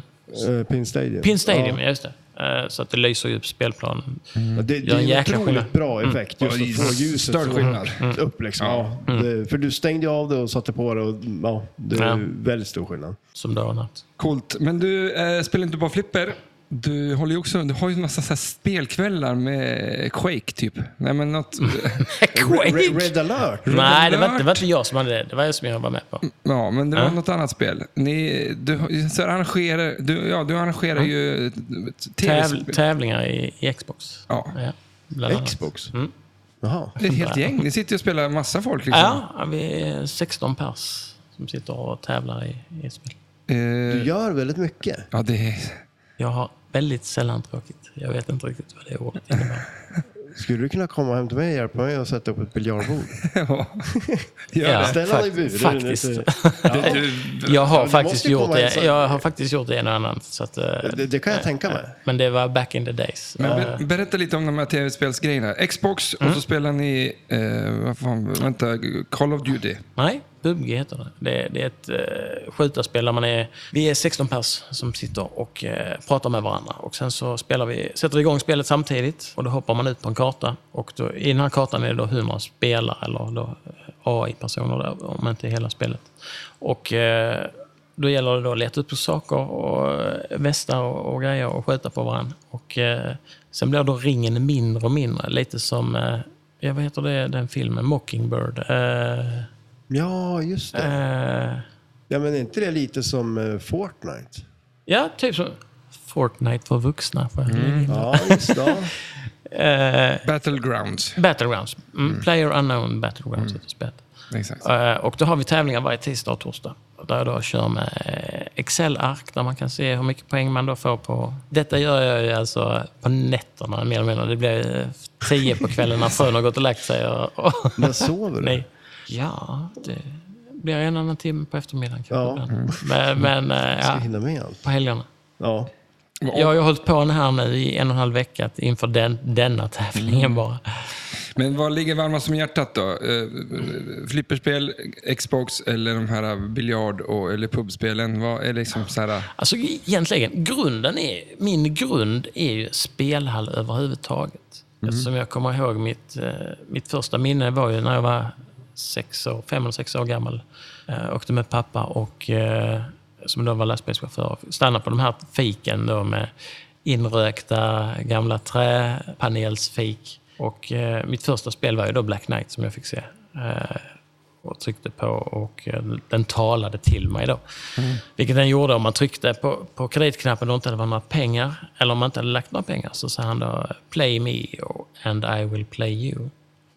Speaker 3: eh, Pin Stadium.
Speaker 1: Pin Stadium, ja. just det. Eh, Så att det lyser ju upp spelplanen.
Speaker 3: Ja, det, det
Speaker 1: Ja,
Speaker 3: är en
Speaker 1: jäkla
Speaker 3: otroligt
Speaker 1: skillnad. Mm.
Speaker 3: bra effekt
Speaker 2: Ja, det
Speaker 3: just
Speaker 2: är
Speaker 3: att få ljuset
Speaker 2: större
Speaker 3: så
Speaker 2: skillnad.
Speaker 3: högt upp. Liksom. Ja.
Speaker 1: Mm.
Speaker 3: Det, för du stängde ju av det och satte på det och ja, det är
Speaker 1: Ja.
Speaker 3: väldigt stor skillnad.
Speaker 1: Som dag och natt.
Speaker 2: Coolt. Men du eh, spelar inte bara flipper. Du, håller ju också, du har ju en massa så här spelkvällar med Quake, typ. Nej, men något...
Speaker 3: Re- Red alert!
Speaker 1: Nej, det var,
Speaker 2: Alert.
Speaker 1: inte- det var inte jag som hade det. Det var jag som jag var med på.
Speaker 2: Ja, men det var något annat spel. Ni, du, har- så arrangerar, du, ja, du arrangerar ju
Speaker 1: Täv,
Speaker 2: tv-spel.
Speaker 1: tävlingar i, i Xbox.
Speaker 2: Ja.
Speaker 1: bland annat.
Speaker 3: Xbox?
Speaker 1: Mm.
Speaker 3: Jaha.
Speaker 2: Det är ett helt gäng. Ni sitter ju och spelar massa folk. Liksom.
Speaker 1: Ja, vi är 16 pers som sitter och tävlar i, i spel.
Speaker 2: Eh,
Speaker 3: Du gör väldigt mycket.
Speaker 2: ja, det är...
Speaker 1: Jag har väldigt sällan tråkigt. Jag vet inte riktigt vad det ordet innebär.
Speaker 3: Skulle du kunna komma hem till mig och hjälpa mig att sätta upp ett biljardbord?
Speaker 2: Ja. Gör det.
Speaker 3: ställ han i bur.
Speaker 1: faktiskt.
Speaker 3: Det är
Speaker 2: Du, du,
Speaker 1: Jag har,
Speaker 3: du
Speaker 1: faktiskt
Speaker 3: måste ju
Speaker 1: gjort
Speaker 3: komma
Speaker 1: det.
Speaker 3: inside.
Speaker 1: jag har faktiskt gjort det en och annan. Så att, eh,
Speaker 3: Det, det kan jag tänka mig.
Speaker 1: men det var back in the days.
Speaker 2: men
Speaker 1: Eh,
Speaker 2: ber- berätta lite om de här tv-spelsgrejerna. Xbox och så spelar ni, eh, vad fan, vänta, Call of Duty.
Speaker 1: Nej, PubG heter det. Det, det är ett eh, skjutarspel där man är, vi är 16 pers som sitter och eh, pratar med varandra. Och sen så spelar vi, sätter vi igång spelet samtidigt och då hoppar man ut på en karta. Och då, I den här kartan är det då hur man spelar, eller då AI-personer där, om inte hela spelet. Och eh, då gäller det då att leta upp saker och eh, västar och, och grejer och skjuta på varandra. Och, eh, sen blir då ringen mindre och mindre, lite som eh, Ja, vad heter det, den filmen? Mockingbird. Eh,
Speaker 3: Ja, just det.
Speaker 1: Eh,
Speaker 3: Ja, men är inte det lite som eh, Fortnite?
Speaker 1: ja, typ som Fortnite för vuxna. För
Speaker 3: Ja, just det. Ja.
Speaker 1: Eh,
Speaker 2: Battlegrounds.
Speaker 1: Battlegrounds. Mm, Player Unknown Battlegrounds heter spelet.
Speaker 2: Exakt.
Speaker 1: Eh, och då har vi tävlingar varje tisdag och torsdag. Där jag då kör med eh, Excel-ark där man kan se hur mycket poäng man då får på... Detta gör jag ju alltså på nätterna mer eller mindre. Det blir eh, tio på kvällen när frun har gått och lagt sig. Och, och,
Speaker 3: När sover du?
Speaker 1: nej. Ja, det blir en annan timme på eftermiddagen
Speaker 3: Ja.
Speaker 1: kanske. ibland. Men, men eh,
Speaker 3: Ska
Speaker 1: ja,
Speaker 3: hinna med allt.
Speaker 1: på helgerna.
Speaker 3: Ja.
Speaker 1: Jag har ju hållit på den här nu i en och en halv vecka att- inför den, denna tävlingen bara.
Speaker 2: Men vad ligger varmast om hjärtat då? Eh, flipperspel, Xbox eller de här biljard och, eller pubspelen? Vad är liksom så här...
Speaker 1: Alltså egentligen, grunden är, min grund är ju spelhall överhuvudtaget. Eftersom jag kommer ihåg mitt, eh, mitt första minne var ju när jag var sex år, fem eller sex år gammal. Eh, åkte med pappa och eh, som då var lastbilschaufför. Stannade på de här fiken då med inrökta gamla träpanelsfik. Och eh, mitt första spel var ju då Black Knight som jag fick se. Eh, och tryckte på och eh, den talade till mig då. Vilket den gjorde om man tryckte på, på kreditknappen och inte hade några pengar, eller om man inte hade lagt några pengar, så sa han då “Play me” och “And I will play you”.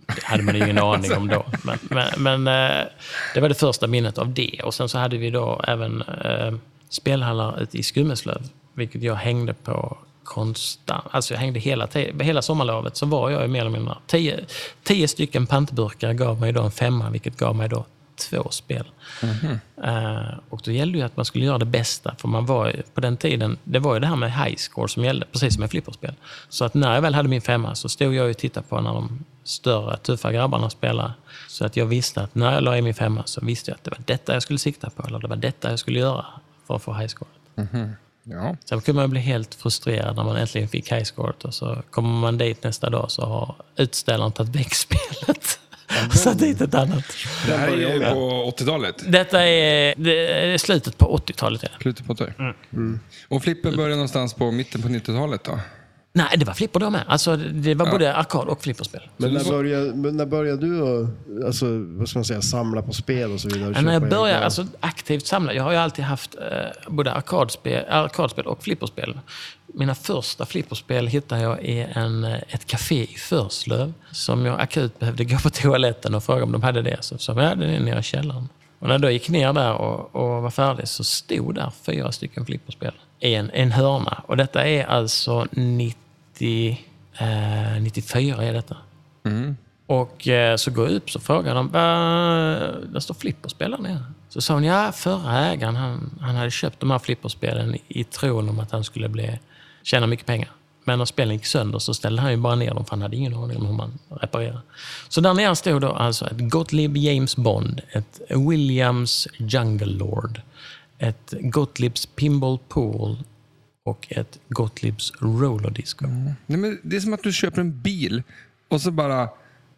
Speaker 1: Det hade man ingen aning om då. Men, men, men eh, det var det första minnet av det. Och sen så hade vi då även eh, spelhallar ute i Skummeslöv, vilket jag hängde på konstant. Alltså jag hängde hela, te- hela sommarlovet, så var jag ju mer eller mindre... Tio, tio stycken pantburkar gav mig då en femma, vilket gav mig då två spel. Eh, och då gällde ju att man skulle göra det bästa, för man var ju, på den tiden, det var ju det här med high score som gällde, precis som med flipperspel. Så att när jag väl hade min femma så stod jag ju och tittade på när de större, tuffa grabbarna spelade. Så att jag visste att när jag la i min femma så visste jag att det var detta jag skulle sikta på, eller det var detta jag skulle göra för att få high score.
Speaker 2: Ja.
Speaker 1: Sen kunde man bli helt frustrerad när man äntligen fick high score och så kommer man dit nästa dag så har utställaren tagit väck spelet. och satt dit ett annat.
Speaker 2: Det här är ju på 80-talet.
Speaker 1: Detta är, det är slutet på 80-talet. är det.
Speaker 2: Slutet på 80-talet.
Speaker 1: Mm.
Speaker 2: Och flipper börjar någonstans på mitten på 90-talet då?
Speaker 1: Nej, det var flipper då med. Alltså, det var både arkad och flipperspel.
Speaker 3: Men när, började, men när började du att, alltså, vad ska man säga, samla på spel och så vidare?
Speaker 1: Men när jag
Speaker 3: Köpa egna-
Speaker 1: började alltså, aktivt samla, jag har ju alltid haft eh, både arkadspel, arkadspel och flipperspel. Mina första flipperspel hittade jag i en, eh, ett café i Förslöv som jag akut behövde gå på toaletten och fråga om de hade det. Så sa jag, ja, det är nere i källaren. Och när jag då gick ner där och, och var färdig så stod där fyra stycken flipperspel i en, en hörna. Och detta är alltså 90, eh, 94 är detta.
Speaker 2: Mm.
Speaker 1: Och eh, så går jag upp så frågar de, "Va- där står flipperspel där nere. Så sa hon, ja förra ägaren han, han hade köpt de här flipperspelen i tron om att han skulle bli, tjäna mycket pengar. Men när spelen gick sönder så ställde han ju bara ner dem för han hade ingen aning om hur man reparerar. Så där nere stod då alltså ett Gottlieb James Bond, ett Williams Jungle Lord, ett Gottliebs Pinball Pool och ett Gottliebs Roller Disco.
Speaker 2: Nej, men det är som att du köper en bil och så bara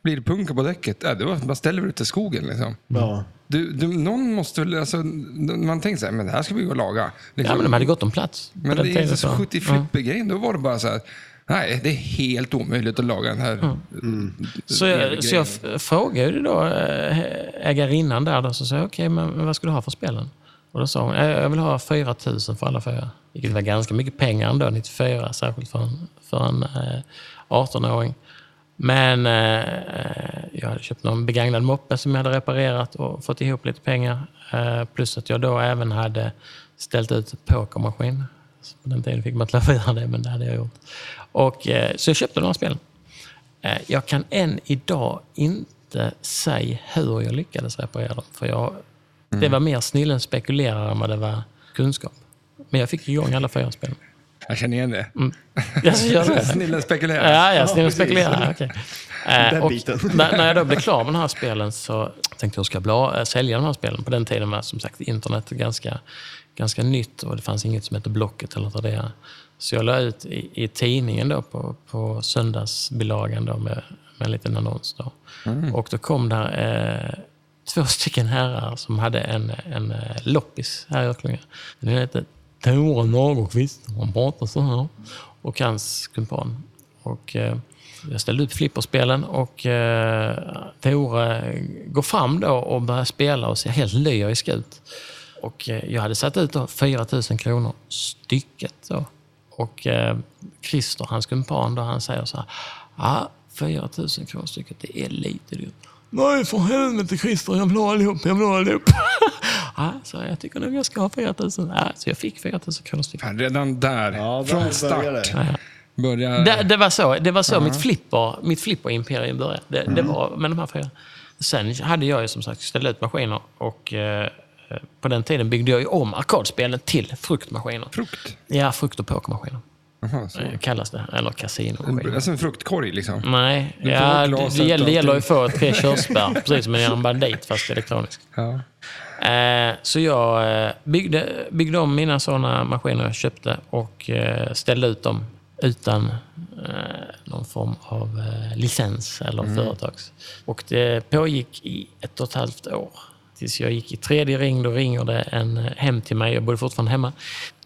Speaker 2: blir det punka på däcket. Äh, det var, bara ställer du ut i skogen liksom.
Speaker 3: Ja.
Speaker 2: Du, du, någon måste väl, alltså, n- man tänker så här, men det här ska vi gå och laga.
Speaker 1: Ja,
Speaker 2: Liksom.
Speaker 1: men de hade gott om plats. på den
Speaker 2: Men det är
Speaker 1: tiden,
Speaker 2: inte så
Speaker 1: så.
Speaker 2: 70
Speaker 1: Ja.
Speaker 2: flipper-grejen, då var det bara så här, nej, det är helt omöjligt att laga den här.
Speaker 1: Mm. Så jag, så jag f- frågade då eh, ägarinnan där, då, så sa jag, okej, men, men vad ska du ha för spelen? Och då sa hon, "Eh, jag vill ha 4 000 för alla fyra. Vilket var ganska mycket pengar ändå, 94, särskilt för en, för en eh, 18-åring. Men eh, jag hade köpt någon begagnad moppe som jag hade reparerat och fått ihop lite pengar. Eh, plus att jag då även hade ställt ut pokermaskin Så på den tiden fick man klavera det, men det hade jag gjort. Och, eh, så jag köpte de här spelen. Eh, jag kan än idag inte säga hur jag lyckades reparera dem. För jag, Det var mer snillen spekulerare än vad det var kunskap. Men jag fick igång alla fyra spelen.
Speaker 2: Jag känner igen det.
Speaker 1: Mm. Jag ska göra det.
Speaker 2: Snillen spekulerar.
Speaker 1: Ja, ja, snillen
Speaker 3: precis.
Speaker 1: spekulerar. Okej. Eh,
Speaker 3: Den
Speaker 1: och
Speaker 3: biten.
Speaker 1: när, när jag då blev klar med de här spelen så tänkte jag hur ska jag bla, eh, sälja de här spelen. På den tiden var som sagt internet ganska, ganska nytt och det fanns inget som hette Blocket eller vad det är. Så jag la ut i, i tidningen då på, på söndagsbilagan då med, med en liten annons. Då.
Speaker 3: Mm.
Speaker 1: Och då kom där eh, två stycken herrar som hade en, en eh, loppis här i Örkelljunga. Den ena hette Tore Nagelqvist. Han pratade så här. Och hans kumpan. Och, eh, jag ställde upp flipperspelen och eh, Tore går fram då och börjar spela och ser helt lyrisk ut. Och, eh, jag hade satt ut då 4 000 kronor stycket. Då. Och eh, Christer, hans kumpan, då, han säger så här. Ja, 4 000 kronor stycket, det är lite dyrt. Nej, för helvete Christer, jag vill ha allihop, jag vill ha allihop. ja, så jag tycker nog jag ska ha 4 000. Ja, så jag fick 4 000 kronor stycket.
Speaker 2: Fan, redan där.
Speaker 3: Ja, där
Speaker 2: Från
Speaker 3: börjar
Speaker 2: start.
Speaker 3: det.
Speaker 2: Börjar...
Speaker 1: Det, det var så, det var så mitt, flipper, mitt flipperimperium började. Det, det var med de här fyra. Sen hade jag ju som sagt ställt ut maskiner och eh, på den tiden byggde jag ju om arkadspelen till fruktmaskiner.
Speaker 2: Frukt.
Speaker 1: Ja, frukt och pokermaskiner
Speaker 2: Jaha, så.
Speaker 1: eh, kallas det. Eller kasinomaskiner.
Speaker 2: Alltså en fruktkorg liksom.
Speaker 1: Nej,
Speaker 2: får
Speaker 1: ja, det,
Speaker 2: glaset
Speaker 1: det, gäller, det gäller
Speaker 2: och
Speaker 1: ju att
Speaker 2: allting.
Speaker 1: få tre körsbär, precis som en bandit fast elektronisk.
Speaker 2: Ja.
Speaker 1: Eh, så jag eh, byggde, byggde om mina sådana maskiner jag köpte och eh, ställde ut dem utan eh, någon form av eh, licens eller företags. Och det pågick i ett och ett halvt år. Tills jag gick i tredje ring, då ringer det en eh, hem till mig. Jag bodde fortfarande hemma.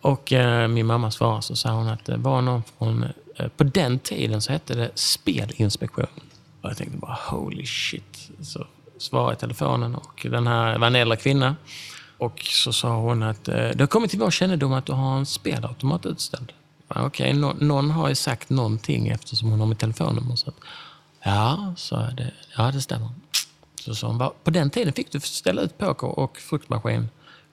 Speaker 1: Och eh, min mamma svarade så sa hon att det var någon från... Eh, på den tiden så hette det Spelinspektionen. Och jag tänkte bara holy shit. Så svarade jag i telefonen och den här var en äldre kvinna. Och så sa hon att eh, det har kommit till vår kännedom att du har en spelautomat utställd. Jag bara, Okej, nå- någon har ju sagt någonting eftersom hon har mitt telefonnummer. Så att, ja, sa jag. Det, ja, det stämmer. Så sa hon, "Va, på den tiden fick du ställa ut poker och fruktmaskin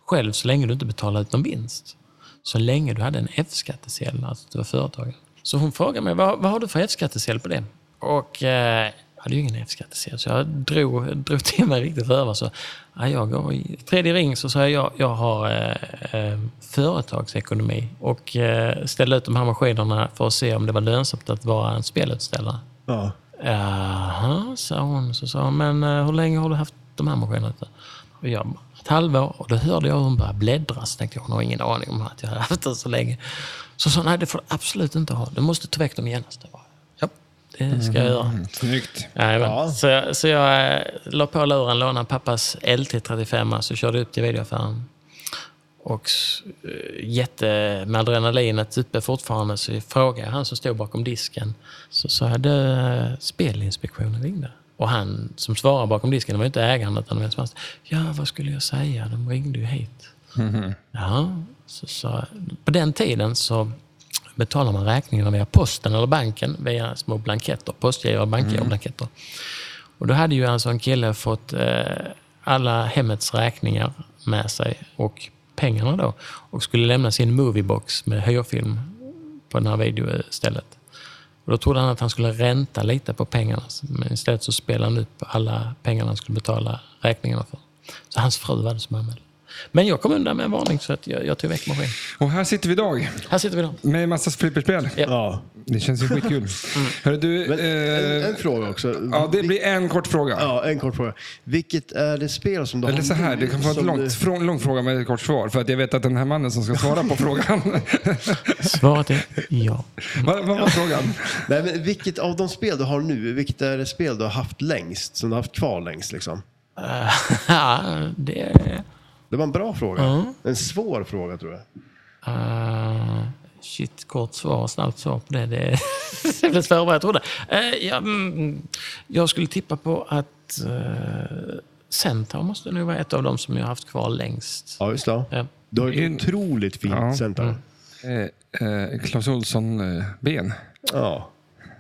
Speaker 1: själv så länge du inte betalade ut någon vinst. Så länge du hade en F-skattesedel, alltså att du var företagare. Så hon frågade mig, vad, vad har du för F-skattesedel på det? Och eh, jag hade ju ingen F-skattesedel, så jag drog, drog till mig riktigt för över. Så, ja, jag går i tredje ring så sa jag, jag, jag har eh, eh, företagsekonomi och eh, ställde ut de här maskinerna för att se om det var lönsamt att vara en spelutställare.
Speaker 3: Ja.
Speaker 1: Jaha, sa hon. Så sa hon, men eh, hur länge har du haft de här maskinerna ute? Och jag bara, ett halvår. Och då hörde jag hur hon började bläddra. Så tänkte jag, hon har ingen aning om att jag har haft det så länge. Så sa hon, nej det får du absolut inte ha. Du måste ta väck dem genast. Jag bara, ja, det ska jag göra.
Speaker 2: Mm, Snyggt.
Speaker 1: Jajamän. Så, jag- så jag eh, la på luren, lånade pappas LT35 så alltså körde upp till videoaffären. Och s- eh, jätte, med adrenalinet uppe fortfarande så frågade jag han som stod bakom disken. Så sa jag, du, eh, Spelinspektionen ringde. Och han som svarade bakom disken, det var ju inte ägaren utan vem som helst. Ja, vad skulle jag säga? De ringde ju hit. Ja, så, så, på den tiden så betalar man räkningarna via posten eller banken via små blanketter. Postgirot, bankgirot, blanketter. Och då hade ju alltså en kille fått eh, alla hemmets räkningar med sig och pengarna då och skulle lämna sin moviebox med hyrfilm på det här videostället. Och då trodde han att han skulle ränta lite på pengarna men istället så spelade han upp alla pengarna han skulle betala räkningarna för. Så hans fru var det som anmälde. Men jag kom undan med en varning så att jag, jag tog väck maskinen.
Speaker 2: Och här sitter vi idag
Speaker 1: Här sitter vi då.
Speaker 2: med en massa flipperspel.
Speaker 3: ja.
Speaker 2: Det känns ju skitkul. Hörru du,
Speaker 3: Men en,
Speaker 2: eh,
Speaker 3: en fråga också.
Speaker 2: ja, det blir en kort fråga.
Speaker 3: Ja, en kort fråga. Vilket är det spel som du
Speaker 2: Eller
Speaker 3: har
Speaker 2: så här, det kan vara en
Speaker 3: som
Speaker 2: lång,
Speaker 3: du-
Speaker 2: frå- lång fråga med ett kort svar. För att jag vet att den här mannen som ska svara på frågan.
Speaker 1: Svaret är ja.
Speaker 2: vad, vad var frågan?
Speaker 3: Nej, men vilket av de spel du har nu, vilket är det spel du har haft längst? Som du har haft kvar längst liksom?
Speaker 1: Eh, Ja, det är...
Speaker 3: Det var en bra fråga. En svår fråga tror jag.
Speaker 1: Uh, shit, kort svar, snabbt svar på det. Det, det blev svårare än jag trodde. Eh, jag, mm, jag skulle tippa på att uh, Centaur måste nog vara ett av de som jag har haft kvar längst. Eh,
Speaker 3: Ja, just det.
Speaker 1: Ja. Mm.
Speaker 3: Du har ett
Speaker 2: In-
Speaker 3: otroligt fint
Speaker 2: Ja.
Speaker 3: center.
Speaker 2: Eh, eh, Clas Ohlson-ben.
Speaker 3: Ja.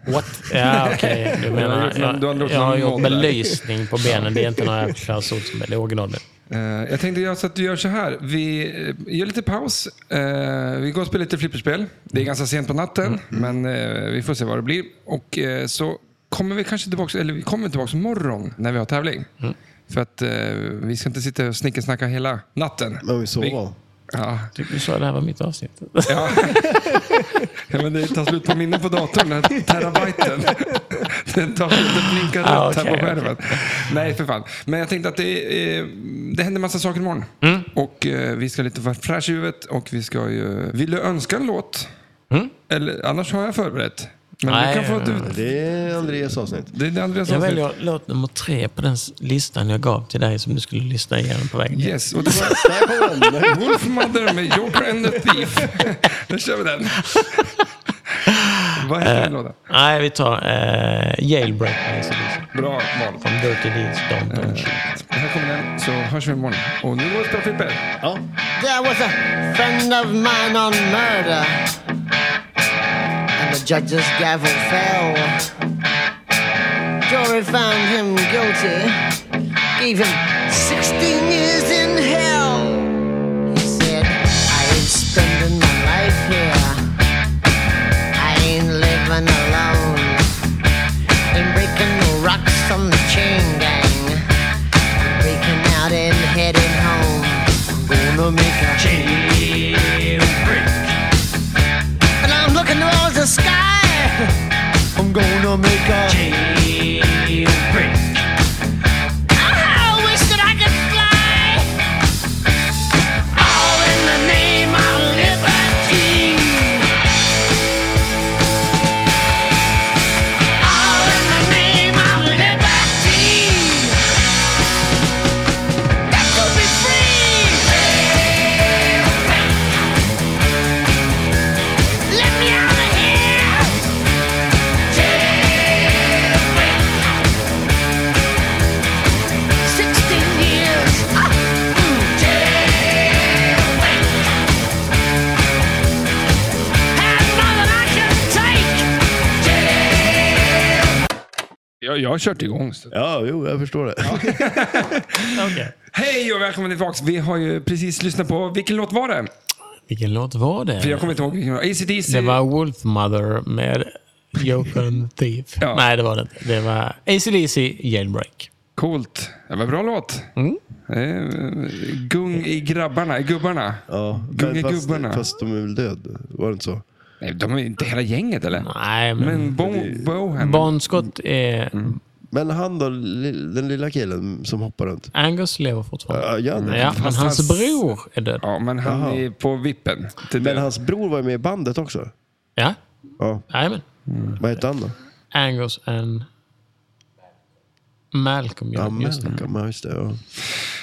Speaker 1: What? Ja, okej. Du
Speaker 2: har
Speaker 1: menar...
Speaker 2: gjort någon- du har
Speaker 1: Jag,
Speaker 2: gjort
Speaker 1: jag har
Speaker 2: någon
Speaker 1: gjort
Speaker 2: noll där.
Speaker 1: belysning på benen. Det är inte några Clas Ohlson, men det är originalben.
Speaker 2: Eh, jag tänkte göra så att du gör så här. Vi eh, gör lite paus. Eh, vi går och spelar lite flipperspel. Det är ganska sent på natten, men eh, vi får se vad det blir. Och eh, så kommer vi kanske tillbaka, eller vi kommer tillbaka imorgon när vi har tävling. För att eh, vi ska inte sitta och snickersnacka hela natten.
Speaker 3: Men vi sover.
Speaker 2: Ja.
Speaker 1: Tycker du sa att det här var mitt avsnitt?
Speaker 2: Ja. ja, men det tar slut på minnen på datorn, den här terabyten. Den tar slut, den blinkar rött
Speaker 1: Ah,
Speaker 2: här
Speaker 1: okej,
Speaker 2: på skärmen. Nej, för fan. Men jag tänkte att det, eh, det händer massa saker imorgon.
Speaker 1: Mm.
Speaker 2: Och eh, vi ska lite vara fräscha i huvudet och vi ska ju... Vill du önska en låt?
Speaker 1: Mm.
Speaker 2: Eller, annars har jag förberett. Men
Speaker 1: Nej,
Speaker 2: du kan få... Du,
Speaker 3: Det är Andreas avsnitt.
Speaker 2: det är det Andreas
Speaker 1: Jag
Speaker 2: avsnitt.
Speaker 1: väljer låt nummer tre på den s- listan jag gav till dig som du skulle lyssna igenom på vägen
Speaker 2: Yes, och det var
Speaker 3: Där kommer den.
Speaker 2: Wolfmother med Joker and the Thief. Nu kör vi den. Vad heter den lådan?
Speaker 1: Nej, vi tar eh, Jailbreak med Exhibition.
Speaker 2: Bra val.
Speaker 1: Från Dirty Deeds, Don't Don't Shoot.
Speaker 2: Här kommer den, så hörs vi imorgon. Och nu går det bra Frippe.
Speaker 3: Ja.
Speaker 4: There was a friend of mine on murder, and the judge's gavel fell. Jury found him guilty, gave him 16 years in hell. He said, I ain't spending my life here, I ain't living alone, ain't breaking no rocks on the chain gang breaking out and heading home. I'm gonna make a jailbreak. And I'm looking towards the sky. I'm gonna make a jailbreak. Ah, I wish that I could fly. All in the name of liberty. All in the name of liberty. That could be free. Let me out of here. Sixteen years. Ah, mm, jailbreak. Had more than I could take.
Speaker 2: Jag, jag har kört igång. Så.
Speaker 3: ja, jo, jag förstår det.
Speaker 1: Okej.
Speaker 2: Hej och välkommen tillbaka. Vi har ju precis lyssnat på, vilken låt var det?
Speaker 1: Vilken låt var
Speaker 2: För
Speaker 1: det?
Speaker 2: jag kommer inte ihåg. vilken. AC/DC.
Speaker 1: Det var Wolfmother med Joker and Thief.
Speaker 2: Ja.
Speaker 1: Nej, det var det inte. Det var AC/DC Jailbreak.
Speaker 2: Coolt. Det var bra låt. Eh, Gung i grabbarna, i gubbarna.
Speaker 3: Ja,
Speaker 2: Gunga
Speaker 3: men fast,
Speaker 2: gubbarna.
Speaker 3: fast de är väl död? Var det inte så?
Speaker 2: Nej, de är inte hela gänget eller?
Speaker 1: Nej, men... Mm.
Speaker 2: Men Bo, Bohem.
Speaker 1: Bon Scott är...
Speaker 3: Men han då, li- den lilla killen som hoppar runt?
Speaker 1: Angus lever fortfarande.
Speaker 3: Ja, gör han det?
Speaker 1: Ja, men
Speaker 2: fast
Speaker 1: hans,
Speaker 2: hans-
Speaker 1: bror är död.
Speaker 2: ja, men han är på vippen. till
Speaker 3: Men
Speaker 2: det.
Speaker 3: hans bror var ju med i bandet också.
Speaker 1: Ja,
Speaker 3: Ja,
Speaker 1: jajamän.
Speaker 3: vad hette han då?
Speaker 1: Angus and... Malcolm, ja.
Speaker 3: Ja,
Speaker 1: just det.
Speaker 3: Malcolm, ja, just det. Ja.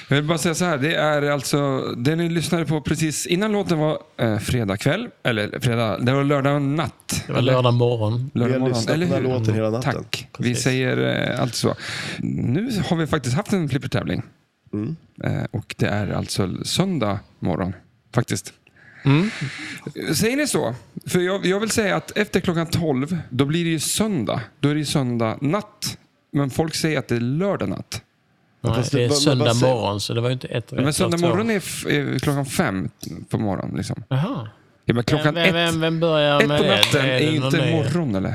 Speaker 2: Jag vill bara säga så här, det är alltså, det ni lyssnade på precis innan låten var eh, fredag kväll, eller fredag, det var lördag natt.
Speaker 1: Det var lördag morgon.
Speaker 3: Vi
Speaker 2: Lördag
Speaker 3: har
Speaker 2: morgon,
Speaker 3: lyssnat på den här låten
Speaker 1: Mm,
Speaker 3: hela natten.
Speaker 2: Tack. Vi säger eh, alltså så. Nu har vi faktiskt haft en flippertävling. Eh, och det är alltså söndag morgon, faktiskt.
Speaker 1: Mm.
Speaker 2: Säger ni så? För jag, jag vill säga att efter klockan 12, då blir det ju söndag. Då är det ju söndag natt. Men folk säger att det är lördag natt.
Speaker 1: Nej,
Speaker 3: fast
Speaker 1: det
Speaker 3: det-
Speaker 1: är
Speaker 3: vad- vad
Speaker 1: söndag
Speaker 3: säger-
Speaker 1: morgon, så det var ju inte ett
Speaker 2: Men
Speaker 1: rätt
Speaker 2: söndag
Speaker 1: av två.
Speaker 2: morgon är, f- är klockan fem på morgonen. Liksom.
Speaker 1: Jaha.
Speaker 2: Ja, men klockan
Speaker 1: vem,
Speaker 2: ett,
Speaker 1: vem, vem börjar
Speaker 2: ett
Speaker 1: med
Speaker 2: på
Speaker 1: det?
Speaker 2: natten är,
Speaker 1: det
Speaker 2: ju
Speaker 1: någon
Speaker 2: inte
Speaker 1: ny?
Speaker 2: morgon eller?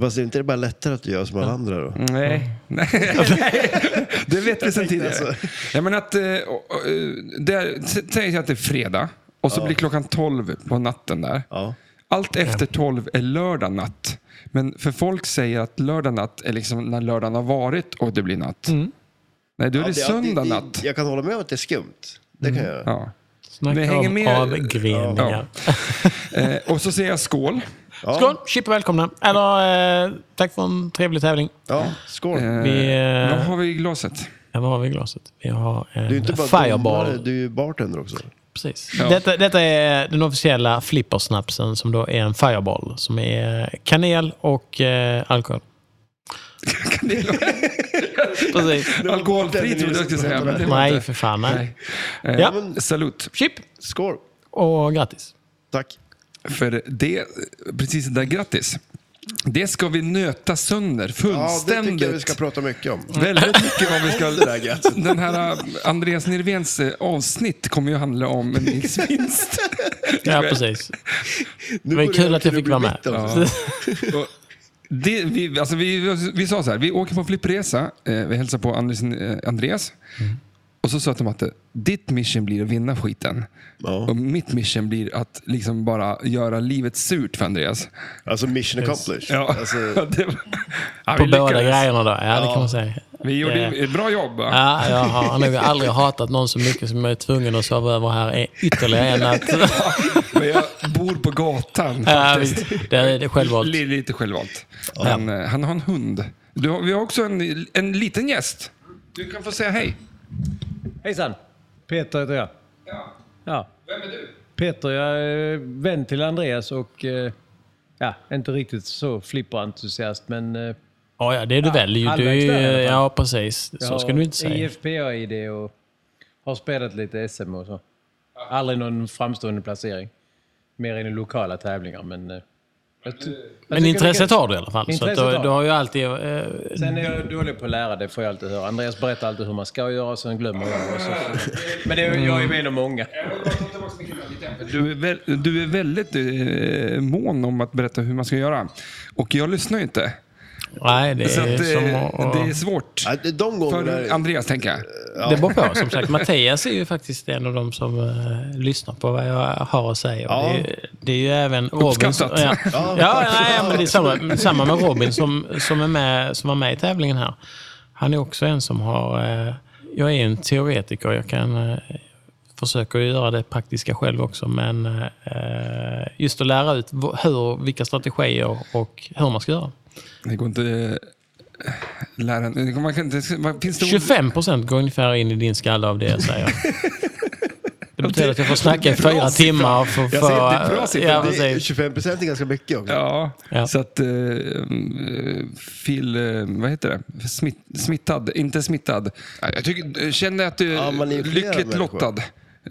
Speaker 3: Fast är inte det bara lättare att du gör som alla
Speaker 1: Mm.
Speaker 3: andra då?
Speaker 2: Nej. Nej. det vet vi sedan tidigare.
Speaker 3: alltså.
Speaker 2: Jag menar att, eh, och, och, eh, det är- s- säg att det är fredag och så blir klockan 12 på natten där.
Speaker 3: Ja.
Speaker 2: Allt efter 12 är lördag natt. Men för folk säger att lördag natt är liksom när lördagen har varit och det blir natt. Nej, då är det,
Speaker 3: Ja,
Speaker 2: söndag
Speaker 3: det-
Speaker 2: natt.
Speaker 3: Jag kan hålla med om att det är skumt. Det
Speaker 1: Mm.
Speaker 3: kan jag göra.
Speaker 2: Ja.
Speaker 1: Snacka
Speaker 2: Det hänger
Speaker 1: om
Speaker 2: med-
Speaker 1: avgreningar.
Speaker 2: Eh, och så säger jag skål.
Speaker 3: Ja.
Speaker 1: Skål! Chip och välkomna. Eller, eh, tack för en trevlig tävling.
Speaker 3: Ja, skål.
Speaker 2: Eh,
Speaker 1: Vi, eh,
Speaker 2: Vad har vi i glaset?
Speaker 1: Ja, vad har vi i glaset? Vi har en
Speaker 3: Du är inte bara
Speaker 1: Fireball.
Speaker 3: domare, du är ju bartender också.
Speaker 1: Precis.
Speaker 2: Ja.
Speaker 1: Detta, detta är den officiella flippersnapsen som då är en Fireball. Som är eh, kanel och eh, alkohol. Precis.
Speaker 2: Alkoholfri trodde jag skulle säga. Men det var
Speaker 1: Nej,
Speaker 2: inte.
Speaker 1: för fan. Nej.
Speaker 2: Nej. Eh,
Speaker 1: Ja.
Speaker 2: men Salut.
Speaker 1: Chip
Speaker 3: Skål.
Speaker 1: och grattis.
Speaker 3: Tack.
Speaker 2: För det, precis det där, grattis. Det ska vi nöta sönder
Speaker 5: Ja, det tycker jag vi
Speaker 2: fullständigt.
Speaker 5: ska prata mycket
Speaker 1: Mm.
Speaker 5: om.
Speaker 2: Väldigt mycket vad vi ska...
Speaker 5: Det där gadget.
Speaker 2: Den här äh, Andreas Nirvens äh, avsnitt kommer ju handla om Nils Vinst.
Speaker 1: Ja, precis.
Speaker 5: Nu
Speaker 1: Men
Speaker 5: börjar
Speaker 1: kul att jag
Speaker 5: bli
Speaker 1: fick vara med.
Speaker 5: mitt alltså.
Speaker 2: Och Det, vi, alltså vi, vi sa så här, vi åker på flippresa, eh, vi hälsar på Anders, eh, Andreas. Och så sa de att äh, ditt mission blir att vinna skiten.
Speaker 5: Ja.
Speaker 2: Och mitt mission blir att liksom bara göra livet surt för Andreas.
Speaker 5: Alltså mission accomplished.
Speaker 2: Ja.
Speaker 5: Alltså,
Speaker 2: det var- ja, vi
Speaker 1: På båda
Speaker 2: lyckades.
Speaker 1: grejerna då. Ja, det kan man säga.
Speaker 2: Vi gjorde
Speaker 1: Ja.
Speaker 2: ett bra jobb. va?
Speaker 1: Ja, jag har nog aldrig hatat någon så mycket som jag är tvungen att sova över här i ytterligare en natt.
Speaker 2: Men jag bor på gatan
Speaker 1: Ja,
Speaker 2: faktiskt.
Speaker 1: visst. Det är det är självvalt.
Speaker 2: Li- Lite självvalt. Men, eh, han har en hund. Du har, vi har också en, en liten gäst. Du kan få säga hej.
Speaker 6: Hejsan! Peter heter jag. Ja.
Speaker 2: Vem är du?
Speaker 6: Peter, jag är vän till Andreas och eh, ja, inte riktigt så flipperentusiast men eh,
Speaker 1: Ja, ja, det är du väl. Du, är
Speaker 6: halvvägs
Speaker 1: ju-
Speaker 6: där i alla fall.
Speaker 1: ja, precis.
Speaker 6: jag
Speaker 1: Så ska du inte säga.
Speaker 6: IFPA-id och har spelat lite SM och så. Aldrig någon framstående placering. Mer än i lokala tävlingar men... Eh, jag ty- jag
Speaker 1: Men
Speaker 6: tycker
Speaker 1: intresset
Speaker 6: det kan-
Speaker 1: har du i alla fall. Så att
Speaker 6: Intresset
Speaker 1: du,
Speaker 6: har
Speaker 1: du
Speaker 6: jag.
Speaker 1: har ju alltid... Eh,
Speaker 6: Sen är jag dålig på att lära, det får jag alltid höra. Andreas berättar alltid hur man ska göra och sen glömmer jag. Och så. Men det, jag är med av många.
Speaker 2: Du är, väl, du är väldigt eh, mån om att berätta hur man ska göra. Och jag lyssnar ju inte.
Speaker 1: nej, det
Speaker 2: Så att, eh,
Speaker 1: är som att...
Speaker 2: det är svårt.
Speaker 5: ja, de
Speaker 2: För
Speaker 5: gångerna...
Speaker 2: Andreas, tänker jag.
Speaker 1: Det beror på. Som sagt, Mattias är ju faktiskt en av de som eh, lyssnar på vad jag har att säga. Och Det, är, ju- det är ju även Robin... Som,
Speaker 2: Uppskattat.
Speaker 1: ja, ja, nej, men det är samma, samma med Robin som, som, är med, som var med i tävlingen här. Han är också en som har... Eh, jag är en teoretiker. Jag kan... Eh, Försöker ju göra det praktiska själv också, men eh, just att lära ut v- hur, vilka strategier och hur man ska göra.
Speaker 2: Det går inte... eh, Lära, det går- man kan inte, vad finns det ord?
Speaker 1: 25 procent går ungefär in i din skalle av det jag säger. Det betyder att jag får snacka i
Speaker 2: Det är bra
Speaker 1: fyra
Speaker 2: siffra.
Speaker 1: timmar. För,
Speaker 2: Jag säger att det är bra siffra.
Speaker 1: Ja,
Speaker 5: Det är
Speaker 1: precis.
Speaker 5: 25 procent är ganska mycket också.
Speaker 2: Ja,
Speaker 1: Ja.
Speaker 2: så att eh, mm, Phil, eh, vad heter det? Smitt, smittad, inte smittad. Ja, Jag tycker, känner att du
Speaker 5: Ja,
Speaker 2: är
Speaker 5: man är flera
Speaker 2: lyckligt
Speaker 5: människor.
Speaker 2: lottad,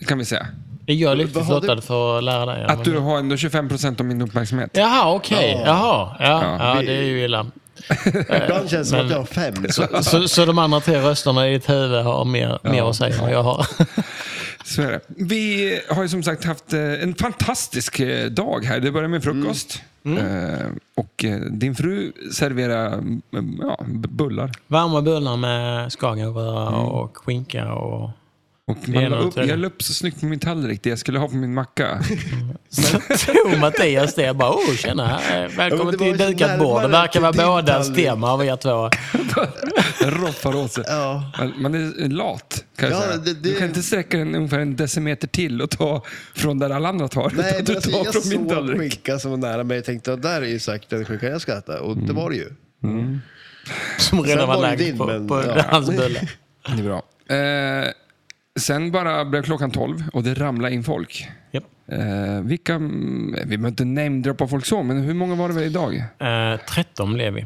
Speaker 2: kan vi säga.
Speaker 1: Det gör
Speaker 5: har
Speaker 1: lyckligt
Speaker 5: du-
Speaker 1: lottad för att lära dig.
Speaker 2: Att du har ändå 25 procent av min uppmärksamhet.
Speaker 1: Jaha, okej. Jaha, ja, ja, det är ju illa.
Speaker 5: Ibland känns det som
Speaker 1: Men-
Speaker 5: att jag har fem.
Speaker 1: Så, så de andra tre rösterna i ditt huvud har mer, mer att säga än vad jag har.
Speaker 2: Så är det. Vi har ju som sagt haft eh, en fantastisk eh, dag här. Det började med frukost. Eh, Och eh, din fru serverar mm, ja, b- bullar.
Speaker 1: Varma bullar med skagenröra och skinka. Och...
Speaker 2: Och
Speaker 1: Det
Speaker 2: man
Speaker 1: är
Speaker 2: la
Speaker 1: nog
Speaker 2: upp,
Speaker 1: trevligt.
Speaker 2: jag la upp så snyggt på min tallrik det jag skulle ha på min macka.
Speaker 1: Så tog Mattias det. Jag bara, oh, tjena. eh,
Speaker 5: Ja,
Speaker 1: Välkommen
Speaker 5: men det var
Speaker 1: till
Speaker 5: ju så
Speaker 1: dukat bord. Det
Speaker 5: närmare
Speaker 1: verkar vara
Speaker 5: till din
Speaker 1: bådas
Speaker 5: tallrik.
Speaker 1: tema av er två.
Speaker 2: Roffar åt sig.
Speaker 5: Ja.
Speaker 2: Man, man är lat kan jag
Speaker 5: Ja,
Speaker 2: säga.
Speaker 5: det- det-
Speaker 2: Du kan inte sträcka den ungefär en decimeter till och ta från där alla andra tar.
Speaker 5: Nej, men
Speaker 2: utan du
Speaker 5: alltså,
Speaker 2: tar
Speaker 5: jag
Speaker 2: från min
Speaker 5: såg
Speaker 2: tallrik.
Speaker 5: skinka som var nära mig och tänkte att där är ju säkert den skinkan jag ska äta. Och
Speaker 1: Mm.
Speaker 5: det var det ju.
Speaker 1: Som
Speaker 5: Sen
Speaker 1: redan var
Speaker 5: var det
Speaker 1: lagd
Speaker 5: din,
Speaker 1: på,
Speaker 5: men-
Speaker 1: på
Speaker 5: ja.
Speaker 1: hans bulle.
Speaker 2: Det är bra. Eh, sen bara blev klockan 12 och det ramlade in folk.
Speaker 1: Japp.
Speaker 2: Eh, vilka, mm, vi behöver inte namedroppa folk så, men hur många var det väl idag?
Speaker 1: Eh, 13 blev vi.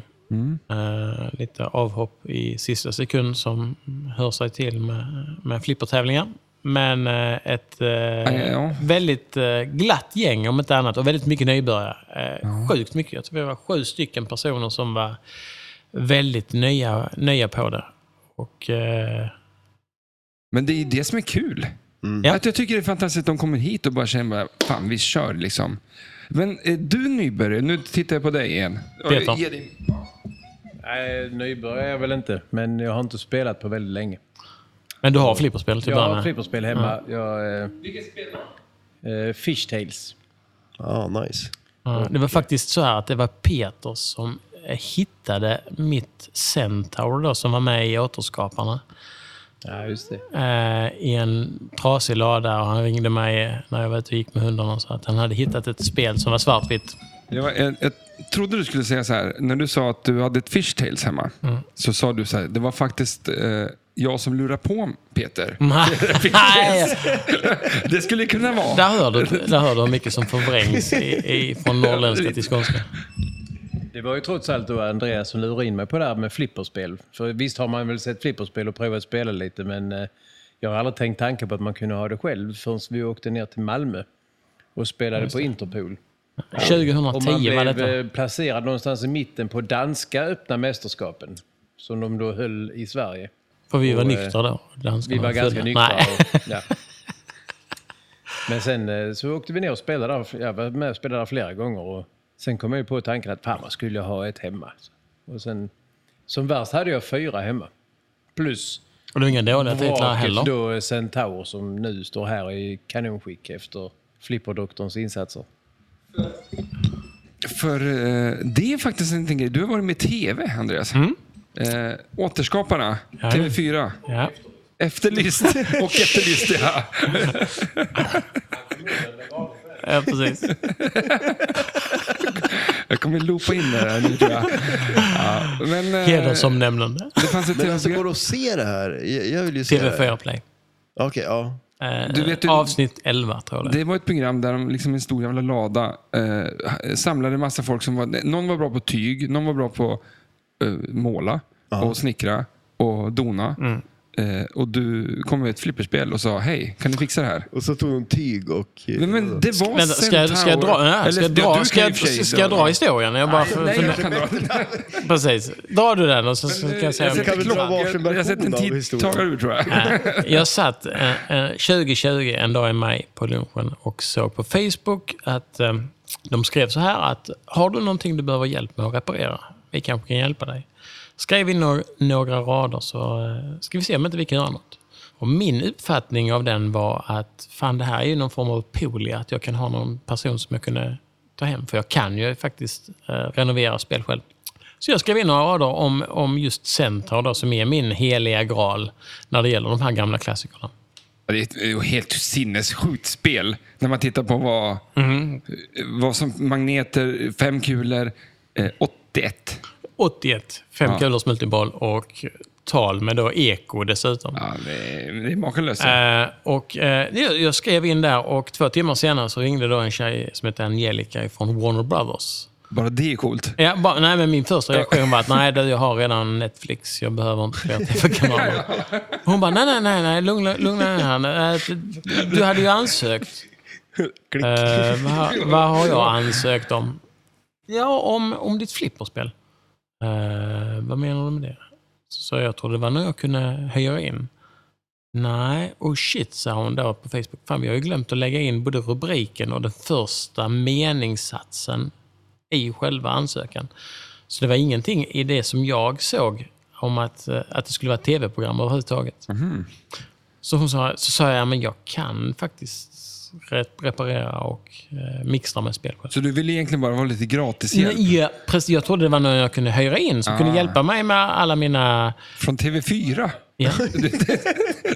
Speaker 1: Eh, lite avhopp i sista sekund som hör sig till med, med flippertävlingar. Men eh, ett eh,
Speaker 2: ja.
Speaker 1: väldigt eh, glatt gäng om inte annat och väldigt mycket nybörjare. Eh, Sjukt mycket. Jag tror vi var sju stycken personer som var väldigt nya, nya på det. Och, eh,
Speaker 2: Men det är ju det som är kul.
Speaker 5: Mm.
Speaker 1: Ja.
Speaker 2: Att jag tycker det är fantastiskt att de kommer hit och bara känner bara, fan vi kör liksom. Men eh, du nybörjare, nu tittar jag på dig igen.
Speaker 1: Peter.
Speaker 2: Och ge dig-
Speaker 6: Nej, nybörjare är jag väl inte, men jag har inte spelat på väldigt länge.
Speaker 1: men du har flipperspel till
Speaker 6: Jag har
Speaker 1: början med?
Speaker 6: ett flipperspel hemma. Jag, Vilket spel då? Fish Tales.
Speaker 5: Ja, nice.
Speaker 1: Ja, Det var faktiskt så här att det var Peter som eh, hittade mitt Centaur då, som var med i Återskaparna.
Speaker 6: Ja, just det.
Speaker 1: eh, i en trasig lada och han ringde mig när jag var ute och gick med hundarna och sa att han hade hittat ett spel som var svartvitt.
Speaker 2: Jag, var- jag, jag trodde du skulle säga så här, när du sa att du hade ett fishtails hemma, så sa du så här, det var faktiskt eh, jag som lurade på Peter.
Speaker 1: Mm. Nej,
Speaker 2: Det skulle kunna vara.
Speaker 1: där hör du, där hör du hur mycket som förvrängs i, i, från norrländska till skånska.
Speaker 6: Det var ju trots allt då Andreas som lurade in mig på det här med flipperspel. För visst har man väl sett flipperspel och provat att spela lite, men eh, jag har aldrig tänkt tanken på att man kunde ha det själv förrän vi åkte ner till Malmö och spelade på Interpol. Och
Speaker 1: 2010 var
Speaker 6: man
Speaker 1: detta.
Speaker 6: blev eh, placerad någonstans i mitten på danska öppna mästerskapen. Som de då höll i Sverige.
Speaker 1: För vi var
Speaker 6: och, eh,
Speaker 1: nyktra då. danskarna
Speaker 6: Vi var ganska
Speaker 1: fulla.
Speaker 6: nyktra.
Speaker 1: Nej.
Speaker 6: Och, ja. Men sen eh, så åkte vi ner och spelade där. Jag var med och spelade där flera gånger. Och sen kom jag ju på tanken att fan, vad skulle jag ha ett hemma? Och sen, som värst hade jag fyra hemma. Plus
Speaker 1: Och det var inga dåliga titlar
Speaker 6: vraket
Speaker 1: heller.
Speaker 6: då Centaur som nu står här i kanonskick efter flipperdoktorns insatser.
Speaker 2: För eh, det är faktiskt en grej. Du har varit med i TV, Andreas. Eh, återskaparna, TV4.
Speaker 1: Ja.
Speaker 2: Efterlyst och efterlyst, ja.
Speaker 1: ja, precis.
Speaker 2: Jag kommer loopa in det här nu tror jag. Ja. Men, eh,
Speaker 1: Hedersomnämnande.
Speaker 2: det fanns ett
Speaker 5: Men alltså
Speaker 2: TV-program.
Speaker 5: går det att se det här? Jag, jag vill ju se det.
Speaker 1: TV4 Play.
Speaker 5: Okej, ja.
Speaker 1: Eh,
Speaker 2: Du vet ju-
Speaker 1: Avsnitt 11 tror jag det är.
Speaker 2: Det var ett program där de liksom i en stor jävla lada eh, samlade massa folk som var... Någon var bra på tyg, någon var bra på eh, måla och snickra och dona. Eh, och du kom med ett flipperspel och sa hej, kan du fixa det här?
Speaker 5: Och så tog hon tyg och...
Speaker 2: Men, men det var
Speaker 1: Vänta, ska jag, ska jag dra,
Speaker 2: Centaur.
Speaker 1: nej, ska jag
Speaker 2: Eller, ja,
Speaker 1: dra,
Speaker 2: du
Speaker 1: ska jag,
Speaker 2: kan i och för sig
Speaker 1: ska jag dra historien? Jag bara, för,
Speaker 2: Nej, jag kan dra den.
Speaker 1: precis. Dra du den och så, så kan jag säga...
Speaker 2: eh, Jag
Speaker 5: kan
Speaker 2: sätter
Speaker 5: väl dra
Speaker 2: klockan.
Speaker 5: varsin
Speaker 2: Jag sätter en
Speaker 5: version av
Speaker 2: tid
Speaker 5: historien.
Speaker 2: tagar ur tror jag.
Speaker 1: Jag satt eh, eh, 2020 en dag i maj på lunchen och såg på Facebook att eh, de skrev så här att har du någonting du behöver hjälp med att reparera? Vi kanske kan hjälpa dig. Skrev in några, några rader så eh, ska vi se om inte vi kan göra något. Och min uppfattning av den var att fan det här är ju någon form av poli, att jag kan ha någon person som jag kunde ta hem. För jag kan ju faktiskt eh, renovera spel själv. Så jag skrev in några rader om, om just Centaur då, som är min heliga graal när det gäller de här gamla klassikerna.
Speaker 2: Ja, Det är ett- det är ett helt sinnessjukt spel när man tittar på vad,
Speaker 1: Mm.
Speaker 2: vad som magneter, fem kulor, eh, 81.
Speaker 1: 81, fem kulors multiboll och tal med då eko dessutom.
Speaker 2: Ja, det, är, det är makalöst.
Speaker 1: Eh, och, eh, jag- jag skrev in där och två timmar senare så ringde då en tjej som heter Angelica från Warner Brothers.
Speaker 2: Bara det är coolt.
Speaker 1: Ja, bara, nej, men min första reaktion var att nej, du, jag har redan Netflix. Jag behöver inte fler tv-kanaler. Hon bara, nej, nej, nej, nej lugna, lugna ner här. Eh, Du hade ju ansökt. Eh, vad, har- vad har jag ansökt om? Ja, om, om ditt flipperspel. Eh, vad menar du med det? Så jag trodde det var när jag kunde hyra in. Nej, och shit sa hon då på Facebook. Fan, vi har ju glömt att lägga in både rubriken och den första meningssatsen i själva ansökan. Så det var ingenting i det som jag såg om att, eh, att det skulle vara ett tv-program överhuvudtaget. Så hon sa, så sa jag, men jag kan faktiskt rep- reparera och eh, mixtra med spel själv.
Speaker 2: Så du vill egentligen bara vara lite gratis hjälp
Speaker 1: Nej, Ja, precis, jag trodde det var någon jag kunde hyra in som
Speaker 2: Ah.
Speaker 1: kunde hjälpa mig med alla mina...
Speaker 2: från TV4?
Speaker 1: Ja,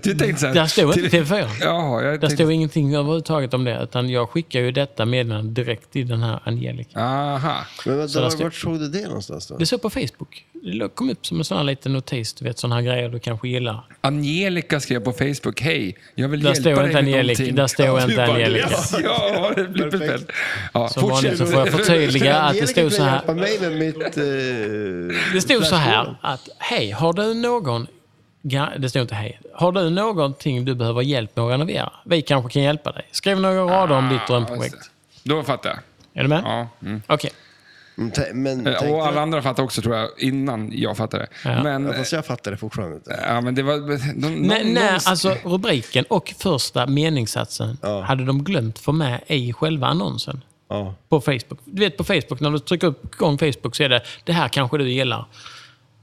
Speaker 2: Du tänkte så här,
Speaker 1: där stod inte
Speaker 2: TV
Speaker 1: TV4.
Speaker 2: Ja, jag
Speaker 1: Där
Speaker 2: tänkte,
Speaker 1: stod ingenting överhuvudtaget om det, utan jag skickar ju detta meddelande direkt till den här Angelica.
Speaker 2: Aha.
Speaker 5: Men
Speaker 1: Så
Speaker 5: vänta,
Speaker 1: där
Speaker 5: var,
Speaker 1: står-
Speaker 5: vart såg du det någonstans då?
Speaker 1: Det såg på Facebook. Det kom upp som en sån här liten notis, du vet sån här grejer du kanske gillar.
Speaker 2: Angelica skrev på Facebook, hej, jag vill
Speaker 1: Där
Speaker 2: hjälpa dig
Speaker 1: står
Speaker 2: med
Speaker 1: inte Angelica.
Speaker 2: någonting.
Speaker 1: Där står inte Angelica.
Speaker 2: Yes, ja, det blir
Speaker 5: Perfekt.
Speaker 2: perfekt. Ja,
Speaker 1: Som vanligt så får jag förtydliga att det stod så här.
Speaker 5: hjälpa mig med mitt... Eh,
Speaker 1: Det stod så här att, hej, har du någon... ga- Det stod inte hej. Har du någonting du behöver hjälp med att renovera? Vi kanske kan hjälpa dig. Skriv några rader om ditt drömprojekt.
Speaker 2: Då fattar jag.
Speaker 1: Är du med?
Speaker 2: Ah, Ja, mm.
Speaker 1: Okej.
Speaker 5: Mm, tä- Men
Speaker 2: Eh,
Speaker 5: tänkte,
Speaker 2: Och alla andra fattar också tror jag, innan jag fattade.
Speaker 1: Ja.
Speaker 2: Men,
Speaker 5: fast jag fattar det fortfarande inte.
Speaker 2: ja, men det var... De,
Speaker 1: Nej,
Speaker 2: någon-
Speaker 1: nej,
Speaker 2: någon-
Speaker 1: alltså rubriken och första meningssatsen hade de glömt få med i själva annonsen.
Speaker 5: Ja.
Speaker 1: På Facebook. Du vet på Facebook, när du trycker upp igång Facebook så är det, det här kanske du gillar.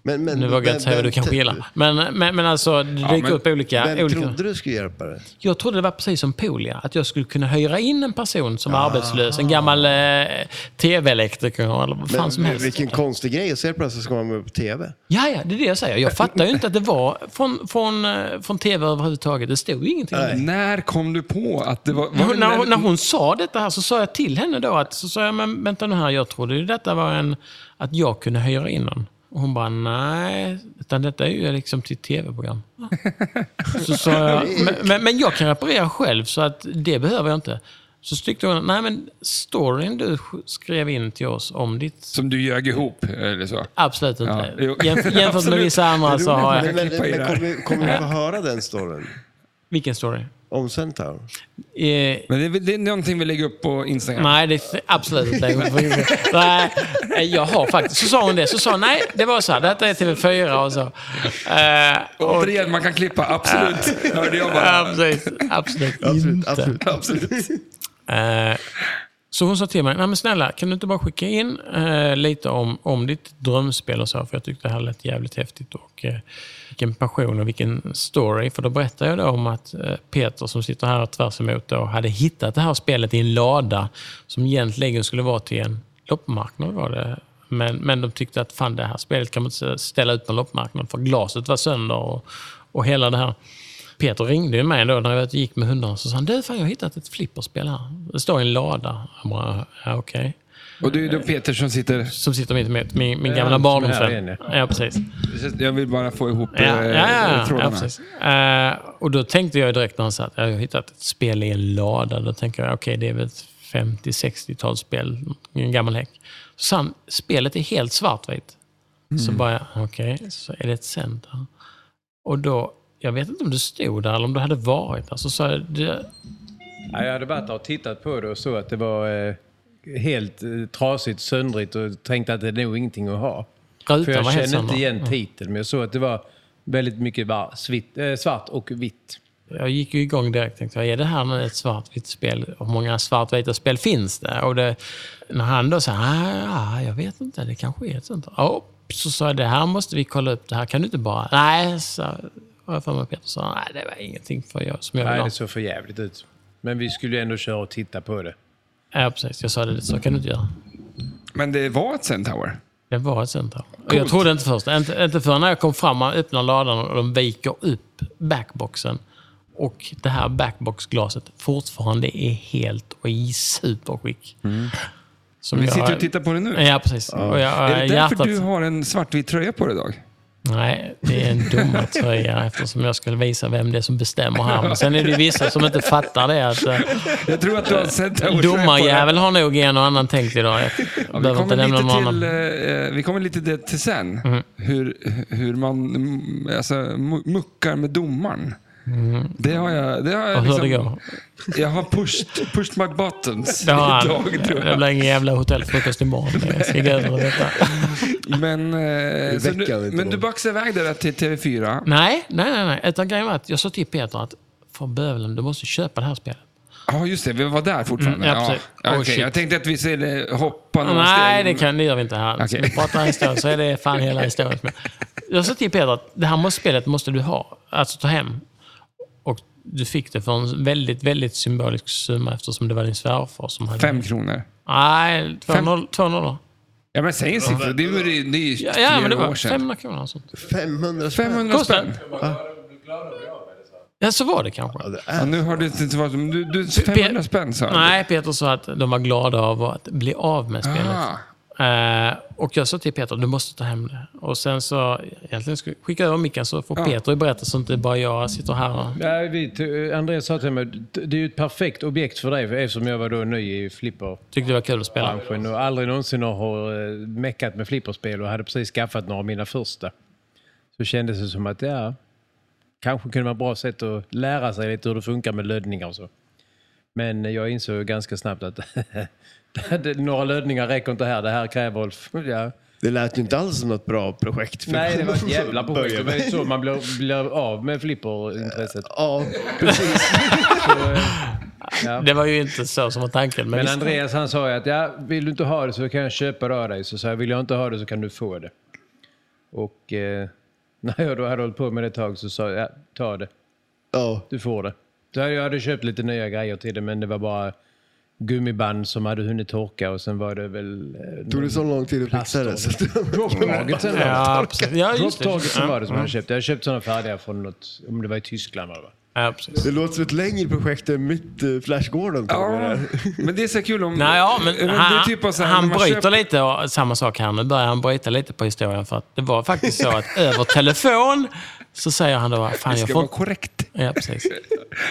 Speaker 5: Men, men,
Speaker 1: Nu vågar jag inte säga vad du kanske gillar. Men, men, men alltså, det dyker
Speaker 2: men-
Speaker 1: upp olika...
Speaker 5: Vem
Speaker 1: olika...
Speaker 5: trodde du skulle hjälpa dig?
Speaker 1: Jag trodde det var precis som Polia, att jag skulle kunna hyra in en person
Speaker 5: Ah.
Speaker 1: som var arbetslös, en gammal eh, tv-elektriker eller vad fan som
Speaker 5: Men,
Speaker 1: helst.
Speaker 5: vilken konstig grej, och så helt plötsligt ska man vara på tv.
Speaker 1: Ja, ja, det är det jag säger. Jag fattar ju inte att det var från, från, eh, från tv överhuvudtaget. Det stod ju ingenting om det.
Speaker 2: När kom du på att det var... var
Speaker 1: Hon,
Speaker 2: det
Speaker 1: när, hon- när hon sa detta här så sa jag till henne då att, så sa jag, men vänta nu här, jag trodde ju detta var en, att jag kunde hyra in någon. Och hon bara, nej, utan detta är ju liksom till tv-program. Så sa jag, men, men, men jag kan reparera själv så att det behöver jag inte. Så tyckte hon, nej men storyn du skrev in till oss om ditt...
Speaker 2: Som du ljög ihop, eller så.
Speaker 1: Absolut
Speaker 2: Ja,
Speaker 1: inte.
Speaker 2: jo.
Speaker 1: Jämf, jämfört med
Speaker 2: Absolut.
Speaker 1: vissa andra så Alltså, har jag...
Speaker 5: Men, men,
Speaker 2: klippa i det
Speaker 5: men
Speaker 2: här.
Speaker 5: kommer, kommer vi få höra den storyn?
Speaker 1: Vilken story?
Speaker 5: Om Centaur.
Speaker 1: Eh,
Speaker 2: Men det är, väl- det är någonting vi lägger upp på Instagram.
Speaker 1: Nej, det är absolut inte. nej, eh, jag har faktiskt... Så sa hon det. Så sa hon, nej, det var så här. Detta är TV4 och så. Eh, och,
Speaker 2: Återigen, man kan klippa. Absolut. Hörde jag
Speaker 1: ja,
Speaker 2: bara.
Speaker 1: precis. Absolut
Speaker 5: Absolut,
Speaker 1: inte.
Speaker 5: absolut.
Speaker 2: Absolut.
Speaker 1: Eh, så hon sa till mig, nej men snälla, kan du inte bara skicka in eh, lite om, om ditt drömspel och så, för jag tyckte det här lät jävligt häftigt. Och, eh, vilken passion och vilken story. För då berättade jag då om att eh, Peter som sitter här tvärs emot då, hade hittat det här spelet i en lada som egentligen skulle vara till en loppmarknad var det. Men, men de tyckte att fan det här spelet kan man inte ställa ut på en loppmarknad för glaset var sönder och, och hela det här. Peter ringde ju mig då när jag var ute och gick med hundarna så sa han, du fan jag har hittat ett flipperspel här. Det står i en lada. Jag bara, ja, okej.
Speaker 2: Och det är ju då Peter som sitter...
Speaker 1: Som sitter mitt emot min, min
Speaker 6: Ja,
Speaker 1: gamla
Speaker 6: som är här
Speaker 1: barndomsvän.
Speaker 6: inne.
Speaker 1: Ja, precis.
Speaker 2: Jag vill bara få ihop eh,
Speaker 1: Ja, ja, ja, ja,
Speaker 2: trådarna.
Speaker 1: precis. Eh, och då tänkte jag direkt när han sa att jag har hittat ett spel i en lada. Då tänker jag, okej, det är väl ett 50-60-talsspel, en gammal häck. Så sa han, spelet är helt svartvitt. Så
Speaker 6: Mm.
Speaker 1: bara, okej, så är det ett center. Och då, jag vet inte om du stod där eller om du hade varit där. Så sa jag, "Du,
Speaker 6: Ja, jag hade varit där och tittat på det och så att det var eh, helt eh, trasigt, söndrigt och tänkte att det är nog ingenting att ha.
Speaker 1: rutan
Speaker 6: För jag
Speaker 1: var helt
Speaker 6: kände inte
Speaker 1: sönder.
Speaker 6: igen titeln, men jag såg att det var väldigt mycket var, svitt, eh, svart och vitt.
Speaker 1: Jag gick ju igång direkt tänkte jag, är det här nu ett svartvitt spel? Hur många svartvita spel finns det? Och det, när han då sa, "Ah, ja, jag vet inte, det kanske är ett sånt. Ja, så sa jag, det här måste vi kolla upp, det här kan du inte bara... Nej, sa har jag för mig Peter sa, nej det var ingenting för jag, som jag
Speaker 6: Nej,
Speaker 1: ville ha.
Speaker 6: det såg för jävligt ut. Men vi skulle ju ändå köra och titta på det.
Speaker 1: Ja, precis. Jag sa det, så kan du inte göra.
Speaker 2: Men det var ett Centaur.
Speaker 1: Det var ett sånt här. Och jag trodde inte först. Inte, inte förrän när jag kom fram, man öppnar ladan och de viker upp backboxen. Och det här backboxglaset fortfarande är helt och i superskick. Som
Speaker 2: Vi
Speaker 1: jag-
Speaker 2: Mm. sitter och tittar på det nu.
Speaker 1: Ja, precis. Och jag,
Speaker 2: Är det därför
Speaker 1: hjärtat...
Speaker 2: du har en svartvit tröja på dig idag?
Speaker 1: Nej, det är en domartröja eftersom jag skulle visa vem det är som bestämmer här. Men sen är det ju vissa som inte fattar det. Att, eh,
Speaker 2: Jag tror att du har sett det.
Speaker 1: domarjävel har nog en och annan tänkt idag. Jag
Speaker 2: Vi
Speaker 1: behöver inte
Speaker 2: kommer,
Speaker 1: nämna någon
Speaker 2: lite
Speaker 1: annan. Mm.
Speaker 2: till, eh, vi kommer lite det till sen. Hur, hur man mm, alltså, mu- muckar med domaren. Det har jag... Det har jag,
Speaker 1: Och Mm. hur det
Speaker 2: liksom-
Speaker 1: går.
Speaker 2: jag har pushed, pushed my buttons
Speaker 1: Det har han.
Speaker 2: idag tror
Speaker 1: Det
Speaker 2: jag.
Speaker 1: blir ingen jävla hotellfrukost imorgon. Jag ska gå över och detta.
Speaker 2: Men, eh, så
Speaker 5: väcker
Speaker 2: du,
Speaker 5: inte
Speaker 2: men
Speaker 5: någon.
Speaker 2: du baxade iväg det där till TV4.
Speaker 1: Nej, nej, nej. nej. Utan grejen var att jag sa till Peter att för bövelen, du måste köpa det här spelet.
Speaker 2: Ja, just det. Vi var där fortfarande.
Speaker 1: Mm, ja,
Speaker 2: ja,
Speaker 1: precis.
Speaker 2: ja,
Speaker 1: Oh,
Speaker 2: okej.
Speaker 1: shit.
Speaker 2: jag tänkte att vi skulle hoppa några
Speaker 1: Nej,
Speaker 2: steg.
Speaker 1: det, kan, det gör vi inte här.
Speaker 2: Okej.
Speaker 1: Okay. Vi pratar historia så är det fan hela historien. som är- Jag sa till Peter att det här måste, spelet måste du ha, alltså ta hem. Och du fick det för en väldigt, väldigt symbolisk summa eftersom det var din svärfar som hade...
Speaker 2: Fem kronor.
Speaker 1: Nej, två
Speaker 2: Fem-
Speaker 1: noll- två nollor.
Speaker 2: Ja, men säg en siffra. Det är ju det är ju
Speaker 1: Ja,
Speaker 2: flera
Speaker 1: ja, men det
Speaker 2: år
Speaker 1: var
Speaker 2: sedan.
Speaker 1: 500 kronor och sånt.
Speaker 5: 500 spänn.
Speaker 2: 500
Speaker 1: Kostar.
Speaker 2: spänn.
Speaker 1: Ja, så var det kanske.
Speaker 2: Ja, nu har du inte varit... Du, du, 500 spänn sa du.
Speaker 1: Nej, Peter sa att de var glada av att bli av med spelet.
Speaker 2: Ah,
Speaker 1: Eh, och jag sa till Peter, du måste ta hem det. Och sen så, egentligen ska jag skicka över micken så får Peter berätta så inte bara jag sitter här och...
Speaker 6: Nej, vi, t- eh, Andreas sa till mig det är ju ett perfekt objekt för dig för eftersom jag var då ny i flipperbranschen
Speaker 1: Tyckte det var kul att spela.
Speaker 6: och aldrig någonsin har eh, meckat med flipperspel och hade precis skaffat några av mina första. Så kändes det som att ja, kanske kunde vara ett bra sätt att lära sig lite hur det funkar med lödningar och så. Men jag insåg ganska snabbt att det- några lödningar räcker inte här. Det här kräver... Ja.
Speaker 5: Det lät ju inte alls som något bra projekt. för-
Speaker 6: Nej, det var ett jävla projekt.
Speaker 5: Börja
Speaker 6: Det var
Speaker 5: med.
Speaker 6: ju så man blir, blir av med flipperintresset.
Speaker 5: Ja, precis.
Speaker 1: Det var ju inte så som var tanken. Men,
Speaker 6: Men
Speaker 1: visst.
Speaker 6: Andreas han sa ju att ja, vill du inte ha det så kan jag köpa det av dig. Så sa jag, vill jag inte ha det så kan du få det. Och eh, när jag då hade hållit på med det ett tag så sa jag, ja, ta det.
Speaker 5: Ja.
Speaker 6: Du får det. Så jag hade köpt lite nya grejer till det men det var bara gummiband som hade hunnit torka och sen var det väl... eh,
Speaker 5: Tog det så lång tid att fixa det? Så att
Speaker 6: Dropptaget sen var det.
Speaker 1: Mm. ja, precis. Ja, just det.
Speaker 6: Dropptaget som
Speaker 1: Ja.
Speaker 6: var det som jag köpte. Jag hade köpt sådana färdiga från något, om det var i Tyskland var det va?
Speaker 1: Ja, precis.
Speaker 5: det låter som ett längre projekt än mitt eh, Flash Gordon. tog det
Speaker 2: ja,
Speaker 5: där.
Speaker 2: men det är så kul om...
Speaker 1: Nej, ja, men
Speaker 2: det är
Speaker 1: han,
Speaker 2: typ av så här,
Speaker 1: han
Speaker 2: när man
Speaker 1: bryter
Speaker 2: köper-
Speaker 1: lite, och samma sak här. Nu börjar han bryta lite på historien. För att det var faktiskt så att över telefon Så säger han då, fan
Speaker 2: Det
Speaker 1: jag
Speaker 2: ska
Speaker 1: får
Speaker 2: vara
Speaker 1: inte...
Speaker 2: korrekt.
Speaker 1: Ja, precis.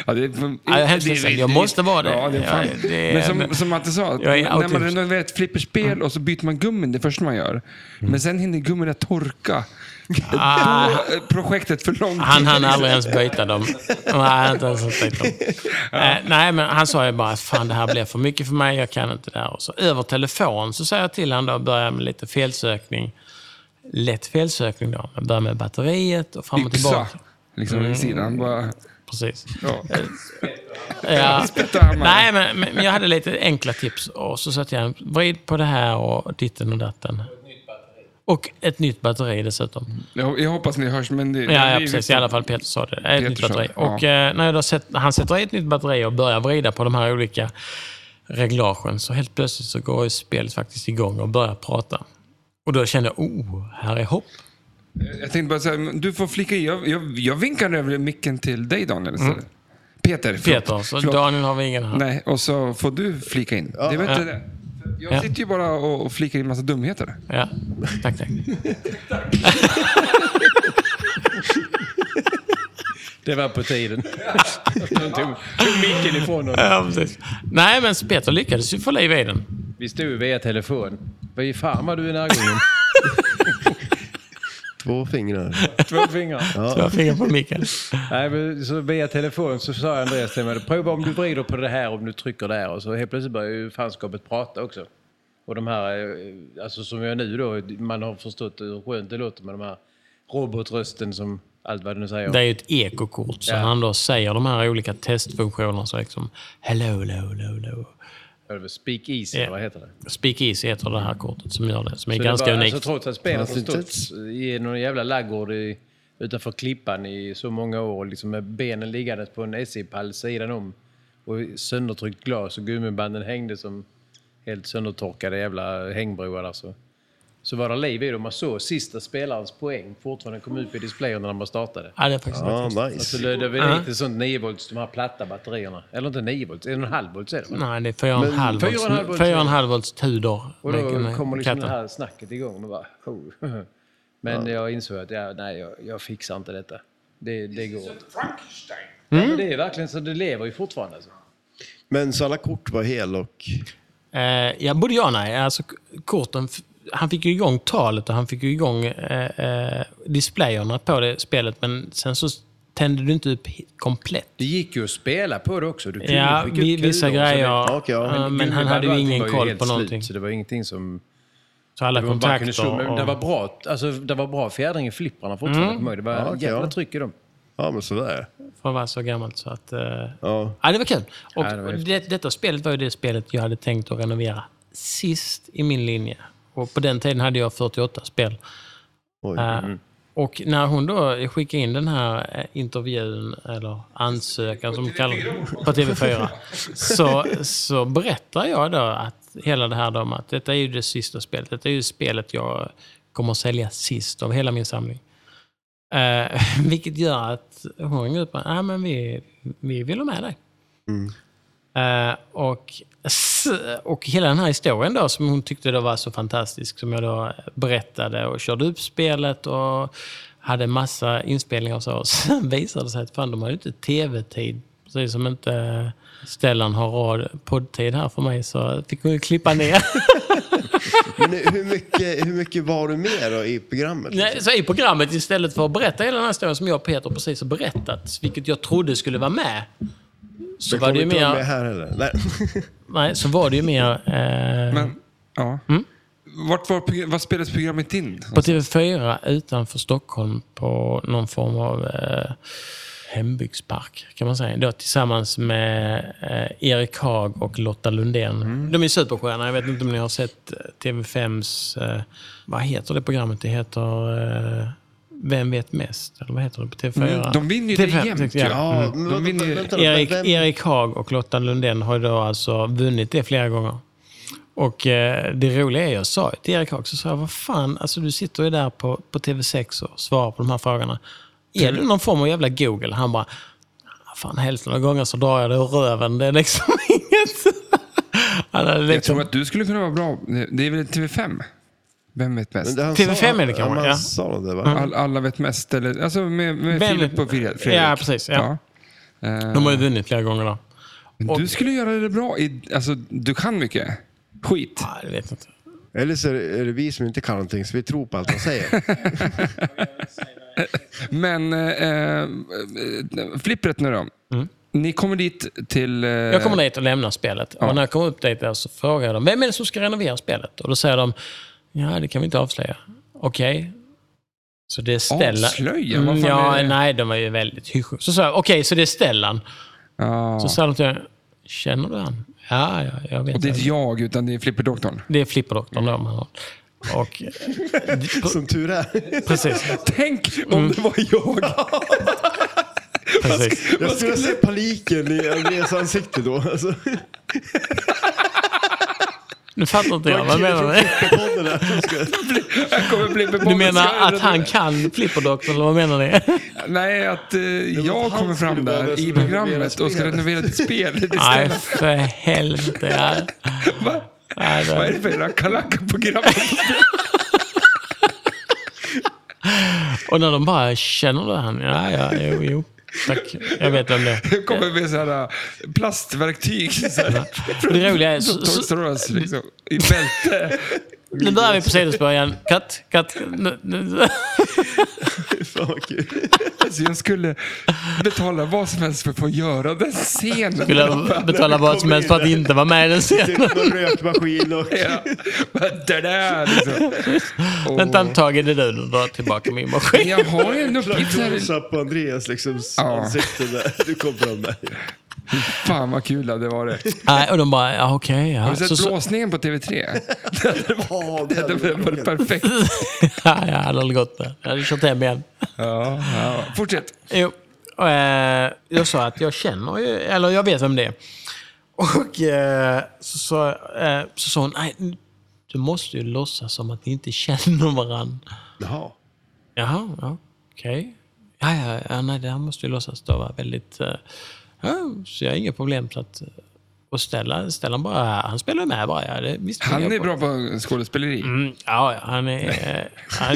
Speaker 2: Ja, det, är-
Speaker 1: jag är hemskt ledsen. Jag måste vara det.
Speaker 2: Ja, det är fan.
Speaker 1: Ja, det är-
Speaker 2: men som, som Matte sa,
Speaker 1: Jag är
Speaker 2: när man
Speaker 1: autism.
Speaker 2: renoverar ett flipperspel och så byter man gummin det första man gör. Men sen hinner gummin att torka.
Speaker 1: Ah.
Speaker 2: Då är projektet för långt.
Speaker 1: Han hann aldrig ens byta dem. Nej, han har inte ens bytt dem. Eh, nej, men han sa ju bara att fan det här blev för mycket för mig, jag kan inte det här. Och så över telefon så säger jag till honom då, börja med lite felsökning. Lätt felsökning då, men börja med batteriet och fram och
Speaker 2: Yxa.
Speaker 1: tillbaka. Mm.
Speaker 2: Liksom vid sidan. Bara,
Speaker 1: Precis.
Speaker 2: ja.
Speaker 1: Ja.
Speaker 2: Där man-
Speaker 1: Nej, men, men men jag hade lite enkla tips. Och så satte jag en vrid på det här och ditten och datten. Och ett nytt batteri dessutom.
Speaker 2: Jag, jag hoppas ni hörs, men det,
Speaker 1: Ja,
Speaker 2: det
Speaker 1: ja
Speaker 2: är liksom
Speaker 1: precis. I alla fall Peter sa det. Ett
Speaker 2: Peter
Speaker 1: nytt
Speaker 2: sa
Speaker 1: batteri.
Speaker 2: det, ja.
Speaker 1: Och eh, när jag då sätt, han sätter i ett nytt batteri och börjar vrida på de här olika reglagen, så helt plötsligt så går ju spelet faktiskt igång och börjar prata. Och då kände jag, oh, här är hopp.
Speaker 2: Jag tänkte bara säga, men du får flika i. Jag, jag, jag vinkar över micken till dig Daniel istället. Peter. förlåt.
Speaker 1: Mm. Peter, så
Speaker 2: Förlåt.
Speaker 1: Daniel har vi ingen här.
Speaker 2: Nej, och så får du flika in. det var inte det. För Jag
Speaker 1: Ja. Mm.
Speaker 2: sitter ju bara och och flikar in massa dumheter.
Speaker 1: Ja. Tack, tack.
Speaker 6: Det var på tiden. De tog, tog micken ifrån honom.
Speaker 1: Ja, precis. Nej, men Peter lyckades ju få liv i den.
Speaker 6: Vi stod ju via telefon. Vad fan vad du är närgången.
Speaker 5: Två fingrar.
Speaker 6: Två fingrar.
Speaker 1: Två fingrar på micken.
Speaker 6: Nej, men så via telefon så sa Andreas till mig, prova om du vrider på det här, om du trycker där. Och så helt plötsligt börjar ju fanskapet prata också. Och de här, eh, alltså som jag nu då, man har förstått hur skönt det låter med de här robotrösten som allt vad det nu säger.
Speaker 1: Det är ju ett ekokort, så
Speaker 6: Ja.
Speaker 1: han då säger de här olika testfunktionerna. Så liksom, hello, hello, hello, hello.
Speaker 6: Speak easy,
Speaker 1: Ja.
Speaker 6: vad heter det?
Speaker 1: Speakeasy heter det här kortet som gör det, som är
Speaker 6: Så det
Speaker 1: ganska
Speaker 6: var-
Speaker 1: unikt.
Speaker 6: Alltså, trots att spelet har
Speaker 5: Fanns inte
Speaker 6: stått i någon jävla laggård i, utanför Klippan i så många år, liksom med benen liggandes på en SJ-pall sidan om och söndertryckt glas och gummibanden hängde som helt söndertorkade jävla hängbroar. Alltså. Så var det liv i det och man såg sista spelarens poäng fortfarande kom ut i displayen när man startade.
Speaker 1: Ja, det är faktiskt
Speaker 5: Ja,
Speaker 6: Så
Speaker 5: nice.
Speaker 6: lödde vi
Speaker 1: Ja.
Speaker 6: lite sånt 9 volts, de här platta batterierna. Eller inte 9 volts, 1,5 volts är det va?
Speaker 1: Nej, det är 4,5
Speaker 6: Men- 4,5
Speaker 1: volts,
Speaker 6: volts-
Speaker 1: 4,5 volts Tudor.
Speaker 6: Och
Speaker 1: med-
Speaker 6: då
Speaker 1: med
Speaker 6: kommer liksom det
Speaker 1: katten.
Speaker 6: här snacket igång. Och bara, oh. Men jag insåg att jag, nej, jag, jag fixar inte detta. Det, det går inte. Ja, men det är verkligen så, det lever ju fortfarande. Alltså.
Speaker 5: Men så alla kort var hel och...
Speaker 1: Eh, ja, både ja och nej. Alltså, k- korten, f- han fick ju igång talet och han fick ju igång eh, eh, displayerna på det spelet, men sen så tände du inte upp he- komplett.
Speaker 6: Det gick ju att spela på det också. Du kunde
Speaker 1: Ja,
Speaker 6: skicka ut
Speaker 1: vi,
Speaker 6: kulor
Speaker 1: vissa
Speaker 6: och så vidare.
Speaker 1: grejer.
Speaker 5: Ja, okej, ja.
Speaker 1: eh,
Speaker 5: Men
Speaker 1: men
Speaker 6: Gummi
Speaker 1: han hade ju
Speaker 6: var-
Speaker 1: ingen
Speaker 6: var
Speaker 1: koll
Speaker 6: helt
Speaker 1: på någonting.
Speaker 6: Slut, så det var ingenting som...
Speaker 1: Så alla
Speaker 6: Det var, bara kunde
Speaker 1: kontakter
Speaker 6: slå, men det, var
Speaker 1: och...
Speaker 6: bra, alltså, det var bra fjädring i flipprarna fortfarande. Mm. Det var
Speaker 5: Ja, okej,
Speaker 6: jävla
Speaker 5: ja.
Speaker 6: tryck i dem.
Speaker 5: Ja, men sådär.
Speaker 1: För att vara så gammalt så att... eh,
Speaker 5: Ja.
Speaker 1: Ja, det var kul. Och
Speaker 6: Ja, det var häftigt.
Speaker 1: det, detta spelet var ju det spelet jag hade tänkt att renovera sist i min linje. Och på den tiden hade jag 48 spel.
Speaker 5: Oj.
Speaker 1: Eh, Och när hon då skickade in den här eh, intervjun, eller ansökan som kallar på TV4, så, så berättar jag då att hela det här då om att detta är ju det sista spelet. Detta är ju spelet jag kommer att sälja sist av hela min samling. Eh, vilket gör att hon ringer upp och ah, men vi, vi vill ha med dig. Eh, och, s- och hela den här historien då, som hon tyckte då var så fantastisk, som jag då berättade och körde upp spelet och hade massa inspelningar och så. Och sen visade det sig att fan, de har ju inte tv-tid. Precis som inte eh, Stellan har rad, poddtid här för mig, så fick hon ju klippa ner.
Speaker 5: Men hur mycket, hur mycket var du med då i programmet?
Speaker 1: Nej, så i programmet istället för att berätta hela den här historien som jag och Peter precis har berättat, vilket jag trodde skulle vara med, så
Speaker 5: Det
Speaker 1: var det ju
Speaker 5: kommer inte vara
Speaker 1: mer,
Speaker 5: med här heller. Nej.
Speaker 1: nej, så var det ju mer eh,
Speaker 2: Men, ja.
Speaker 1: Mm.
Speaker 2: Vart var, progr- vad spelades programmet in?
Speaker 1: på TV4 utanför Stockholm på någon form av eh, hembygdspark, kan man säga. Då, tillsammans med eh, Erik Haag och Lotta Lundén.
Speaker 2: Mm.
Speaker 1: De är superstjärnor. Jag vet inte om ni har sett eh, TV5s... Eh, vad heter det programmet? Det heter... Eh, vem vet mest? Eller vad heter det på TV4?
Speaker 2: Mm, de vinner ju det
Speaker 1: TV5,
Speaker 2: jämt,
Speaker 1: ja.
Speaker 5: Ja,
Speaker 2: ja. De
Speaker 5: Ah, men vänta,
Speaker 2: vinner ju-
Speaker 5: vänta då,
Speaker 1: Erik,
Speaker 5: vem-
Speaker 1: Erik Haag och Lotta Lundén har ju då alltså vunnit det flera gånger. Och eh, det roliga är, jag sa ju till Erik Haag, så sa jag, vad fan, alltså du sitter ju där på, på TV6 och svarar på de här frågorna. Är du någon form av jävla Google? Han bara, "Ah, fan hälften av gångerna så drar jag det ur röven. Det är liksom inget... Han hade
Speaker 2: Jag
Speaker 1: liksom...
Speaker 2: tror att du skulle kunna vara bra. Det är väl TV5? Vem vet bäst?
Speaker 5: han
Speaker 1: TV5
Speaker 5: sa-
Speaker 1: är det kanske,
Speaker 5: ja, men
Speaker 1: ja. Mm.
Speaker 5: Han sa något där, va?
Speaker 2: All, alla vet mest, eller? Alltså med, med
Speaker 1: Vem-
Speaker 2: Filip och Fre- Fredrik.
Speaker 1: Ja, precis, ja.
Speaker 2: Ja. Eh,
Speaker 1: De har ju vunnit flera gånger då.
Speaker 2: men
Speaker 1: och-
Speaker 2: du skulle göra det bra. I, alltså, du kan mycket. Skit.
Speaker 1: Nej, Ah, det vet jag inte.
Speaker 5: Eller så är det, är det vi som inte kan någonting, så vi tror på allt han säger.
Speaker 2: Men eh, eh, flippret nu då. Ni kommer dit till... Eh,
Speaker 1: Mm. Jag kommer dit och lämnar spelet. Och när jag kommer upp dit där så frågar jag dem, vem är det som ska renovera spelet? Och då säger de, ja det kan vi inte avslöja. Okej. Så det är Stellan.
Speaker 2: Avslöja? Vad fan
Speaker 1: Mm, ja,
Speaker 2: är det?
Speaker 1: nej, de var ju väldigt hysch. Så sa jag, okej, så det är Stellan.
Speaker 2: Ja.
Speaker 1: Så sa de till mig, känner du han? Ja, ja jag vet.
Speaker 2: Och det är
Speaker 1: vem."
Speaker 2: inte jag, utan det är flipperdoktorn.
Speaker 1: Det är flipperdoktorn då. Man har. Och,
Speaker 5: Som tur är.
Speaker 1: precis.
Speaker 2: Tänk om det var jag!
Speaker 1: Mm. precis.
Speaker 5: Jag skulle se paniken i Andreas ansikte då. Alltså,
Speaker 1: Nu fattar inte jag. Vad menar du?
Speaker 5: podden där som skulle-
Speaker 2: Jag kommer bli
Speaker 1: Du
Speaker 2: bebollad. Ska jag
Speaker 1: menar att
Speaker 2: göra
Speaker 1: han
Speaker 2: det?
Speaker 1: kan flipperdoktorn, eller vad menar ni?
Speaker 2: Nej, att eh,
Speaker 5: han
Speaker 2: jag kommer fram
Speaker 5: skulle vara
Speaker 2: där
Speaker 5: den
Speaker 2: i
Speaker 5: som renoverar
Speaker 2: programmet och ska
Speaker 5: spelet.
Speaker 2: renovera ditt spel. Det är
Speaker 1: Nej, för helvete. ja.
Speaker 2: Va?
Speaker 1: Nej, det-
Speaker 2: Vad är det för rackarlacka-program?
Speaker 1: Och när de bara känner det här. Ja, ja, jo, jo. Tack. Jag vet vem det är.
Speaker 2: Det kommer med så här äh, plastverktyg. Så här,
Speaker 1: Och Det roliga är... Så,
Speaker 2: Toys
Speaker 1: så,
Speaker 2: R Us, liksom, I bälte.
Speaker 1: nu börjar vi på sidospår igen. Katt, katt. nu- nu-
Speaker 5: Fan vad kul.
Speaker 2: Alltså, jag skulle betala vad som helst för att få göra den scenen.
Speaker 1: Skulle jag betala vad som helst för att inte vara med i den
Speaker 5: Det
Speaker 1: scenen.
Speaker 5: är Typ Någon rökmaskin och...
Speaker 2: Ja. Det där, liksom. Åh.
Speaker 1: Vänta ett tag, är det du nu drar tillbaka min maskin?
Speaker 2: Jag har ju en uppgift här.
Speaker 5: Close up på Andreas liksom,
Speaker 2: Ja.
Speaker 5: ansikte där. Du kom fram där.
Speaker 2: Fan vad kul det var det.
Speaker 1: Nej, och de bara, ja okej.
Speaker 2: Har
Speaker 1: ja.
Speaker 2: du sett
Speaker 1: Så, så,
Speaker 2: blåsningen på TV3?
Speaker 5: Ja,
Speaker 2: Det hade väl varit perfekt.
Speaker 1: ja, jag hade aldrig gått med. Jag hade kört hem igen.
Speaker 2: Ja, ja. Fortsätt.
Speaker 1: Jo. Och, eh, jag sa att jag känner ju, eller jag vet vem det är. Och eh, så sa eh, så sa hon, nej, du måste ju låtsas som att ni inte känner varandra.
Speaker 5: Jaha.
Speaker 1: Jaha, ja, okej. Ja, ja, ja, nej, det här måste ju låtsas då vara väldigt... eh, ja, så jag har inga problem. Så att, eh, och Stellan, Stellan bara, han spelar ju med bara. Ja, det visste
Speaker 2: Han
Speaker 1: jag
Speaker 2: är
Speaker 1: på.
Speaker 2: bra på skådespeleri.
Speaker 1: Mm, ja, ja, han är... eh, Han,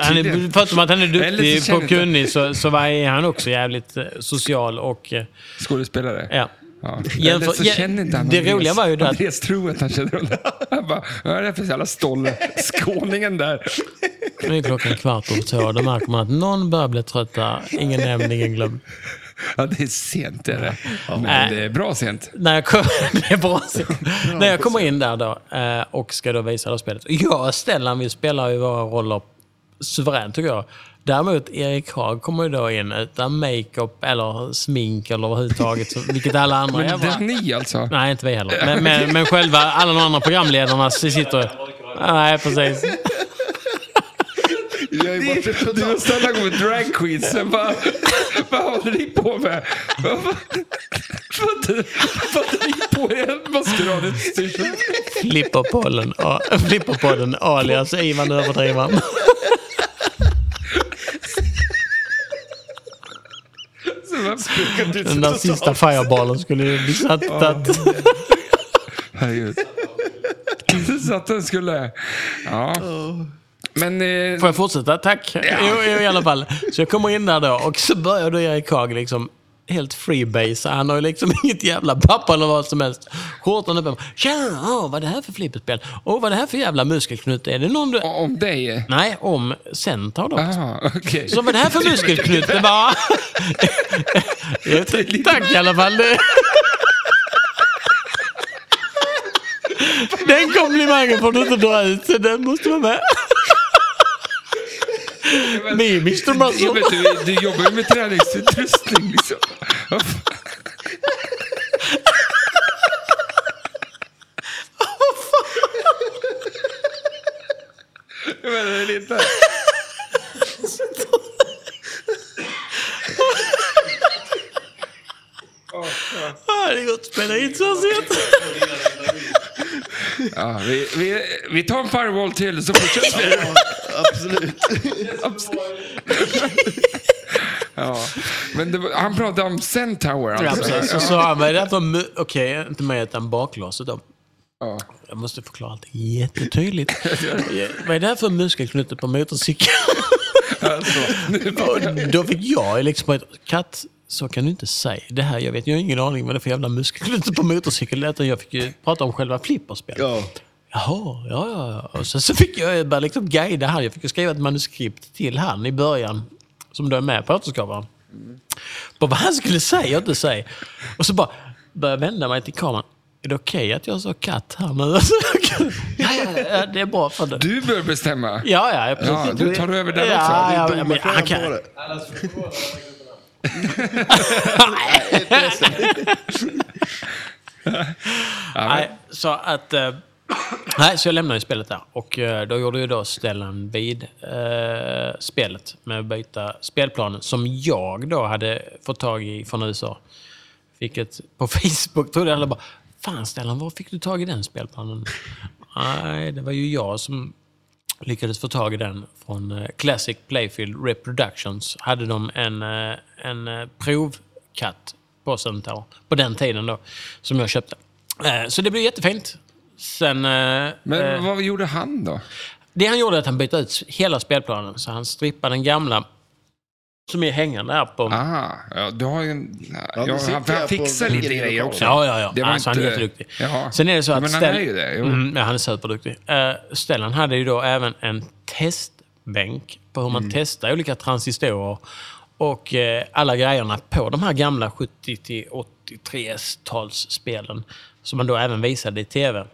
Speaker 1: han är
Speaker 2: Tydligen.
Speaker 1: förutom att han är
Speaker 2: Eller så
Speaker 1: duktig
Speaker 2: känner
Speaker 1: och
Speaker 2: inte.
Speaker 1: kunnig så, så var- är han också jävligt eh, social och... eh,
Speaker 2: Skådespelare.
Speaker 1: Ja.
Speaker 2: Ja.
Speaker 1: Jämför-
Speaker 2: Eller så
Speaker 1: ja,
Speaker 2: känner inte han
Speaker 1: det
Speaker 2: Andreas.
Speaker 1: roliga var ju det att-
Speaker 2: Andreas tror att han känner honom. Han bara, vad är det för jävla stolle? Skåningen där.
Speaker 1: Nu är klockan kvart över två och då märker man att någon börjar bli trött där. Ingen nämnd, ingen glömd.
Speaker 2: Ja, det är sent är det. Men det är bra sent.
Speaker 1: när jag, kom, det är bra syn. när jag kommer in där då eh, och ska då visa det här spelet. Jag och Stellan, vi spelar ju våra roller suveränt tycker jag. Däremot Erik Haag kommer ju då in utan makeup eller smink eller överhuvudtaget, så- vilket alla andra
Speaker 2: Men det är
Speaker 1: jävla...
Speaker 2: ni alltså.
Speaker 1: Nej, inte vi heller. Men, men, men själva, alla de andra programledarna så sitter ju... Nej, precis.
Speaker 5: Jag är borta från
Speaker 2: Du och Sanna går med dragqueensen. Vad, vad håller ni på med? Vad vad- vad- vad håller ni på med? Jag måste dra det till styrelsen.
Speaker 1: Flipperpodden, a- Flipperpodden alias Ivan Överdrivaren. Den där sista fireballen skulle ju bli satt. att-
Speaker 2: Herregud. Så att den skulle... Ja. Men... Eh,
Speaker 1: Får jag fortsätta? Tack. Jo, jo, i alla fall. Så jag kommer in där då och så börjar då Erik Haag liksom helt freebase. Han har ju liksom inget jävla papper eller vad som helst. Skjortan uppe. Tjena! Åh, vad är det här för flipperspel? Åh, vad är det här för jävla muskelknut? Är det någon du...
Speaker 2: om dig?
Speaker 1: Nej, om Centaur då.
Speaker 2: Jaha, okej.
Speaker 1: Så vad är det här för muskelknut? Det bara... Ja, Tack i alla fall. Det... Den komplimangen får du inte dra ut, så den måste vara med. Vi är Mr
Speaker 2: Jag
Speaker 1: Muscle.
Speaker 2: vet, du, du jobbar ju med träningsutrustning liksom. Vad fan? Jag menar, det är lite...
Speaker 1: Ja, Det går att spela in så sent.
Speaker 2: Ja, vi, vi, vi tar en firewall till så fortsätter vi.
Speaker 5: Absolut.
Speaker 2: Ja. Men det var, han pratade om Centaur
Speaker 1: Ja,
Speaker 2: alltså.
Speaker 1: precis. Så sa han, vad är det här för... mu- Okej, inte mig utan baklåset då.
Speaker 2: Ja.
Speaker 1: Jag måste förklara allt jättetydligt. Vad är det här för muskelknutte på motorcykeln? Och då fick jag liksom ett katt, så kan du inte säga. Det här, jag vet, jag har ingen aning vad det är för jävla muskelknutte på motorcykel. Det är att Jag fick ju prata om själva flipperspel.
Speaker 5: Ja.
Speaker 1: Jaha, ja, ja. ja. Och sen så fick jag bara liksom guida han. Jag fick ju skriva ett manuskript till han i början, som då är med på återskaparen. På vad han skulle säga och inte säga. Och så bara började jag vända mig till kameran. Är det okej att jag sa katt här nu? ja, ja, ja, det är bra för det.
Speaker 2: Du bör bestämma.
Speaker 1: Ja, ja, jag precis.
Speaker 2: Ja, du tar över den
Speaker 1: ja,
Speaker 2: också.
Speaker 1: ja, men
Speaker 5: Man får
Speaker 1: han
Speaker 5: han
Speaker 1: kan...
Speaker 5: på det.
Speaker 1: Nej, så att... eh, Nej, så jag lämnade ju spelet där. Och eh, då gjorde ju då Stellan vid eh, spelet med att byta spelplanen som jag då hade fått tag i från USA. Fick ett på Facebook, trodde alla bara Fan Stellan, var fick du tag i den spelplanen? Nej, det var ju jag som lyckades få tag i den från eh, Classic Playfield Reproductions. Hade de en, eh, en eh, provkatt på Centaur, på den tiden då, som jag köpte. Eh, Så det blev jättefint. Sen... eh, eh,
Speaker 2: Men vad gjorde han då?
Speaker 1: det han gjorde är att han bytte ut hela spelplanen, så han strippade den gamla som är hängande här på...
Speaker 2: Ah, ja, du har ju en... Ja,
Speaker 5: nu sitter
Speaker 2: han, för han
Speaker 5: jag på
Speaker 2: fixar lite
Speaker 5: grejer
Speaker 2: grejer
Speaker 5: och
Speaker 2: också.
Speaker 1: Ja, ja, ja.
Speaker 2: Det var
Speaker 1: alltså, Han är
Speaker 2: inte-
Speaker 1: jätteduktig.
Speaker 2: Jaha.
Speaker 1: Sen är det så
Speaker 2: Ja,
Speaker 1: att
Speaker 2: men han
Speaker 1: Stell-
Speaker 2: är ju det, jo.
Speaker 1: Mm, ja, han är superduktig. Eh, Stellan hade ju då även en testbänk på hur
Speaker 2: Mm.
Speaker 1: man testar olika transistorer och eh, alla grejerna på de här gamla 70-83-talsspelen som man då även visade i tv.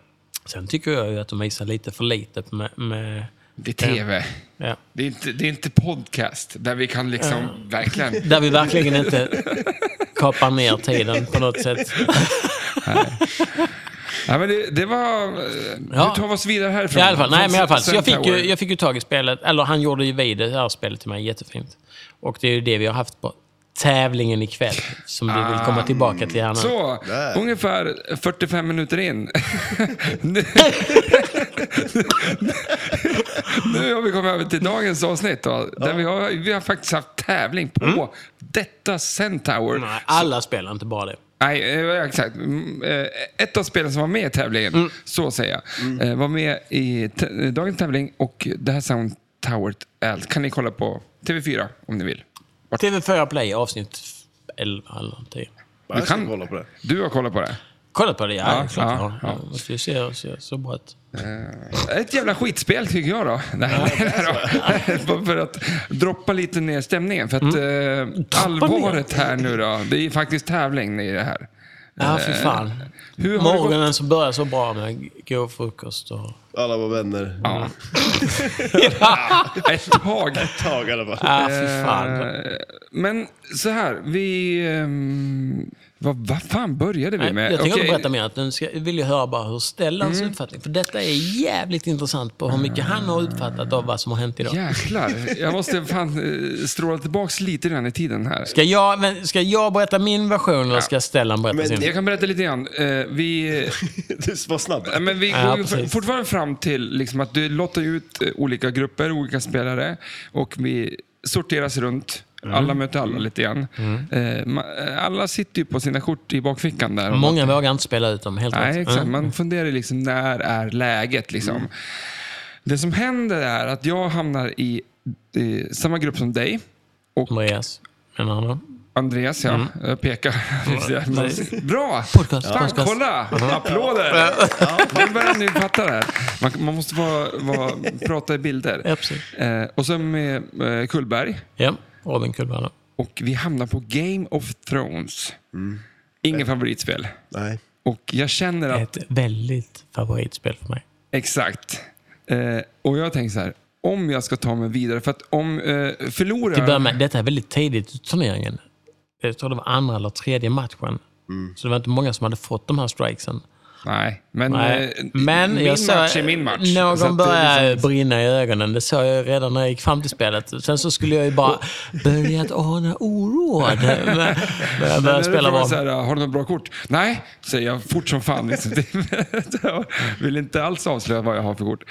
Speaker 1: Sen tycker jag ju att de visar lite för lite med... med
Speaker 2: Det är tv.
Speaker 1: ja.
Speaker 2: Det är, inte, det är inte podcast där vi kan liksom
Speaker 1: Eh.
Speaker 2: verkligen...
Speaker 1: Där vi verkligen inte kapar ner tiden på något sätt.
Speaker 2: Nej, men det, det var... eh,
Speaker 1: Ja.
Speaker 2: Du tar oss vidare härifrån.
Speaker 1: I alla fall, nej, men i alla fall. Så jag fick,
Speaker 2: Centaur.
Speaker 1: ju, jag fick ju tag i spelet, eller han gjorde ju vid det här spelet till mig jättefint. Och det är ju det vi har haft på tävlingen ikväll, som vi vill komma tillbaka till här nu.
Speaker 2: Så, ungefär 45 minuter in. nu, nu har vi kommit över till dagens avsnitt. Då, där vi, har, vi har faktiskt haft tävling på
Speaker 1: Mm.
Speaker 2: detta Centaur.
Speaker 1: Nej, alla spelar inte bara det.
Speaker 2: Nej, eh, exakt. Mm, eh, Ett av spelen som var med i tävlingen,
Speaker 5: Mm.
Speaker 2: så säger jag, eh, var med i t- eh, dagens tävling och det här Sound Tower Alt kan ni kolla på TV4 om ni vill. Vart-
Speaker 1: TV4 Play, avsnitt 11 eller 10.
Speaker 5: Jag
Speaker 2: kan-
Speaker 5: ska kolla på det.
Speaker 2: Du har kollat på det.
Speaker 1: Kollat på det? Ja,
Speaker 2: Ja,
Speaker 1: ja klart.
Speaker 2: ja,
Speaker 1: Ja,
Speaker 2: ja.
Speaker 1: ja. Det ser, ser så bra ut.
Speaker 2: Eh, Ett jävla skitspel tycker jag då. Nej, nej, nej då. Bara för att droppa lite ner stämningen. För att
Speaker 5: Mm.
Speaker 2: eh, allvaret här nu då, det är faktiskt tävling i det här.
Speaker 1: Ja, för fan.
Speaker 2: Eh, Hur har det gått?
Speaker 1: Morgonen som börjar så bra med god frukost och...
Speaker 5: Alla var vänner.
Speaker 2: Ja. Ett tag.
Speaker 5: Tag i alla fall.
Speaker 1: Ja, för fan.
Speaker 2: Eh, Men så här, vi... ehm, vad, vad fan började vi
Speaker 1: Nej,
Speaker 2: med?
Speaker 1: jag tänker
Speaker 2: Okej, Mm.
Speaker 1: inte berätta mer. Nu ska, jag vill ju höra bara hur Stellans uppfattning... För detta är jävligt intressant på hur mycket han har uppfattat av vad som har hänt idag.
Speaker 2: Jäklar, jag måste fan eh, stråla tillbaks lite grann i tiden här.
Speaker 1: Ska, jag, men, ska jag berätta min version eller ska Stellan berätta
Speaker 5: Men
Speaker 1: sin?
Speaker 2: Jag kan berätta lite grann. Eh, Vi,
Speaker 5: Du var snabb.
Speaker 2: Ja, men vi
Speaker 1: Ja,
Speaker 2: går ju
Speaker 1: precis.
Speaker 2: fortfarande fram till liksom att du lottar ut eh, olika grupper, olika spelare och vi sorteras runt.
Speaker 1: Mm.
Speaker 2: Alla möter alla lite grann. Eh, ma- Alla sitter ju på sina kort i bakfickan där.
Speaker 1: Många vågar inte spela ut dem, helt
Speaker 2: Nej,
Speaker 1: rätt.
Speaker 2: exakt.
Speaker 1: Mm.
Speaker 2: Man funderar ju liksom, när är läget? Liksom. Det som händer är att jag hamnar i, eh, samma grupp som dig.
Speaker 1: Andreas, menar han då?
Speaker 2: Andreas, ja. Eh, Jag pekar. Bra!
Speaker 1: Podcast,
Speaker 2: Fan,
Speaker 1: podcast.
Speaker 2: kolla! Applåder! Nu börjar ni fatta det här. Man, man måste vara, vara, prata i bilder.
Speaker 1: Ja, precis.
Speaker 2: Eh, och sen med eh, Kullberg.
Speaker 1: Ja, Robin Kullberg.
Speaker 2: Och vi hamnar på Game of Thrones. Ingen favoritspel.
Speaker 5: Nej.
Speaker 2: Och jag känner att...
Speaker 1: Ett väldigt favoritspel för mig.
Speaker 2: Exakt. Eh, och jag tänker så här. Om jag ska ta mig vidare, för att om eh, förlorar...
Speaker 1: Till att börja med, detta är väldigt tidigt i turneringen. Jag tror det var andra eller tredje matchen.
Speaker 2: Mm.
Speaker 1: Så det var inte många som hade fått de här strikesen.
Speaker 2: Nej, men,
Speaker 1: Nej.
Speaker 2: eh,
Speaker 1: Men
Speaker 2: min
Speaker 1: jag såg,
Speaker 2: match är min match. Så att
Speaker 1: Någon
Speaker 2: det är
Speaker 1: började
Speaker 2: liksom-
Speaker 1: brinna i ögonen. Det såg jag redan när jag gick fram till spelet. Sen så skulle jag ju bara börja att ana oråd. Men men jag började
Speaker 2: Men
Speaker 1: spela
Speaker 2: när du frågar
Speaker 1: bra.
Speaker 2: så här, "Ah, har du något bra kort? Nej, säger jag fort som fan. Liksom. jag vill inte alls avslöja vad jag har för kort.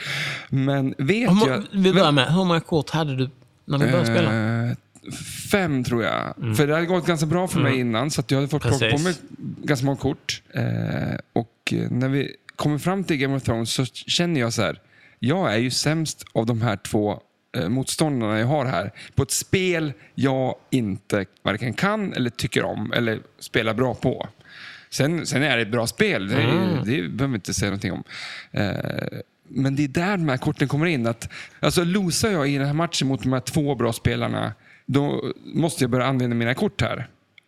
Speaker 2: Men vet
Speaker 1: Hur må-
Speaker 2: jag...
Speaker 1: Vi börjar med, hur många kort hade du när du började spela?
Speaker 2: Eh, Fem tror jag. För det hade gått ganska bra för mig innan så att jag hade fått plocka på mig
Speaker 1: Precis.
Speaker 2: ganska många kort. Eh, och eh, när vi kommer fram till Game of Thrones så känner jag så här. Jag är ju sämst av de här två eh, motståndarna jag har här på ett spel jag inte varken kan eller tycker om eller spelar bra på. Sen, sen är det ett bra spel, det,
Speaker 1: Mm.
Speaker 2: är- det behöver vi inte säga någonting om. Eh, men det är där de här korten kommer in. Att, alltså, losar jag i den här matchen mot de här två bra spelarna, då måste jag börja använda mina kort här.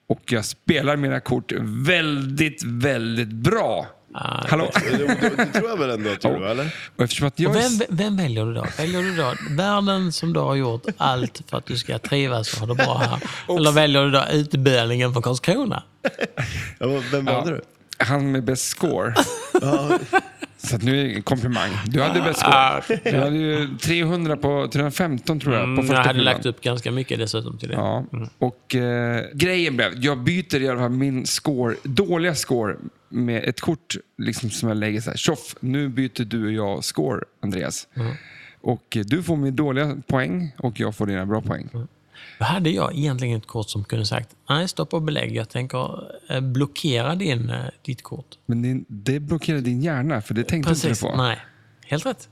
Speaker 2: Och jag spelar mina kort väldigt, väldigt bra.
Speaker 1: Ah,
Speaker 2: Hallå?
Speaker 5: Det, det tror jag väl ändå att du
Speaker 2: Ja.
Speaker 5: eller?
Speaker 2: Och eftersom att jag
Speaker 1: Och
Speaker 2: är
Speaker 1: vem, vem väljer du då? Väljer du då världen som du har gjort allt för att du ska trivas och ha det bra här? Eller väljer du då utbildningen från Karlskrona?
Speaker 5: Ja, vad- vem valde du?
Speaker 2: han med bäst score. Så att nu är det en komplimang. Du hade bäst
Speaker 1: Ah,
Speaker 2: score. Du hade ju 300 på 315 tror jag. på
Speaker 1: Mm,
Speaker 2: första
Speaker 1: jag hade
Speaker 2: kulan.
Speaker 1: lagt upp ganska mycket dessutom till det.
Speaker 2: Ja, och eh, grejen blev, jag byter i alla fall min score, dåliga score med ett kort liksom, som jag lägger så här. Tjoff, nu byter du och jag score, Andreas.
Speaker 1: Mm.
Speaker 2: Och eh, du får min dåliga poäng och jag får dina bra poäng.
Speaker 1: Mm. Då hade jag egentligen ett kort som kunde sagt nej, stoppa och belägg. Jag tänker eh, blockera din, eh, ditt kort.
Speaker 2: Men det, det blockerar din hjärna, för det tänkte
Speaker 1: Precis.
Speaker 2: inte du på. Eh.
Speaker 1: Nej, helt rätt.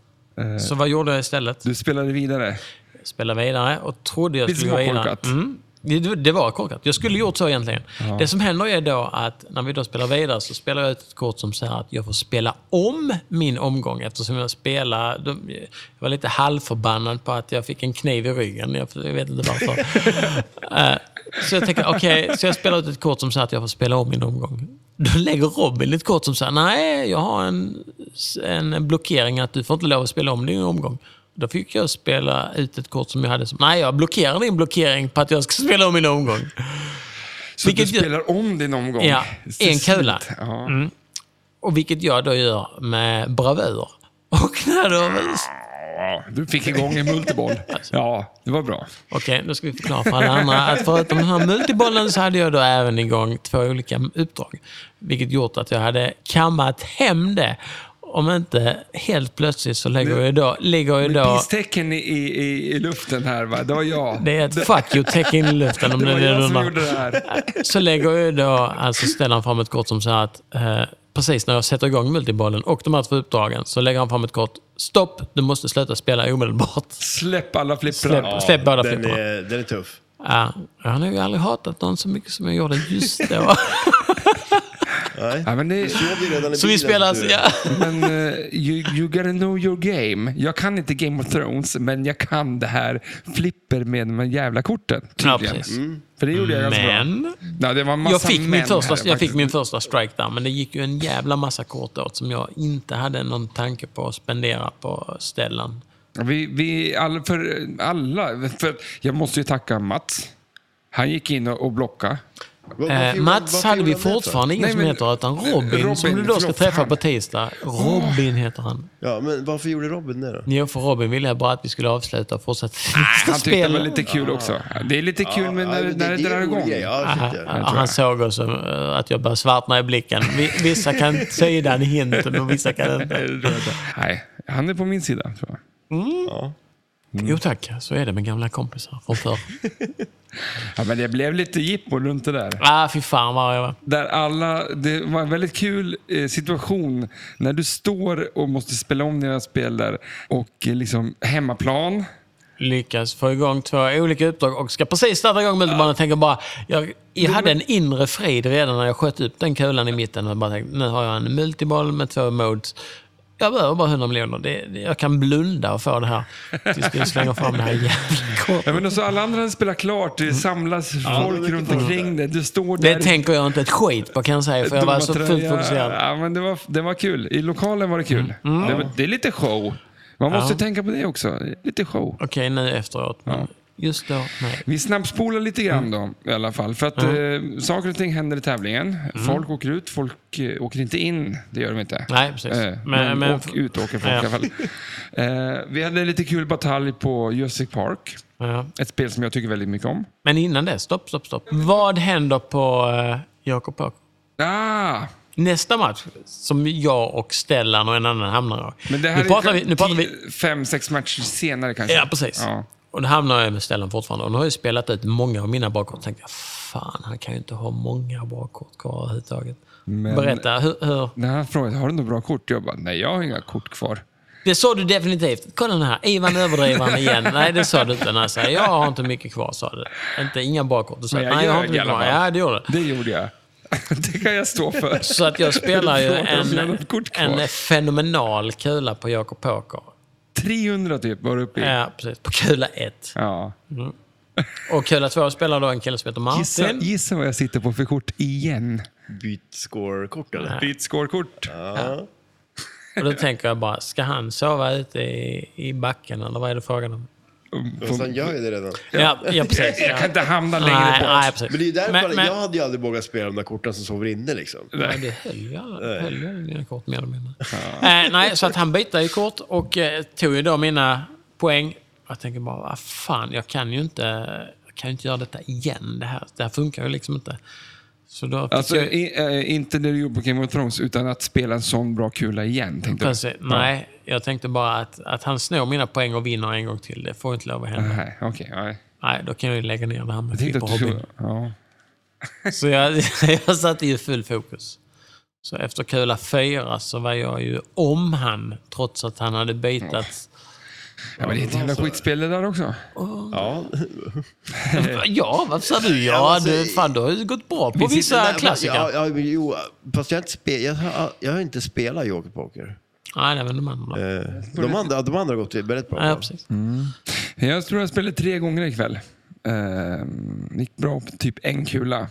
Speaker 1: Så vad gjorde jag istället?
Speaker 2: Du spelade vidare.
Speaker 1: spela vidare och trodde jag
Speaker 2: Lite
Speaker 1: skulle gå vidare.
Speaker 2: småkorkat.
Speaker 1: Mm. Det, det var korkat. Jag skulle gjort så egentligen. Det som händer är då att när vi då spelar vidare så spelar jag ut ett kort som säger att jag får spela om min omgång eftersom jag spelar... de- Jag var lite halvförbannad på att jag fick en kniv i ryggen. Jag jag vet inte varför. Eh, så jag tänker, okej, så jag spelar ut ett kort som säger att jag får spela om min omgång. Då lägger Robin ett kort som säger, nej, jag har en, en blockering att du får inte lov att spela om din omgång. Då fick jag spela ut ett kort som jag hade som, nej, jag blockerar din blockering på att jag ska spela om min omgång.
Speaker 2: Så
Speaker 1: Vilket
Speaker 2: du
Speaker 1: ju-
Speaker 2: spelar om din omgång.
Speaker 1: Ja,
Speaker 2: Till
Speaker 1: en kula. Mm.
Speaker 2: slut. Ja.
Speaker 1: Och vilket jag då gör med bravur. Och när då
Speaker 2: Ja, du fick igång en multiboll.
Speaker 1: Alltså.
Speaker 2: Ja, det var bra.
Speaker 1: Okej, nu ska vi förklara för alla andra att förutom den här multibollen så hade jag då även igång två olika uppdrag. Vilket gjort att jag hade kammat hem det. Om inte helt plötsligt så lägger jag då... Lägger jag då
Speaker 2: Pisstecken i, i, i- i luften här, va? det var jag.
Speaker 1: det är ett fuck you-tecken i luften om
Speaker 2: Det
Speaker 1: det
Speaker 2: var
Speaker 1: är det
Speaker 2: jag
Speaker 1: du
Speaker 2: som
Speaker 1: undrar.
Speaker 2: gjorde det här.
Speaker 1: Så lägger jag då, alltså ställer han fram ett kort som säger att eh, precis när jag sätter igång multibollen och de här två uppdragen så lägger han fram ett kort. Stopp, du måste sluta spela omedelbart.
Speaker 2: Släpp alla flipprar.
Speaker 1: Släpp, släpp båda
Speaker 5: Den
Speaker 1: flipporna.
Speaker 5: är, den är tuff.
Speaker 1: Ja, jag har nog aldrig hatat någon så mycket som jag gjorde just då.
Speaker 2: Ja, men det,
Speaker 5: Sov ju redan i
Speaker 1: så vi
Speaker 5: bilen,
Speaker 1: spelar... alltså,
Speaker 5: du.
Speaker 1: Ja.
Speaker 2: men eh, you, you gotta know your game. Jag kan inte Game of Thrones, men jag kan det här flipper med de här jävla korten.
Speaker 1: Ja,
Speaker 2: Tydligen. Mm.
Speaker 1: precis.
Speaker 2: För det gjorde jag ganska bra.
Speaker 1: Men...
Speaker 2: Ja, det var en massa
Speaker 1: Jag fick, min
Speaker 2: män
Speaker 1: första,
Speaker 2: här,
Speaker 1: jag
Speaker 2: faktiskt.
Speaker 1: fick min första strike där, men det gick ju en jävla massa kort åt som jag inte hade någon tanke på att spendera på ställen.
Speaker 2: Vi, vi all, för alla, för jag måste ju tacka Mats. Han gick in och, och blockade.
Speaker 5: Vad-
Speaker 1: Eh,
Speaker 5: varför gjorde-
Speaker 1: Mats
Speaker 5: varför
Speaker 1: hade vi
Speaker 5: gjorde han det för?
Speaker 1: fortfarande ingen
Speaker 2: Nej,
Speaker 1: som
Speaker 2: men-
Speaker 1: heter, utan Robin,
Speaker 2: Robin,
Speaker 1: som du då ska
Speaker 2: förlåt,
Speaker 1: träffa
Speaker 2: han.
Speaker 1: på tisdag. Robin heter han.
Speaker 5: Ja, men varför gjorde Robin det då?
Speaker 1: Jo, för Robin ville jag bara att vi skulle avsluta och fortsätta
Speaker 2: Han
Speaker 1: nästa
Speaker 2: tyckte det
Speaker 1: spel.
Speaker 2: var lite kul också. Det är lite kul men när,
Speaker 5: Ja,
Speaker 2: det, när det,
Speaker 5: är
Speaker 2: drar
Speaker 5: en rolig
Speaker 2: igång.
Speaker 5: grej. Ja,
Speaker 1: Aha,
Speaker 5: shit, ja.
Speaker 1: ja, han såg oss eh, att jag började svartna i blicken. Vi- Vissa kan säga den hinten och vissa kan inte.
Speaker 2: Nej, han är på min sida tror jag. Mm.
Speaker 1: Jo tack, så är det med gamla kompisar från förr.
Speaker 2: Ja, men det blev lite jippo runt det där.
Speaker 1: Ah, fy fan vad jag var.
Speaker 2: Där alla, det var en väldigt kul eh, situation när du står och måste spela om dina spel där och eh, liksom hemmaplan.
Speaker 1: lyckas få igång två olika uppdrag och ska precis starta igång multibanan och tänker bara... Jag, jag hade en inre frid redan när jag sköt upp den kulan i mitten. Och bara tänkte, nu har jag en multiboll med två modes. Jag behöver bara 100 miljoner. Det, det, jag kan blunda och få det här. Tills vi slänger fram det här jävla
Speaker 2: Ja,
Speaker 1: kortet.
Speaker 2: men alltså, alla andra spelar klart,
Speaker 1: Mm.
Speaker 2: det samlas folk
Speaker 5: mycket
Speaker 2: runt
Speaker 5: folk
Speaker 2: omkring dig. Du står där.
Speaker 1: Det tänker jag inte ett skit på kan jag säga, för jag var så
Speaker 2: dumma
Speaker 1: fullt
Speaker 2: tröja.
Speaker 1: fokuserad.
Speaker 2: Ja, men det, var, det var kul. I lokalen var det kul.
Speaker 1: Mm.
Speaker 2: Det, var- det är lite show. Man måste tänka på det också. Lite show.
Speaker 1: Okej, nu efteråt. Men just då, nej.
Speaker 2: Vi snabbspolar lite
Speaker 1: Mm.
Speaker 2: grann då i alla fall. För att eh, saker och ting händer i tävlingen.
Speaker 1: Mm.
Speaker 2: Folk åker ut, folk eh, åker inte in. Det gör de inte.
Speaker 1: Nej, precis.
Speaker 2: Eh,
Speaker 1: Men-
Speaker 2: men
Speaker 1: men-
Speaker 2: åk, ut åker folk
Speaker 1: Ja.
Speaker 2: i alla fall. Eh, vi hade en lite kul batalj på Jurassic Park.
Speaker 1: Ja.
Speaker 2: Ett spel som jag tycker väldigt mycket om.
Speaker 1: Men innan det, stopp, stopp, stopp. Vad händer på eh, Jakob Poker?
Speaker 2: Ah,
Speaker 1: Nästa match, som jag och Stellan och en annan hamnar i.
Speaker 2: men det här
Speaker 1: nu pratar
Speaker 2: är
Speaker 1: vi, nu pratar vi
Speaker 2: tio- fem, sex matcher senare kanske.
Speaker 1: Ja, precis.
Speaker 2: Ja.
Speaker 1: Och då hamnar jag med Stellan fortfarande. Och nu har jag spelat ut många av mina bakkort. tänkte jag, fan, han kan ju inte ha många bakkort kvar överhuvudtaget.
Speaker 2: Men-
Speaker 1: Berätta, hur, hur?
Speaker 2: När han frågade har du några bra kort, jag bara, nej jag har inga kort kvar.
Speaker 1: Det sa du definitivt. Kolla den här, Ivan överdrivaren igen. Nej, det sa du inte. När jag sa, jag har inte mycket kvar, sa du. Inte, inga bakkort. Du sa,
Speaker 2: Men jag
Speaker 1: nej, jag har
Speaker 2: ljög
Speaker 1: inte
Speaker 2: i
Speaker 1: mycket
Speaker 2: alla
Speaker 1: kvar.
Speaker 2: fall.
Speaker 1: Ja, det gjorde du.
Speaker 2: Det gjorde jag. det kan jag stå för.
Speaker 1: Så att jag spelar ju
Speaker 2: Frågar om jag har
Speaker 1: en,
Speaker 2: något kort kvar.
Speaker 1: en fenomenal kula på Jakob Poker.
Speaker 2: 300 typ var det uppe i.
Speaker 1: Ja, precis. På kula 1.
Speaker 2: Ja.
Speaker 1: Och kula 2 spelar då en kille som heter
Speaker 2: Gissa,
Speaker 1: Martin.
Speaker 2: gissa vad jag sitter på för kort igen.
Speaker 5: Byt score-kort eller?
Speaker 2: Ditt skålkort.
Speaker 1: Och då tänker jag bara, ska han sova ute i, i backen eller vad är det frågan om?
Speaker 5: Fast han gör ju det redan.
Speaker 1: Ja, ja precis.
Speaker 2: Jag kan
Speaker 1: Ja.
Speaker 2: inte hamna
Speaker 1: Nej,
Speaker 2: längre bort.
Speaker 1: nej, precis.
Speaker 5: Men det är ju därför
Speaker 1: men, men,
Speaker 5: jag hade ju aldrig vågat spela de där korten som sover inne liksom.
Speaker 1: Nej, det höll ju alla- det höll ju dina kort mer eller mindre. Eh, nej, så att han bytte ju kort och eh, tog ju då mina poäng. Jag tänker bara, vad fan, jag kan ju inte, jag kan ju inte göra detta igen. Det här, det här funkar ju liksom inte. Så då fick
Speaker 2: Alltså,
Speaker 1: jag...
Speaker 2: i, eh, inte det du gjorde på Game of Thrones, utan att spela en sån bra kula igen. Tänkte jag.
Speaker 1: Precis, nej, jag tänkte bara att, att han snor mina poäng och vinner en gång till. Det får inte lov att hända.
Speaker 2: Nej, okej. nej.
Speaker 1: Nej, då kan jag ju lägga ner det här med
Speaker 2: Jag tänkte att du
Speaker 1: flipperhobbyn.
Speaker 2: skulle... Ja.
Speaker 1: Så jag, jag satte ju full fokus. Så efter kula fyra så var jag ju om han, trots att han hade bytat.
Speaker 2: ja, men det är ett jävla
Speaker 1: alltså-
Speaker 2: skitspel det där också.
Speaker 5: Ja.
Speaker 1: Ja, varför sa du
Speaker 5: Eh. Ja,
Speaker 1: ja?
Speaker 5: alltså,
Speaker 1: Du, fan, du har ju gått bra på vissa
Speaker 5: Nej, men-
Speaker 1: klassiker.
Speaker 5: Ja, ja, men jo, fast jag har inte, spe, jag har, jag har inte spelat Joker Poker.
Speaker 1: Nej, nej, men de andra.
Speaker 5: Eh, Mm. De andra, de andra har gått väldigt bra.
Speaker 1: Ja, precis.
Speaker 2: Jag tror jag spelade tre gånger ikväll. Uh, gick bra på typ en kula.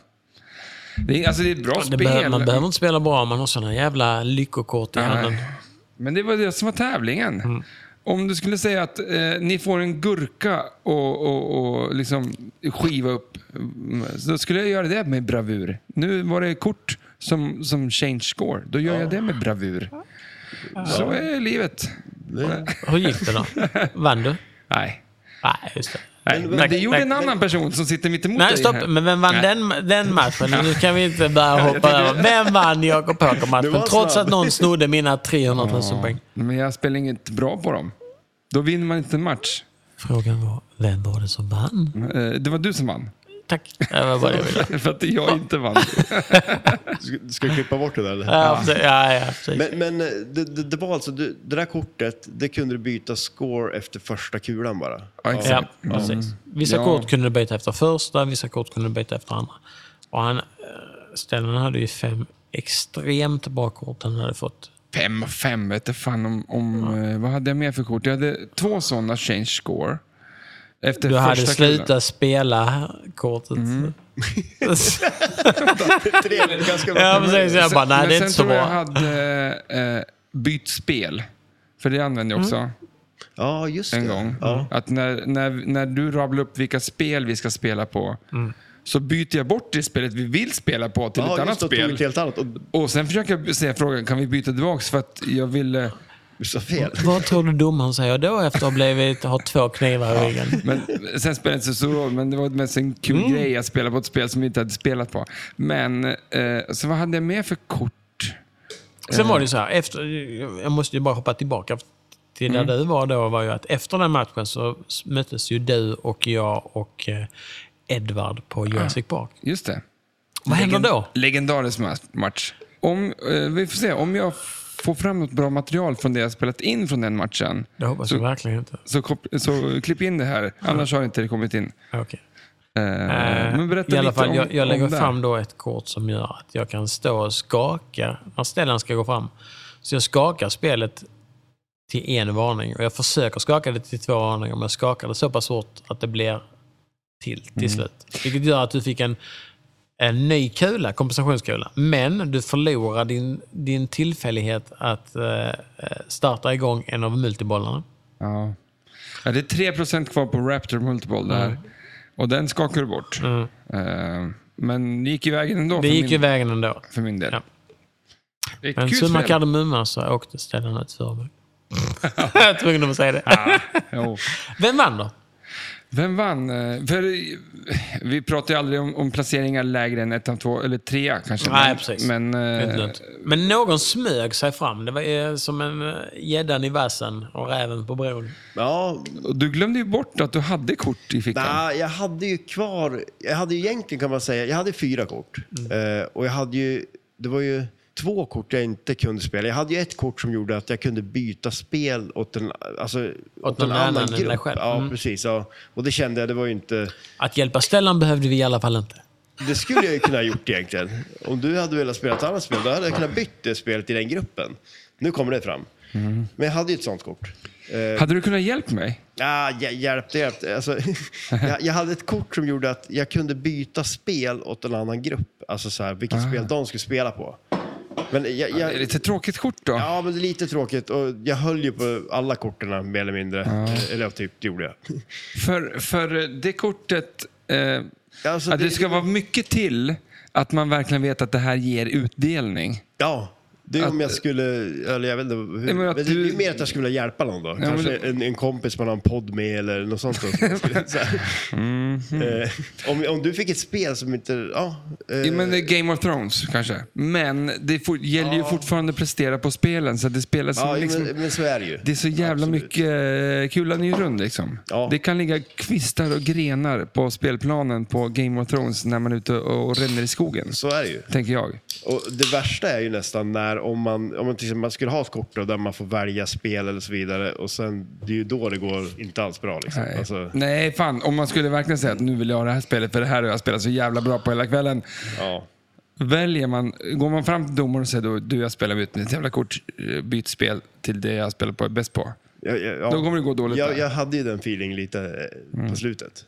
Speaker 2: Det är, alltså det är ett bra
Speaker 1: Det
Speaker 2: spel.
Speaker 1: behöver, man behöver inte spela bra om man har såna jävla lyckokort i handen.
Speaker 2: Nej. Men det var det som var tävlingen. Om du skulle säga att eh, ni får en gurka och, och, och liksom skiva upp, mm, då skulle jag göra det med bravur. Nu var det kort som, som change score. Då gör jag det med bravur. Så är livet.
Speaker 1: Hur gick det då? Vann du?
Speaker 2: Nej.
Speaker 1: Nej, just det.
Speaker 2: Nej, men, det gjorde en annan person som sitter mitt emot
Speaker 1: Nej,
Speaker 2: dig.
Speaker 1: stopp.
Speaker 2: här.
Speaker 1: Men vem vann
Speaker 2: Nej.
Speaker 1: den, den matchen? Nu kan vi inte börja hoppa över. Vem vann Jakob
Speaker 5: Det
Speaker 1: Poker-matchen?
Speaker 5: var
Speaker 1: Trots
Speaker 5: snabb.
Speaker 1: att någon snodde mina 300 000 poäng.
Speaker 2: Men jag spelar inget bra på dem. Då vinner man inte en match.
Speaker 1: Frågan var, vem var det som vann?
Speaker 2: Eh, Det var du som vann.
Speaker 1: Tack. Det var bara det jag ville.
Speaker 2: För att jag inte vann.
Speaker 5: Ska- Ska jag klippa bort det där eller?
Speaker 1: Ja, precis. ja, ja, precis.
Speaker 5: Men, men eh, det, det, det var alltså, du, det där kortet, det kunde du byta score efter första kulan bara.
Speaker 2: Ja, exakt.
Speaker 1: ja, precis. Mm. Vissa
Speaker 2: Ja.
Speaker 1: kort kunde du byta efter första, vissa kort kunde du byta efter andra. Och han, eh, Stellan hade ju fem extremt bra kort han hade fått.
Speaker 2: fem och fem vet du fan om... om eh, Vad hade jag mer för kort? Jag hade två sådana change score. Efter
Speaker 1: Du
Speaker 2: första Mm.
Speaker 1: hade
Speaker 2: kullen.
Speaker 1: slutat spela kortet.
Speaker 5: Tre, ganska bra.
Speaker 1: ja, precis. Jag bara, nej,
Speaker 2: men
Speaker 1: det är inte så
Speaker 2: sen tror jag
Speaker 1: bra.
Speaker 2: hade eh, bytt spel. För det använde jag också
Speaker 5: Ja, just
Speaker 2: en
Speaker 5: det.
Speaker 2: gång.
Speaker 5: Mm. Ja.
Speaker 2: Att när, när, när du rabblar upp vilka spel vi ska spela på.
Speaker 1: Mm.
Speaker 2: Så byter jag bort det spelet vi vill spela på till
Speaker 5: Ja, just
Speaker 2: ett annat
Speaker 5: det, tog
Speaker 2: spel.
Speaker 5: ett helt annat och
Speaker 2: Och sen försöker jag säga frågan, kan vi byta tillbaka? För att jag ville...
Speaker 5: du sa fel.
Speaker 1: Vad tror du domaren säger då efter att ha blivit, ha två knivar i ryggen?
Speaker 2: Men sen spelade det inte så stor roll, men det var mest en kul
Speaker 1: Mm.
Speaker 2: grej att spela på ett spel som vi inte hade spelat på. Men, eh, så vad hade jag med för kort?
Speaker 1: Sen var det så här, efter, jag måste ju bara hoppa tillbaka till där
Speaker 2: Mm.
Speaker 1: du var då, var ju att efter den matchen så möttes ju du och jag och eh, Edvard på Jurassic Park.
Speaker 2: Just det.
Speaker 1: Vad händer då?
Speaker 2: Legendarisk ma- match. Om, eh, vi får se, om jag får fram något bra material från det jag spelat in från den matchen,
Speaker 1: Det hoppas jag verkligen inte.
Speaker 2: så, kop- så klipp in det här. Annars har inte det kommit in.
Speaker 1: Okej.
Speaker 2: Eh, men berätta
Speaker 1: I alla
Speaker 2: lite
Speaker 1: fall,
Speaker 2: om,
Speaker 1: jag, jag lägger
Speaker 2: om det.
Speaker 1: fram då ett kort som gör att jag kan stå och skaka när Stellan ska gå fram. Så jag skakar spelet till en varning och jag försöker skaka det till två varningar men jag skakar det så pass hårt att det blir till till
Speaker 2: Mm.
Speaker 1: slut. Vilket gör att du fick en, en ny kula, kompensationskula. Men du förlorar din, din tillfällighet att eh, starta igång en av multibollarna.
Speaker 2: Ja. ja, det är 3% kvar på Raptor Multiple där. Och den skakar du bort. Eh, men det gick iväg ändå
Speaker 1: Mm. Det
Speaker 2: för,
Speaker 1: gick
Speaker 2: min,
Speaker 1: ju vägen ändå.
Speaker 2: för min del.
Speaker 1: Ja.
Speaker 2: Det är ett
Speaker 1: Men
Speaker 2: kul
Speaker 1: summa
Speaker 2: spel.
Speaker 1: kardemumma så åkte Stellan ut för mig. jag var tvungen att säga det.
Speaker 2: Jo.
Speaker 1: Vem vann då?
Speaker 2: Vem vann? Eh, För eh, vi pratar ju aldrig om, om placeringar lägre än 1, 2 eller 3 kanske.
Speaker 1: Nej,
Speaker 2: men,
Speaker 1: precis.
Speaker 2: Men, eh,
Speaker 1: Helt lugnt. Men någon smög sig fram. Det var eh, som en eh, gäddan i vassen och räven på bron.
Speaker 3: Ja,
Speaker 2: och du glömde ju bort att du hade kort i fickan.
Speaker 3: nej, jag hade ju kvar, jag hade ju egentligen kan man säga, jag hade fyra kort.
Speaker 1: Mm.
Speaker 3: Eh, och jag hade ju, det var ju två kort jag inte kunde spela. Jag hade ju ett kort som gjorde att jag kunde byta spel åt en, alltså, åt
Speaker 1: någon annan än dig själv.
Speaker 3: Ja,
Speaker 1: Mm.
Speaker 3: precis. Ja. Och det kände jag, det var ju inte...
Speaker 1: Att hjälpa Stellan behövde vi i alla fall inte.
Speaker 3: Det skulle jag ju kunna ha gjort egentligen. Om du hade velat spela ett annat spel, då hade jag kunnat byta det spelet i den gruppen. Nu kommer det fram.
Speaker 1: Mm.
Speaker 3: Men jag hade ju ett sånt kort.
Speaker 2: Hade du kunnat hjälpa mig?
Speaker 3: Ja, hj- hjälpte, hjälpte. Alltså, jag, jag hade ett kort som gjorde att jag kunde byta spel åt en annan grupp. Alltså så här, vilket spel de skulle spela på. Men jag,
Speaker 2: Ah. Det är
Speaker 3: jag,
Speaker 2: lite tråkigt kort då.
Speaker 3: ja, men det är lite tråkigt. Och jag höll ju på alla korten mer eller mindre.
Speaker 2: Ah.
Speaker 3: Eller typ, det gjorde jag.
Speaker 2: För, för det kortet... Eh,
Speaker 3: Alltså,
Speaker 2: att det,
Speaker 3: det-
Speaker 2: ska vara mycket till att man verkligen vet att det här ger utdelning.
Speaker 3: Ja, det är om
Speaker 2: Att-
Speaker 3: jag skulle... Eller jag vet inte. Hur,
Speaker 2: Nej, men
Speaker 3: men
Speaker 2: att
Speaker 3: det är
Speaker 2: du-
Speaker 3: ju mer att jag skulle vilja hjälpa någon då. Kanske
Speaker 2: men
Speaker 3: en, en kompis man har en podd med eller något sånt. Då. så här.
Speaker 2: Mhm.
Speaker 3: Eh, om, om du fick ett spel som inte... Ja, eh,
Speaker 2: Ja, men det är Game of Thrones kanske. Men det for, gäller ju fortfarande att prestera på spelen. Så det spelas
Speaker 3: ja,
Speaker 2: liksom,
Speaker 3: men, men så är det ju.
Speaker 2: Det är så jävla
Speaker 3: Absolut.
Speaker 2: mycket eh, kulan är ju rund liksom.
Speaker 3: Ja.
Speaker 2: Det kan ligga kvistar och grenar på spelplanen på Game of Thrones när man är ute och, och ränner i skogen.
Speaker 3: Så är det ju.
Speaker 2: Tänker jag.
Speaker 3: Och det värsta är ju nästan när om man, om man, till exempel, man skulle ha ett kort då, där man får välja spel eller så vidare och sen det är ju då det går inte alls bra. Liksom.
Speaker 2: Nej. Mm.
Speaker 3: Alltså,
Speaker 2: Nej, fan. Om man skulle verkligen säga att nu vill jag ha det här spelet för det här har jag spelat så jävla bra på hela kvällen.
Speaker 3: ja.
Speaker 2: Väljer man, går man fram till domaren och säger då, du jag spelar ut mitt jävla kort, eh, byt spel till det jag spelar på, bäst på.
Speaker 3: Jag, jag, ja.
Speaker 2: Då kommer det gå dåligt där. Mm.
Speaker 3: Jag, jag hade ju den feelingen lite eh, på slutet.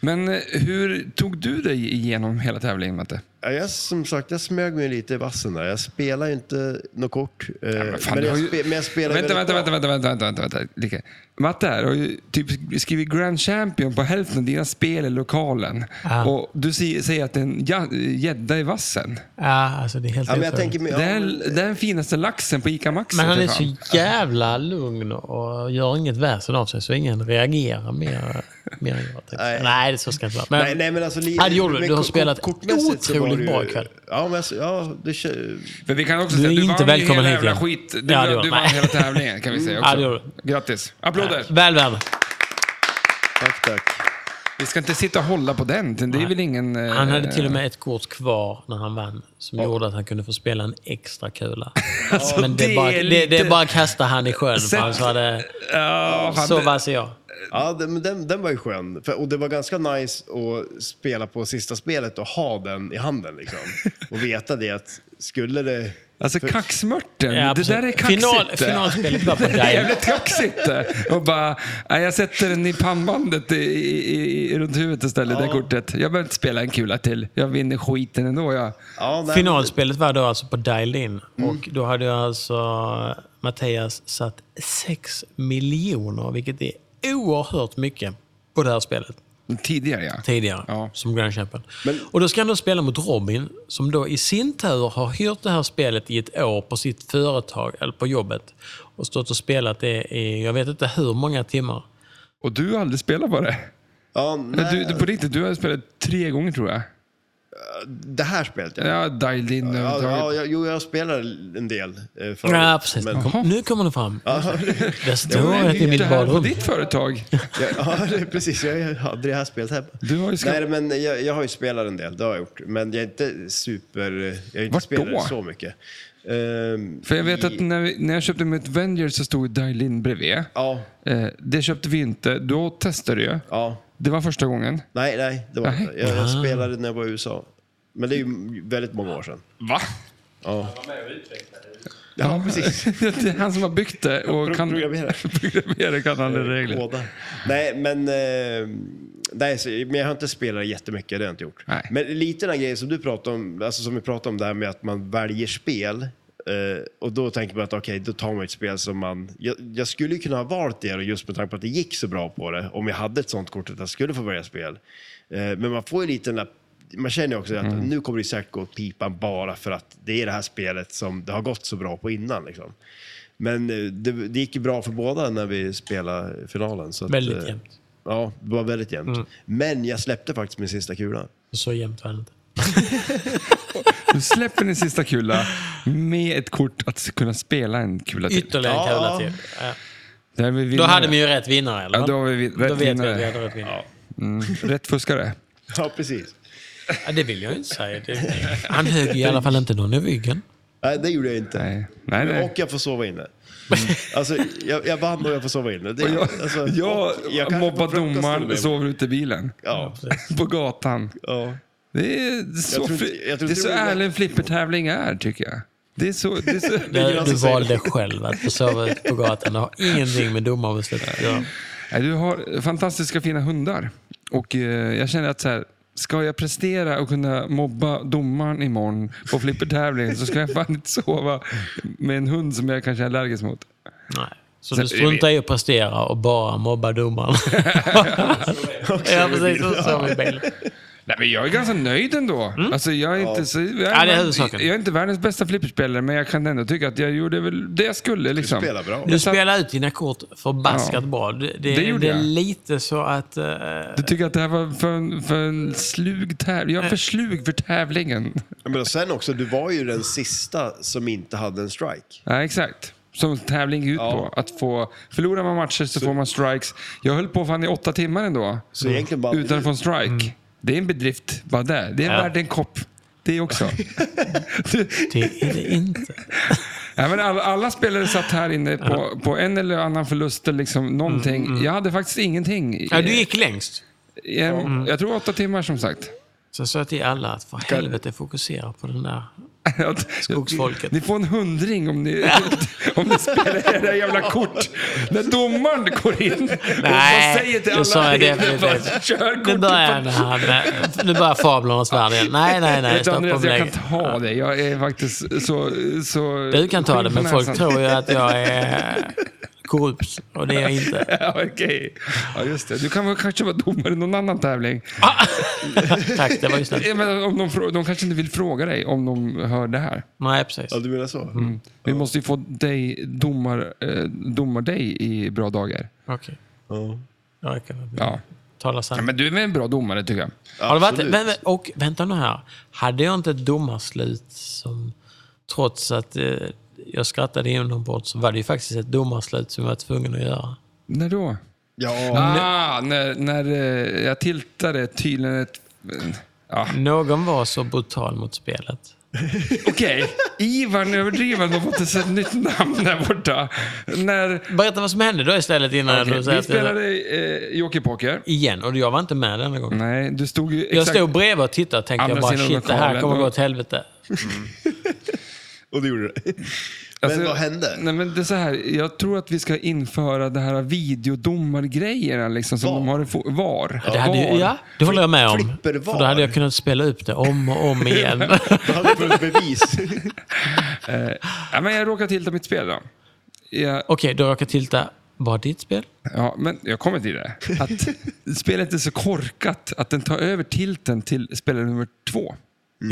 Speaker 2: Men eh, hur tog du dig igenom hela tävlingen Matte?
Speaker 3: Ja, jag, som sagt, jag smög mig lite i vassen där. Jag spelar ju inte något kort. eh,
Speaker 2: Men
Speaker 3: men,
Speaker 2: fan, du
Speaker 3: jag
Speaker 2: har ju-
Speaker 3: spe, men jag spelar
Speaker 2: vänta,
Speaker 3: väldigt
Speaker 2: vänta,
Speaker 3: bra.
Speaker 2: vänta, vänta, vänta, vänta, vänta, vänta. Lika. Matte här har ju typ skrivit Grand Champion på hälften av dina spel i lokalen.
Speaker 1: Ah.
Speaker 2: Och du säger, säger att det är en ja- gädda i vassen.
Speaker 1: Ja, alltså det är helt
Speaker 3: Ja, men jag
Speaker 1: otroligt.
Speaker 3: tänker, men, ja,
Speaker 2: det, är,
Speaker 3: men-
Speaker 2: det är den finaste laxen på ICA Maxi.
Speaker 1: Men han
Speaker 2: för
Speaker 1: är
Speaker 2: fan.
Speaker 1: så jävla lugn och gör inget väsen av sig så ingen reagerar mer, mer än jag. tänkte.
Speaker 3: Nej.
Speaker 1: Nej, det så ska det inte vara.
Speaker 3: Nej, nej, men alltså, li-
Speaker 1: Ja, det gjorde du.
Speaker 3: men
Speaker 1: Du har
Speaker 3: kort-
Speaker 1: spelat
Speaker 3: kortmässigt så var
Speaker 1: otroligt
Speaker 3: det ju-
Speaker 1: bra ikväll.
Speaker 3: Ja, men alltså, ja, det kö-
Speaker 2: För vi kan också
Speaker 1: Du
Speaker 2: säga
Speaker 1: är
Speaker 2: att du
Speaker 1: inte
Speaker 2: vann ju
Speaker 1: välkommen
Speaker 2: hela
Speaker 1: hit
Speaker 2: jävla
Speaker 1: igen.
Speaker 2: skit. Du,
Speaker 1: Ja, det var-
Speaker 2: du vann
Speaker 1: nej.
Speaker 2: hela tävlingen kan vi säga
Speaker 1: Ja, det
Speaker 2: också.
Speaker 1: gjorde
Speaker 2: Grattis. Applåder.
Speaker 1: Väl värd.
Speaker 3: Tack, tack.
Speaker 2: Vi ska inte sitta och hålla på den. Det är väl ingen... eh,
Speaker 1: Han hade till och med ett kort kvar när han vann som gjorde att han kunde få spela en extra kula. men det,
Speaker 2: Alltså, det
Speaker 1: är bara,
Speaker 2: är
Speaker 1: det, det
Speaker 2: lite-
Speaker 1: är bara kastade han i sjön.
Speaker 2: Sätt-
Speaker 1: För han sa det,
Speaker 2: Ja, fan,
Speaker 1: så
Speaker 2: det-
Speaker 1: vass är jag.
Speaker 3: Ja, den, men den, den var ju skön. För, och det var ganska nice att spela på sista spelet och ha den i handen. Liksom. Och veta det att skulle det...
Speaker 2: Alltså kaxmörten,
Speaker 1: Ja,
Speaker 2: det
Speaker 1: absolut.
Speaker 2: där är kaxigt.
Speaker 1: Final-
Speaker 2: det.
Speaker 1: finalspelet var på
Speaker 2: Det är
Speaker 1: dig.
Speaker 2: jävligt kaxigt. det. Och bara, nej, jag sätter den i pannbandet i, i, i, runt huvudet istället, det kortet. Jag behöver inte spela en kula till. Jag vinner skiten ändå. Jag.
Speaker 3: Ja, nej,
Speaker 1: Finalspelet var då alltså på Dial In.
Speaker 2: Mm.
Speaker 1: Och då hade jag alltså Mattias satt 6 miljoner, vilket är oerhört mycket, på det här spelet
Speaker 2: Tidigare ja.
Speaker 1: tidigare
Speaker 2: Ja.
Speaker 1: som Grand Champion. Och då ska han då spela mot Robin, som då i sin tur har hyrt det här spelet i ett år på sitt företag, eller på jobbet, och stått och spelat det i, jag vet inte hur många timmar.
Speaker 2: Och du har aldrig spelat på det?
Speaker 3: Ja,
Speaker 2: Nej.
Speaker 3: nej,
Speaker 2: Du, du, på riktigt, du har spelat tre gånger tror jag.
Speaker 3: Det här spelet, ja.
Speaker 2: Ja, dialed in
Speaker 3: Ja, ja,
Speaker 2: överhuvudtaget.
Speaker 3: ja, jo, jag spelar en del. Eh, förut.
Speaker 1: Ja, precis.
Speaker 3: Men-
Speaker 1: Kom, nu kommer det fram. Det står
Speaker 2: Men
Speaker 1: att det är
Speaker 2: det
Speaker 1: mitt
Speaker 2: här på
Speaker 1: badrum.
Speaker 2: ditt företag.
Speaker 3: Ja, ja, det är precis. Jag hade det här spelet hemma.
Speaker 2: Du har ju skaff-
Speaker 3: Nej, men jag, jag har ju spelat en del, det har jag gjort. Men jag är inte super... Jag har inte
Speaker 2: Vart
Speaker 3: spelat
Speaker 2: då?
Speaker 3: så mycket. Ehm,
Speaker 2: För jag vet
Speaker 3: i-
Speaker 2: att när, vi, när jag köpte mitt Venger så stod dialed in bredvid.
Speaker 3: Ja,
Speaker 2: Eh, det köpte vi inte. Då testade du ju.
Speaker 3: ja.
Speaker 2: Det var första gången.
Speaker 3: Nej, nej, det var
Speaker 2: Nej.
Speaker 3: inte. Jag, jag spelade när jag var i USA. Men det är ju väldigt många år sedan.
Speaker 2: Va?
Speaker 3: Ja,
Speaker 2: Ja, precis. det är han som har byggt det och kan...
Speaker 3: programmera.
Speaker 2: programmera kan
Speaker 5: Eh,
Speaker 2: alla regler.
Speaker 3: Båda. Nej, men... Eh, nej, så, men jag har inte spelat jättemycket, det har jag inte gjort.
Speaker 2: Nej.
Speaker 3: Men lite den här grejen som du pratade om, alltså som vi pratade om det här med att man väljer spel. Eh, och då tänker man att okej, då tar man ett spel som man... Jag, jag skulle ju kunna ha valt det just med tanke på att det gick så bra på det. Om jag hade ett sånt kort att jag skulle få välja spel. Eh, men man får ju lite den där... Man känner ju också att
Speaker 1: Mm.
Speaker 3: nu kommer det säkert gå åt pipan bara för att det är det här spelet som det har gått så bra på innan. Liksom. Men eh, det, det gick ju bra för båda när vi spelade finalen. Så att,
Speaker 1: Väldigt
Speaker 3: eh,
Speaker 1: jämnt. Mm.
Speaker 5: Ja, det var väldigt jämnt. Men jag släppte faktiskt min sista kula.
Speaker 1: Så jämnt var det inte.
Speaker 2: Du släpper din sista kula med ett kort att kunna spela en kula till.
Speaker 1: Ytterligare en
Speaker 5: Ja.
Speaker 1: kula till. Ja.
Speaker 2: Där är vi
Speaker 1: Då
Speaker 2: vinnare.
Speaker 1: hade vi ju rätt vinnare, eller?
Speaker 2: Ja, då har vi vi-
Speaker 1: då
Speaker 2: rätt
Speaker 1: vet vi
Speaker 2: vinnare.
Speaker 1: att vi hade rätt vinnare.
Speaker 2: Mm. Rätt fuskare.
Speaker 5: Ja, precis.
Speaker 1: Ja. det vill jag ju inte säga. Det... Han högg i alla fall inte någon i ryggen.
Speaker 5: Nej, det gjorde jag inte.
Speaker 2: Nej, nej. nej.
Speaker 5: Och jag får sova inne. Alltså, jag, jag vann och jag får sova inne. Det,
Speaker 2: Jag,
Speaker 5: alltså,
Speaker 2: jag,
Speaker 5: och kanske
Speaker 2: mobbar
Speaker 5: får frukosten
Speaker 2: domaren,
Speaker 5: med.
Speaker 2: sover ute i bilen.
Speaker 5: Ja,
Speaker 2: På gatan.
Speaker 5: ja.
Speaker 2: Det är så,
Speaker 5: tror inte-
Speaker 2: fri-
Speaker 5: jag tror
Speaker 2: det är
Speaker 5: inte
Speaker 2: så
Speaker 5: det blir-
Speaker 2: ärlig flippertävling är, tycker jag. Det är så... Det är så
Speaker 1: Du,
Speaker 5: jag
Speaker 1: du
Speaker 5: som säger
Speaker 1: valde själv att få sova ute på gatan. Det har ingenting med domarbeslutet att göra.
Speaker 2: Nej, du har fantastiska fina hundar. Och eh, jag känner att så här, ska jag prestera och kunna mobba domaren imorgon på flippertävlingen så ska jag fan inte sova med en hund som jag kanske är allergisk mot.
Speaker 1: Nej. Så du struntar i att prestera och bara mobbar domaren. ja, precis. Så sa vi i bilen.
Speaker 2: Nej, men jag är ganska nöjd ändå. Alltså, jag, är inte så, jag,
Speaker 1: Ja, Mm. det är huvudsaken.
Speaker 2: jag är inte världens bästa flipperspelare, men jag kan ändå tycka att jag gjorde väl det jag skulle. Liksom.
Speaker 5: spelar bra.
Speaker 1: Du
Speaker 2: Jag satt-
Speaker 1: spelar ut dina kort förbaskat
Speaker 2: Ja.
Speaker 1: bra. Det, det,
Speaker 2: Det gjorde
Speaker 1: det är
Speaker 2: jag.
Speaker 1: lite så att... eh,
Speaker 2: Du tycker att det här var för en, för en slug tävling? Jag är för slug för tävlingen.
Speaker 5: Men och sen också, du var ju den sista som inte hade en strike.
Speaker 2: Ja, exakt. Som tävling går ut på. Att få, förlorar man matcher så, får man strikes. Jag höll på fan i åtta timmar ändå.
Speaker 5: Så egentligen bara...
Speaker 2: Utan att få en strike. Det är en bedrift. Bara där. Det är
Speaker 1: Mm. Ja.
Speaker 2: värd en kopp. Det också.
Speaker 1: Det är det inte.
Speaker 2: ja, men alla, alla spelare satt här inne på, på en eller annan förlust. eller Liksom, någonting. Jag hade faktiskt ingenting.
Speaker 1: Mm, Ja, du gick längst.
Speaker 2: jag, jag tror åtta timmar som sagt.
Speaker 1: Så jag sa till alla att för helvete fokusera på den där.
Speaker 2: Att-
Speaker 1: Skogsfolket.
Speaker 2: Ni får en hundring om ni, om ni spelar era jävla kort. När domaren går in och
Speaker 1: Nej,
Speaker 2: bara säger till
Speaker 1: då
Speaker 2: alla
Speaker 1: sa jag
Speaker 2: inne,
Speaker 1: definitivt.
Speaker 2: bara, Kör
Speaker 1: Nu
Speaker 2: kortet
Speaker 1: börjar,
Speaker 2: på
Speaker 1: den här med, nu börjar fablernas värld igen. Nej, nej, nej.
Speaker 2: Vet du,
Speaker 1: Stopp
Speaker 2: Andreas, jag kan
Speaker 1: omlägg.
Speaker 2: ta det. Jag är faktiskt så... så
Speaker 1: Du kan ta det, men folk
Speaker 2: näsan.
Speaker 1: tror ju att jag är eh, korrupt. Och det är jag inte.
Speaker 2: Ja, Okej. Ja, just det. Du kan väl kanske vara domare i någon annan tävling.
Speaker 1: Tack, det var ju snällt.
Speaker 2: Jag menar, om de, frå- de kanske inte vill fråga dig om de hör det här.
Speaker 1: Nej, precis.
Speaker 5: Ja, du menar så?
Speaker 2: Vi måste ju få dig, domar, eh, domar dig i bra dagar.
Speaker 1: Okej. Ja, jag kan
Speaker 2: Ja.
Speaker 1: tala
Speaker 2: ja
Speaker 1: sanning.
Speaker 2: men du är väl en bra domare, tycker jag.
Speaker 1: Har det varit,
Speaker 5: absolut.
Speaker 1: men, men- och vänta nu här. Hade jag inte ett domarslut som... Trots att eh, jag skrattade igenombords så var det ju faktiskt ett domarslut som jag var tvungen att göra.
Speaker 2: När då?
Speaker 5: Ja,
Speaker 2: Ah, när, när eh, jag tiltade tydligen ett... Ja.
Speaker 1: Någon var så brutal mot spelet.
Speaker 2: Okej, Ivan Överdrivande har fått ett nytt namn där borta. När,
Speaker 1: Berätta vad som hände då istället innan du säger
Speaker 2: vi
Speaker 1: att jag...
Speaker 2: spelade eh, jockeypoker.
Speaker 1: Igen, och jag var inte med denna gången.
Speaker 2: Nej, du stod ju
Speaker 1: Jag
Speaker 2: exakt...
Speaker 1: stod bredvid och tittade och tänkte
Speaker 2: Andra
Speaker 1: jag bara
Speaker 2: sidan
Speaker 1: shit, det här
Speaker 2: lokalen,
Speaker 1: kommer
Speaker 2: då-
Speaker 1: gå åt helvete.
Speaker 5: och det gjorde det.
Speaker 2: Alltså,
Speaker 5: Men vad hände?
Speaker 2: Nej, men det är så här, jag tror att vi ska införa det här videodomargrejerna liksom, som de har i fo- VAR.
Speaker 1: Det, hade
Speaker 2: VAR.
Speaker 1: ju, ja, det håller jag med om.
Speaker 5: Flipper var.
Speaker 1: För då hade jag kunnat spela upp det om och om igen.
Speaker 5: Då hade du fått bevis.
Speaker 2: Ja, men jag råkade tilta mitt spel då. Jag,
Speaker 1: Okej, då råkar tilta. Var ditt spel?
Speaker 2: Ja, men jag kommer till det. Att spelet är så korkat att den tar över tilten till spelare nummer två.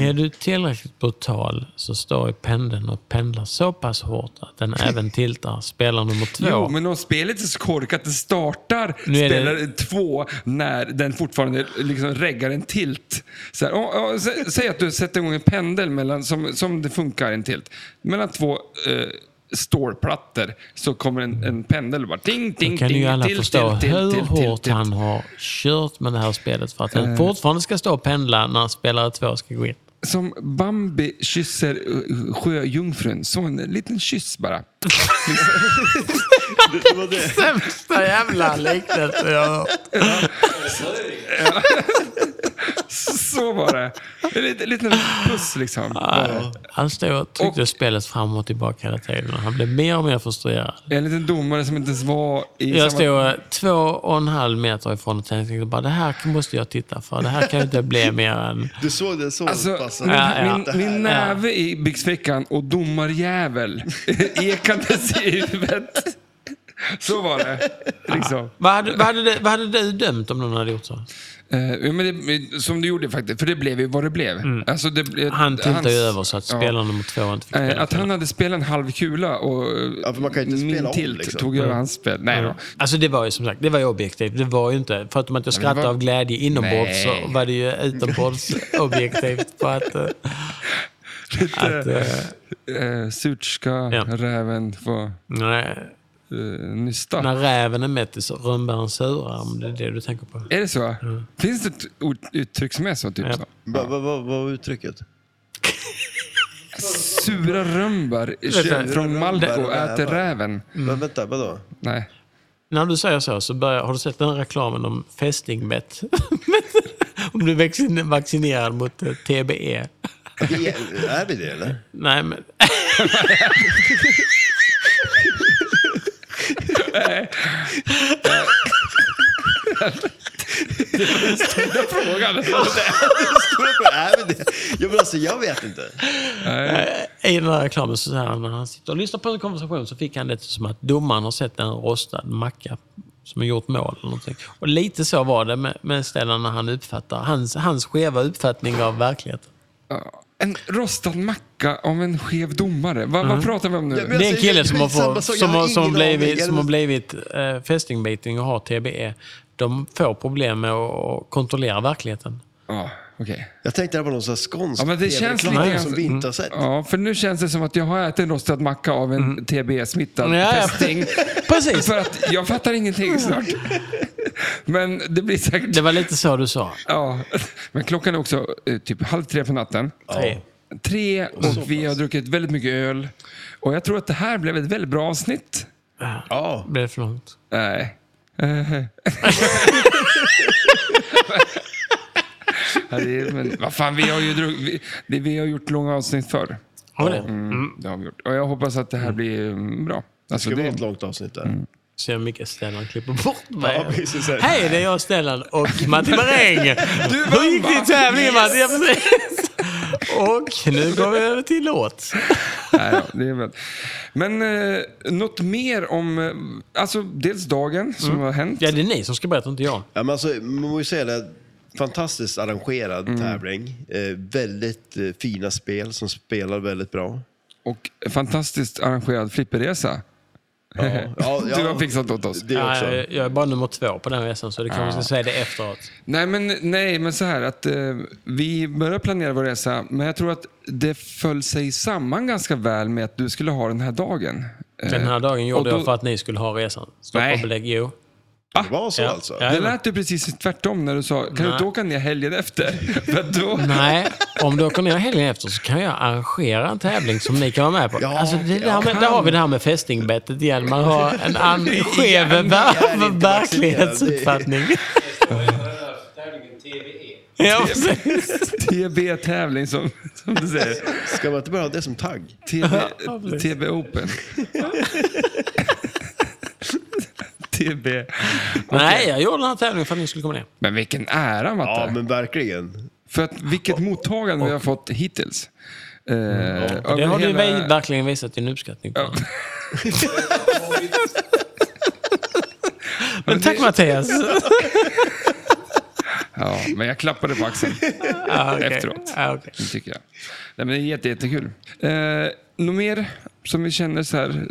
Speaker 1: Är du tillräckligt brutal så står i pendeln och pendlar så pass hårt att den även tiltar spelare nummer två.
Speaker 2: Jo, men om spelet är så korkat att det startar
Speaker 1: Nu är det-
Speaker 2: spelare två när den fortfarande liksom reggar en tilt. Så här, ja, ja, sä- säg att du sätter igång en pendel mellan, som, som det funkar i en tilt. Mellan två eh, stålplattor så kommer en, en pendel och bara ding,
Speaker 1: Då
Speaker 2: ding,
Speaker 1: kan
Speaker 2: ding,
Speaker 1: ju alla
Speaker 2: tilt,
Speaker 1: förstå
Speaker 2: tilt, tilt,
Speaker 1: hur
Speaker 2: tilt, tilt,
Speaker 1: hårt
Speaker 2: tilt.
Speaker 1: han har kört med det här spelet för att den fortfarande ska stå och pendla när spelare två ska gå in.
Speaker 2: Som Bambi kysser eh, sjöjungfrun. Så en liten kyss bara.
Speaker 5: Det var det.
Speaker 1: Sämsta jävla liknelse jag har
Speaker 2: Så var det. En liten, liten puss liksom.
Speaker 1: Han stod och tryckte spelet fram och tillbaka hela tiden och han blev mer och mer frustrerad.
Speaker 2: En liten domare som inte ens var i
Speaker 1: Jag
Speaker 2: samma...
Speaker 1: stod eh, två och en halv meter ifrån och tänkte bara det här måste jag titta för. Det här kan ju inte bli mer än...
Speaker 5: Du såg det så
Speaker 2: Alltså,
Speaker 5: pass.
Speaker 2: min,
Speaker 1: Ja, ja.
Speaker 2: min, min näve i byxfickan och domarjävel ekandes i huvudet. Så var det. Liksom.
Speaker 1: Vad hade, vad, hade du, vad hade du dömt om någon hade gjort så?
Speaker 2: Eh, jo, men det, som du gjorde faktiskt, för det blev ju vad det blev. Alltså, det, blev-
Speaker 1: Mm. Han tiltade ju
Speaker 2: hans-
Speaker 1: över så att
Speaker 2: ja.
Speaker 1: spelaren nummer två inte fick
Speaker 2: Eh,
Speaker 1: spela.
Speaker 2: Att han hade spelat en halv kula och eh,
Speaker 5: Ja, för man kan ju inte
Speaker 2: min
Speaker 5: spela om,
Speaker 2: tilt
Speaker 5: liksom.
Speaker 2: tog
Speaker 1: Mm.
Speaker 2: över hans spel. Nej då.
Speaker 1: Alltså det var ju som sagt, det var ju objektivt. Det var ju inte, förutom att jag skrattade
Speaker 2: var-
Speaker 1: av glädje inombords
Speaker 2: Nej.
Speaker 1: så var det ju utombords objektivt för att... eh, att eh,
Speaker 2: Eh, surt ska
Speaker 1: Ja.
Speaker 2: räven få
Speaker 1: nej,
Speaker 2: eh, nysta.
Speaker 1: när räven är mätt så är rönnbären sura, om det är det du tänker på.
Speaker 2: Är det så? Finns det ett ord- uttryck som är så? Typ
Speaker 1: Mm. Ja.
Speaker 2: så?
Speaker 5: Vad va, va, vad var uttrycket?
Speaker 2: Sura rönnbär
Speaker 1: Vänta.
Speaker 2: från Malco
Speaker 5: Rönnbär,
Speaker 2: äter
Speaker 5: rönnbär.
Speaker 2: räven.
Speaker 5: Va, vänta, vadå?
Speaker 2: Nej.
Speaker 1: När du säger så, så börjar, har du sett den här reklamen om fästingmätt? om du är vaccin- vaccinerad mot eh, TBE?
Speaker 5: Vi, är vi det eller?
Speaker 1: Nej, men...
Speaker 5: är vi det? Ja, men alltså, jag vet inte.
Speaker 1: I den här reklamen så säger han, när han sitter och lyssnar på en konversation så fick han det som att domaren har sett en rostad macka som har gjort mål eller någonting. Och lite så var det med, med Stellan när han uppfattar, hans, hans skeva uppfattning av verkligheten.
Speaker 2: Ja. En rostad macka av en skev domare. Va,
Speaker 1: Mm.
Speaker 2: Vad pratar vi om nu?
Speaker 5: Ja, men-
Speaker 1: Det är en
Speaker 5: alltså,
Speaker 1: kille
Speaker 5: jag-
Speaker 1: som har,
Speaker 5: samma
Speaker 1: fått,
Speaker 5: sak, jag
Speaker 1: som
Speaker 5: har
Speaker 1: har, som har
Speaker 5: ingen aning.
Speaker 1: blivit, som har
Speaker 5: Jag-
Speaker 1: blivit eh, fästingbiting och har TBE. De får problem med att kontrollera verkligheten.
Speaker 2: Ja, okej.
Speaker 5: Jag tänkte det var någon sån här skånsk
Speaker 2: Ja, men det känns
Speaker 5: tv-reklam
Speaker 2: lite grann- mm.
Speaker 5: som vi inte har sett.
Speaker 2: Ja, för nu känns det som att jag har ätit en rostad macka av en TB-smittad
Speaker 1: Mm. Ja, ja.
Speaker 2: fästing.
Speaker 1: Precis!
Speaker 2: För att jag fattar ingenting snart. Men det blir säkert...
Speaker 1: Det var lite så du sa.
Speaker 2: Ja. Men klockan är också eh, typ halv tre på natten.
Speaker 1: Tre.
Speaker 2: Tre och vi har druckit väldigt mycket öl. Och jag tror att det här blev ett väldigt bra avsnitt.
Speaker 5: Ja.
Speaker 1: Blev det för långt?
Speaker 2: Nej. Eh. Ja, det är- Men vad fan, vi har ju druck, vi, det, vi har gjort långa avsnitt förr.
Speaker 1: Har vi det?
Speaker 2: Mm, det har vi gjort. Och jag hoppas att det här blir mm, bra. Alltså,
Speaker 5: Det var
Speaker 2: det, Mm.
Speaker 5: ett långt avsnitt där.
Speaker 1: Se hur mycket Stellan klipper bort mig.
Speaker 5: Ja, precis.
Speaker 1: Hej, det är jag Stellan och Matti Maräng. Hur gick det i tävlingen Matti? Ja, precis. Och nu går vi över till låt.
Speaker 2: nej, ja, det är väl. Men eh, något mer om, eh, alltså dels dagen som har hänt.
Speaker 1: Ja, det är ni som ska berätta, inte jag.
Speaker 5: Ja, men alltså, man måste säga det. Fantastiskt arrangerad
Speaker 2: Mm.
Speaker 5: tävling. Eh, väldigt eh, fina spel som spelar väldigt bra.
Speaker 2: Och fantastiskt arrangerad flipperresa.
Speaker 5: Ja, ja,
Speaker 2: Du har fixat åt oss.
Speaker 5: Det också.
Speaker 1: Nej, jag är bara nummer två på den resan, så det kanske vi ska säga det efteråt.
Speaker 2: Nej men, nej, men så här att eh, vi började planera vår resa, men jag tror att det föll sig samman ganska väl med att du skulle ha den här dagen. Eh,
Speaker 1: Den här dagen gjorde
Speaker 2: och då-
Speaker 1: jag för att ni skulle ha resan. Stopp
Speaker 2: Nej.
Speaker 1: och belägg. Jo.
Speaker 5: Det var så alltså?
Speaker 2: det
Speaker 1: Ja,
Speaker 2: lät ju precis tvärtom när du sa, kan du
Speaker 1: Nej.
Speaker 2: inte åka ner helgen efter? För då,
Speaker 1: Nej, om du åker ner helgen efter så kan jag arrangera en tävling som ni kan vara med på.
Speaker 5: Ja,
Speaker 1: alltså, det där, med, där har vi det här med fästingbettet igen. Man har en an- skev
Speaker 5: är
Speaker 1: ver-
Speaker 5: inte
Speaker 1: verklighetsuppfattning. Ja, precis.
Speaker 2: TB-tävling som, som du säger.
Speaker 5: Ska man inte bara ha det som tagg?
Speaker 2: TB,
Speaker 1: Ja, precis.
Speaker 2: TB Open. TB.
Speaker 1: Nej, jag gjorde den här tävlingen för att ni skulle komma ner.
Speaker 2: Men vilken ära Matte.
Speaker 5: Ja, men verkligen.
Speaker 1: Mm.
Speaker 2: För att vilket mottagande vi har fått hittills. Eh,
Speaker 1: Mm, Det
Speaker 2: över
Speaker 1: har ni
Speaker 2: hela-
Speaker 1: väl verkligen visat din uppskattning på. Men tack Mattias.
Speaker 2: Ja, men jag klappade på axeln.
Speaker 1: Ja, okej.
Speaker 2: Efteråt.
Speaker 1: Ja, okej.
Speaker 2: Det tycker jag. Nej, men det är jätte, jättekul. Eh, något mer som vi känner så här.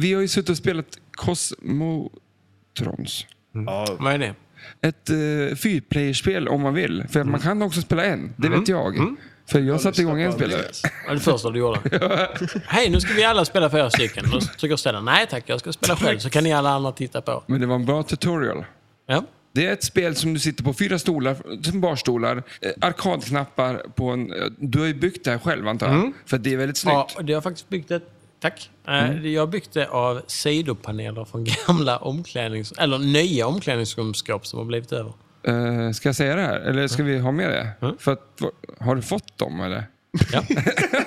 Speaker 2: Vi har ju suttit och spelat Cosmotrons.
Speaker 5: Ja,
Speaker 1: Vad är det?
Speaker 2: Ett eh, fyrplayerspel om man vill. För man kan också spela en, det vet jag. För jag satte igång en spelare.
Speaker 1: Det var det första du gjorde. Hej, nu ska vi alla spela fyra stycken. Då tycker Stellan, nej tack, jag ska spela själv så kan ni alla andra titta på.
Speaker 2: Men det var en bra tutorial.
Speaker 1: Ja.
Speaker 2: Det är ett spel som du sitter på fyra stolar, som barstolar, eh, arkadknappar på en... eh, Du har ju byggt det här själv antar jag? För det är väldigt snyggt.
Speaker 1: Ja, och det har faktiskt byggt ett... Tack. Eh, Jag har byggt det av sidopaneler från gamla omklädnings... Eller nya omklädningsrumsskåp som har blivit över.
Speaker 2: Eh, ska jag säga det här? Eller ska vi ha med det? För att, va- har du fått dem eller?
Speaker 1: Ja.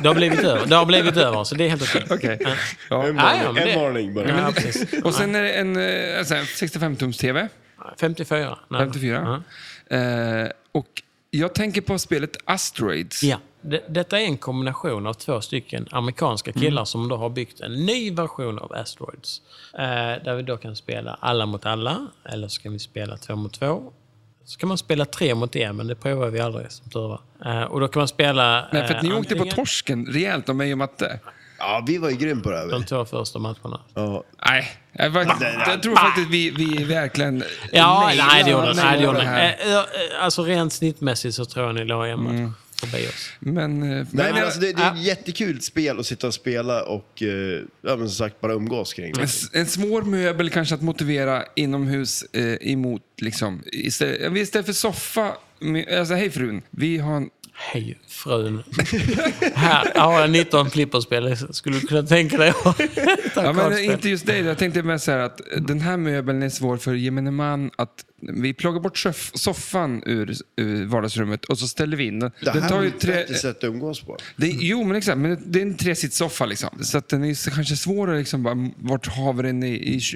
Speaker 1: Det har blivit över. Det har blivit över, så det är helt okej.
Speaker 2: Okej.
Speaker 5: en
Speaker 2: Ja.
Speaker 1: Nej,
Speaker 5: varning,
Speaker 1: ja, men
Speaker 5: en
Speaker 1: det-
Speaker 5: varning bara.
Speaker 1: Ja, precis.
Speaker 2: Och sen är det en, eh, alltså en 65-tums-TV,
Speaker 1: 54. Nej.
Speaker 2: 54. Eh, och jag tänker på spelet Asteroids.
Speaker 1: Ja. det, detta är en kombination av två stycken amerikanska
Speaker 2: Mm.
Speaker 1: killar som då har byggt en ny version av Asteroids. Eh, där vi då kan spela alla mot alla, eller så kan vi spela två mot två. Så kan man spela tre mot en, men det provar vi aldrig som tur var. Eh, och då kan man spela...
Speaker 2: Nej, för att ni
Speaker 1: eh,
Speaker 2: åkte på
Speaker 1: antingen
Speaker 2: torsken rejält av mig och Matte.
Speaker 5: Ja, vi var ju grym på det här.
Speaker 1: De
Speaker 5: vi.
Speaker 1: två första matcherna.
Speaker 5: Ja.
Speaker 2: Nej, jag, var, jag tror faktiskt vi, vi verkligen...
Speaker 1: Ja, nej, det gjorde den.
Speaker 2: nailade
Speaker 1: Nej, det gjorde den.
Speaker 2: här. Mm.
Speaker 1: Eh, eh, Alltså rent snittmässigt så tror jag ni låg en match förbi oss.
Speaker 2: Men... eh,
Speaker 5: Nej,
Speaker 2: men-
Speaker 5: men alltså, det, det är ett
Speaker 1: ja.
Speaker 5: jättekul spel att sitta och spela och eh, ja, men som sagt bara umgås kring.
Speaker 2: En,
Speaker 5: Det.
Speaker 2: s- en svår möbel kanske att motivera inomhus eh, emot liksom. Istället, ja, vi istället för soffa, med, alltså hej frun, vi har en...
Speaker 1: Hej frun. Här jag har jag 19 flipperspel. Skulle du kunna tänka dig att ta
Speaker 2: Ja, men
Speaker 1: kardspel?
Speaker 2: inte just dig, jag tänkte mer så här att eh, den här möbeln är svår för gemene man att vi plockar bort soff, soffan ur, ur vardagsrummet och så ställer vi in den.
Speaker 5: Det
Speaker 2: den
Speaker 5: här
Speaker 2: tar
Speaker 5: är
Speaker 2: ju
Speaker 5: ju ett
Speaker 2: tre,
Speaker 5: bättre sätt att umgås på.
Speaker 2: det,
Speaker 1: Mm.
Speaker 2: är- jo, men exakt, men det är en tresitssoffa liksom. Så att den är så, kanske svårare liksom, bara, vart har vi den i,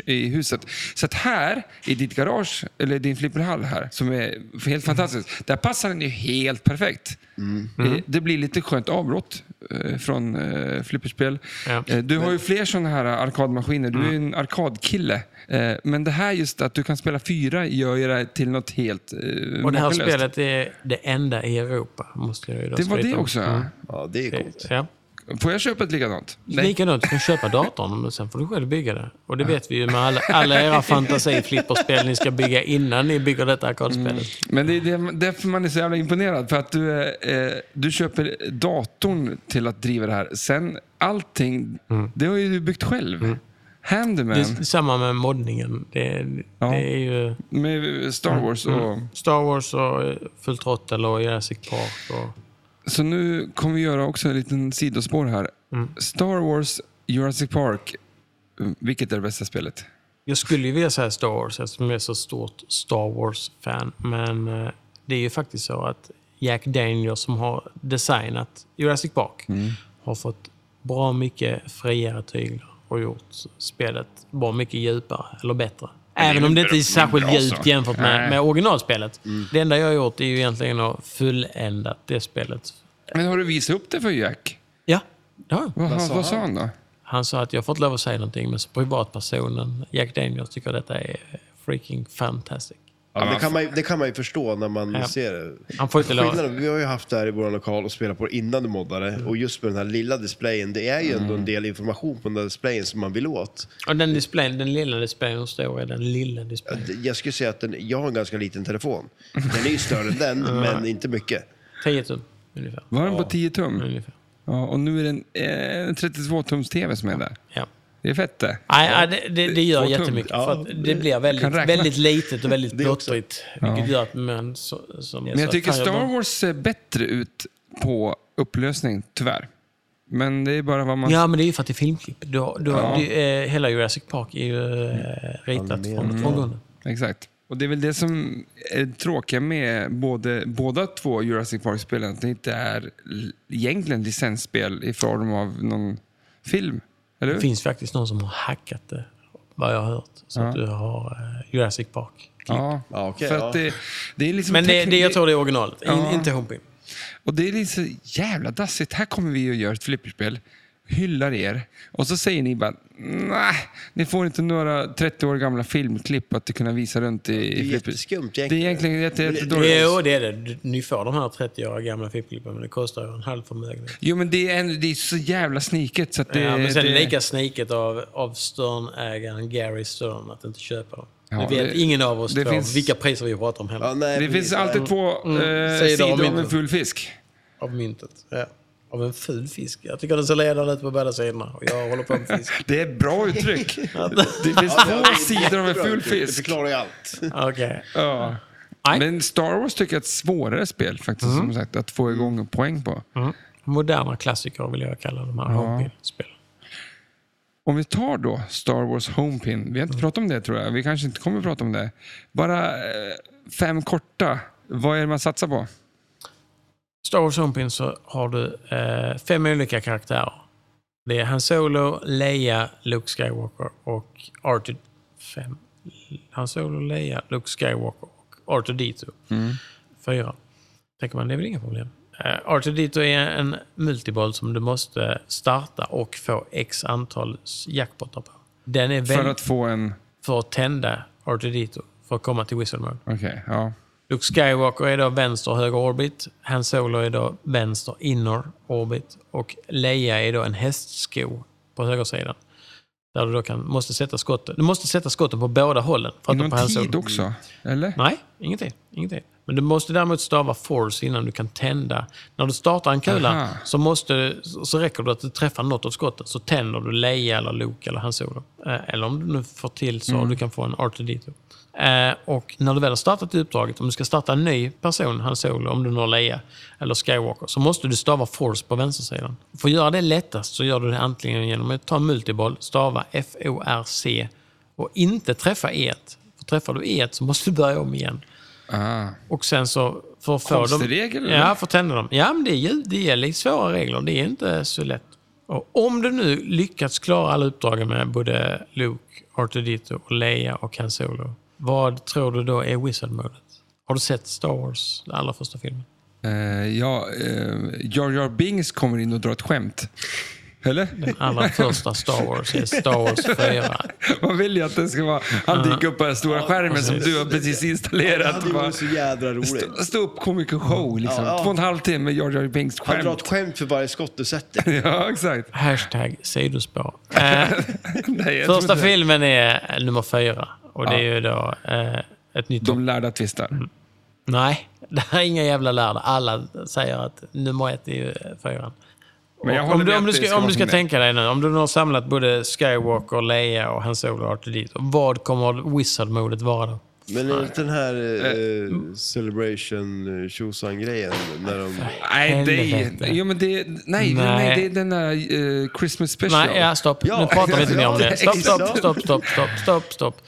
Speaker 2: i, i huset? Så att här, i ditt garage, eller din flipperhall här, som är
Speaker 1: Mm.
Speaker 2: helt fantastisk, där passar den ju helt perfekt.
Speaker 1: Mm.
Speaker 2: Eh, Det blir lite skönt avbrott eh, från eh, flipperspel.
Speaker 1: Ja. Mm.
Speaker 2: Eh, du har ju fler sådana här arkadmaskiner. Du är ju en arkadkille. Eh, men det här just att du kan spela fyra gör ju det här till något helt eh,
Speaker 1: Och det här
Speaker 2: makalöst.
Speaker 1: spelet är det enda i Europa. Måste jag ju då
Speaker 2: Det var
Speaker 1: skryta
Speaker 2: det
Speaker 1: om.
Speaker 2: också.
Speaker 1: Mm.
Speaker 5: Ja, det är coolt.
Speaker 1: Ja.
Speaker 2: Får jag köpa ett likadant?
Speaker 1: Likadant, du kan köpa datorn, men sen får du själv bygga det. Och det vet vi ju med alla, alla era fantasiflipperspel ni ska bygga innan ni bygger detta arkadspelet.
Speaker 2: Mm. Men det är det- därför man är så jävla imponerad. För att du, är, eh, du köper datorn till att driva det här. Sen allting, det har ju du byggt själv. Handyman
Speaker 1: Det är samma med moddningen. Det,
Speaker 2: Ja.
Speaker 1: det är ju
Speaker 2: med Star Wars. Och,
Speaker 1: Star Wars och eh, Full Throttle och Jurassic Park. Och,
Speaker 2: Så nu kommer vi göra också en liten sidospår här. Star Wars, Jurassic Park. Vilket är det bästa spelet?
Speaker 1: Jag skulle ju vilja säga Star Wars eftersom jag är så stort Star Wars-fan. Men eh, det är ju faktiskt så att Jack Daniels som har designat Jurassic Park har fått bra mycket friare tyglar och gjort spelet bra mycket djupare eller bättre. Även om det inte är särskilt djupt jämfört med, med originalspelet. Det enda jag har gjort är ju egentligen att fulländat det spelet.
Speaker 2: Men har du visat upp det för Jack?
Speaker 1: Ja, det har jag.
Speaker 2: Vad, vad, sa han då?
Speaker 1: Han sa att jag fått lov att säga någonting, men som privatpersonen Jack Daniels tycker detta är freaking fantastic.
Speaker 5: Ja, det, kan man, ju- det kan man ju förstå när man
Speaker 1: Ja.
Speaker 5: ser det.
Speaker 1: Han får inte lov...
Speaker 5: Skillnaden, vi har ju haft det här i vår lokal och spelat på det innan du moddade.
Speaker 2: Mm.
Speaker 5: Och just med den här lilla displayen, det är ju ändå en del information på den där displayen som man vill åt.
Speaker 1: Och den, displayen, den lilla displayen, hur stor är den lilla displayen?
Speaker 5: Jag skulle säga att den, jag har en ganska liten telefon. Den är ju större än den, men inte mycket.
Speaker 1: 10 tum ungefär.
Speaker 2: Var den på 10 tum?
Speaker 1: ungefär.
Speaker 2: Ja, och nu är det en eh, 32-tums-tv som är där.
Speaker 1: Ja.
Speaker 2: Det är fett det.
Speaker 1: Nej, nej, det, det, det gör
Speaker 2: Två tum.
Speaker 1: jättemycket.
Speaker 5: Ja,
Speaker 1: För att det blir väldigt,
Speaker 2: kan räkna.
Speaker 1: väldigt litet och väldigt
Speaker 5: Det också.
Speaker 1: plottrigt. Vilket gör att man... Så, som,
Speaker 2: Men jag tycker Star Wars ser bättre ut på upplösning, tyvärr. Men det är bara vad man...
Speaker 1: Ja, men det är ju för att det är filmklipp. Du, har- du, har-
Speaker 2: Ja. Mm.
Speaker 1: du, eh, hela Jurassic Park är ju eh, ritat från, från grunden.
Speaker 2: Exakt. Och det är väl det som är tråkiga med både, båda två Jurassic Park-spelen. Att det inte är l- egentligen licensspel i form av någon film. Eller
Speaker 1: Det
Speaker 2: hur?
Speaker 1: finns faktiskt någon som har hackat det, vad jag har hört. Så att du har eh, Jurassic Park.
Speaker 2: Ja.
Speaker 5: Ja, okej,
Speaker 2: För
Speaker 5: ja.
Speaker 2: att det, det är liksom
Speaker 1: Men det,
Speaker 2: teknik-
Speaker 1: det, jag tror det är originalet, In,
Speaker 2: Ja.
Speaker 1: inte Homepin.
Speaker 2: Och det är liksom jävla dassigt. Här kommer vi och gör ett flipperspel, hyllar er och så säger ni bara nej, ni får inte några 30 år gamla filmklipp att kunna visa runt i
Speaker 5: Det är
Speaker 2: i flipper.
Speaker 5: jätteskumt
Speaker 2: Det är
Speaker 5: egentligen.
Speaker 2: egentligen jätte,
Speaker 5: Men det-
Speaker 2: jättedåligt.
Speaker 1: Jo, det är det. Du- Ni får de här 30 år gamla filmklippen, men det kostar ju en halv förmögenhet.
Speaker 2: Jo, men det är, en, det är så jävla sniket. Så att det,
Speaker 1: ja, men sen
Speaker 2: det,
Speaker 1: lika sniket av, av Stern-ägaren Gary Stern att inte köpa dem.
Speaker 2: Ja,
Speaker 1: det vet
Speaker 2: det-
Speaker 1: ingen av oss
Speaker 2: det
Speaker 1: två
Speaker 2: finns-
Speaker 1: vilka priser vi pratar om heller.
Speaker 5: Ja, nej,
Speaker 2: det
Speaker 5: precis.
Speaker 2: finns alltid två eh,
Speaker 1: Mm. Säger de
Speaker 2: sidor
Speaker 1: om
Speaker 2: av en
Speaker 1: inte.
Speaker 2: full fisk.
Speaker 1: Av myntet. Ja. Av en ful fisk. Jag tycker den ser ledande ut på båda sidorna och jag håller på med fisk.
Speaker 2: Det är bra uttryck. det finns
Speaker 5: Ja,
Speaker 2: två
Speaker 5: det är
Speaker 2: sidor av en
Speaker 5: jättebra.
Speaker 2: full
Speaker 5: Det
Speaker 2: fisk.
Speaker 5: förklarar ju allt.
Speaker 1: Okej.
Speaker 2: Ja.
Speaker 1: Nej. Mm.
Speaker 2: Men Star Wars tycker jag är ett svårare spel faktiskt, som sagt, att få igång poäng på.
Speaker 1: Moderna klassiker vill jag kalla de här Homepin-spelen.
Speaker 2: Om vi tar då Star Wars Homepin. Vi har
Speaker 3: Mm.
Speaker 2: inte pratat om det tror jag. Vi kanske inte kommer att prata om det. Bara eh, fem korta. Vad är det man satsar på?
Speaker 1: Star Wars Homepin så har du eh, fem olika karaktärer. Det är Han Solo, Leia, Luke Skywalker och Arthur... Fem. Han Solo,
Speaker 2: Mm.
Speaker 1: Leia, Luke Skywalker och Arthur D2. Fyra. Tänker man, det är väl inga problem. R2D2 är en multiboll som du måste starta och få x antal jackpotter på. Den är
Speaker 2: För
Speaker 1: väldigt
Speaker 2: att få en...
Speaker 1: för att tända R2D2 för att komma till Wizard Mode.
Speaker 2: Okej, ja.
Speaker 1: Luke Skywalker är då vänster och höger orbit. Han Solo är då vänster inner orbit. Och Leia är då en hästsko på högersidan. Där du då kan, måste sätta skotten. Du måste sätta skotten på båda hållen. För att
Speaker 2: Någon
Speaker 1: på Han
Speaker 2: tid
Speaker 1: Solo.
Speaker 2: också? Eller?
Speaker 1: Nej, ingen tid, ingen tid. Men du måste däremot stava force innan du kan tända. När du startar en
Speaker 2: Aha.
Speaker 1: kula så, måste, så räcker det att du träffar något av skottet så tänder du Leia, eller Luke eller Han Solo. Eh, Eller om du nu får till så du kan få en R2D2. Eh, och när du väl har startat uppdraget, om du ska starta en ny person, Han Solo, om du når Leia eller Skywalker, så måste du stava force på vänstersidan. För att göra det lättast så gör du det antingen genom att ta en multiboll, stava F-O-R-C och inte träffa E. För träffar du E så måste du börja om igen.
Speaker 2: Ah.
Speaker 1: Och sen så för att få
Speaker 2: Konstig
Speaker 1: dem...
Speaker 2: regel, eller?
Speaker 1: Ja, för att tända dem. Ja, men det är, ju- det är lite svåra regler. Det är inte så lätt. Och om du nu lyckats klara alla uppdragen med både Luke, R2D2, och Leia och Han Solo. Vad tror du då är Wizard-modet? Har du sett Star Wars, den allra första filmen?
Speaker 2: Eh, ja, eh, Jar Jar Bings kommer in och drar ett skämt. Eller?
Speaker 1: Den allra första Star Wars är Star Wars 4.
Speaker 2: Man vill ju att det ska vara... Han dyker upp på den stora skärmen som
Speaker 1: precis.
Speaker 2: du har precis
Speaker 3: Det
Speaker 2: installerat.
Speaker 3: hade
Speaker 2: och
Speaker 3: ju
Speaker 2: bara-
Speaker 3: varit så jädra roligt.
Speaker 2: Stå, stå upp komikershow, liksom.
Speaker 3: Ja, ja.
Speaker 2: Två och en halv timme Jar Jar Binks
Speaker 3: Han drar ett
Speaker 2: skämt.
Speaker 3: skämt för varje skott du sätter.
Speaker 2: Ja, exakt.
Speaker 1: Hashtag sidospår. Eh,
Speaker 2: Nej, jag tror
Speaker 1: första
Speaker 2: inte.
Speaker 1: filmen är eh, nummer fyra. Och det är ju då eh, ett nytt
Speaker 2: De lärda tvistar.
Speaker 1: Nej, det här är inga jävla lärda. Alla säger att nummer ett är ju eh, fyran.
Speaker 2: Men jag
Speaker 1: Och
Speaker 2: håller
Speaker 1: om, du,
Speaker 2: med
Speaker 1: om,
Speaker 2: att
Speaker 1: du
Speaker 2: det
Speaker 1: ska,
Speaker 2: ska
Speaker 1: om
Speaker 2: vara
Speaker 1: du ska
Speaker 2: som det.
Speaker 1: tänka dig nu, om du nu har samlat både Skywalker, Leia och Han Solo och R2D2, vad kommer Wizard-modet vara då?
Speaker 5: Men är inte den här eh, Celebration eh, Tjosan-grejen när de...
Speaker 2: Nej, det
Speaker 1: Helvete.
Speaker 2: är... Jo, men det är... Nej, nej. nej, det är den där eh, Christmas special.
Speaker 1: Nej, ja, stopp.
Speaker 5: Ja,
Speaker 1: Nu pratar vi inte mer om
Speaker 5: ja,
Speaker 1: det. Stopp, stopp,
Speaker 5: exakt.
Speaker 1: stopp, stopp, stopp, stopp, stopp.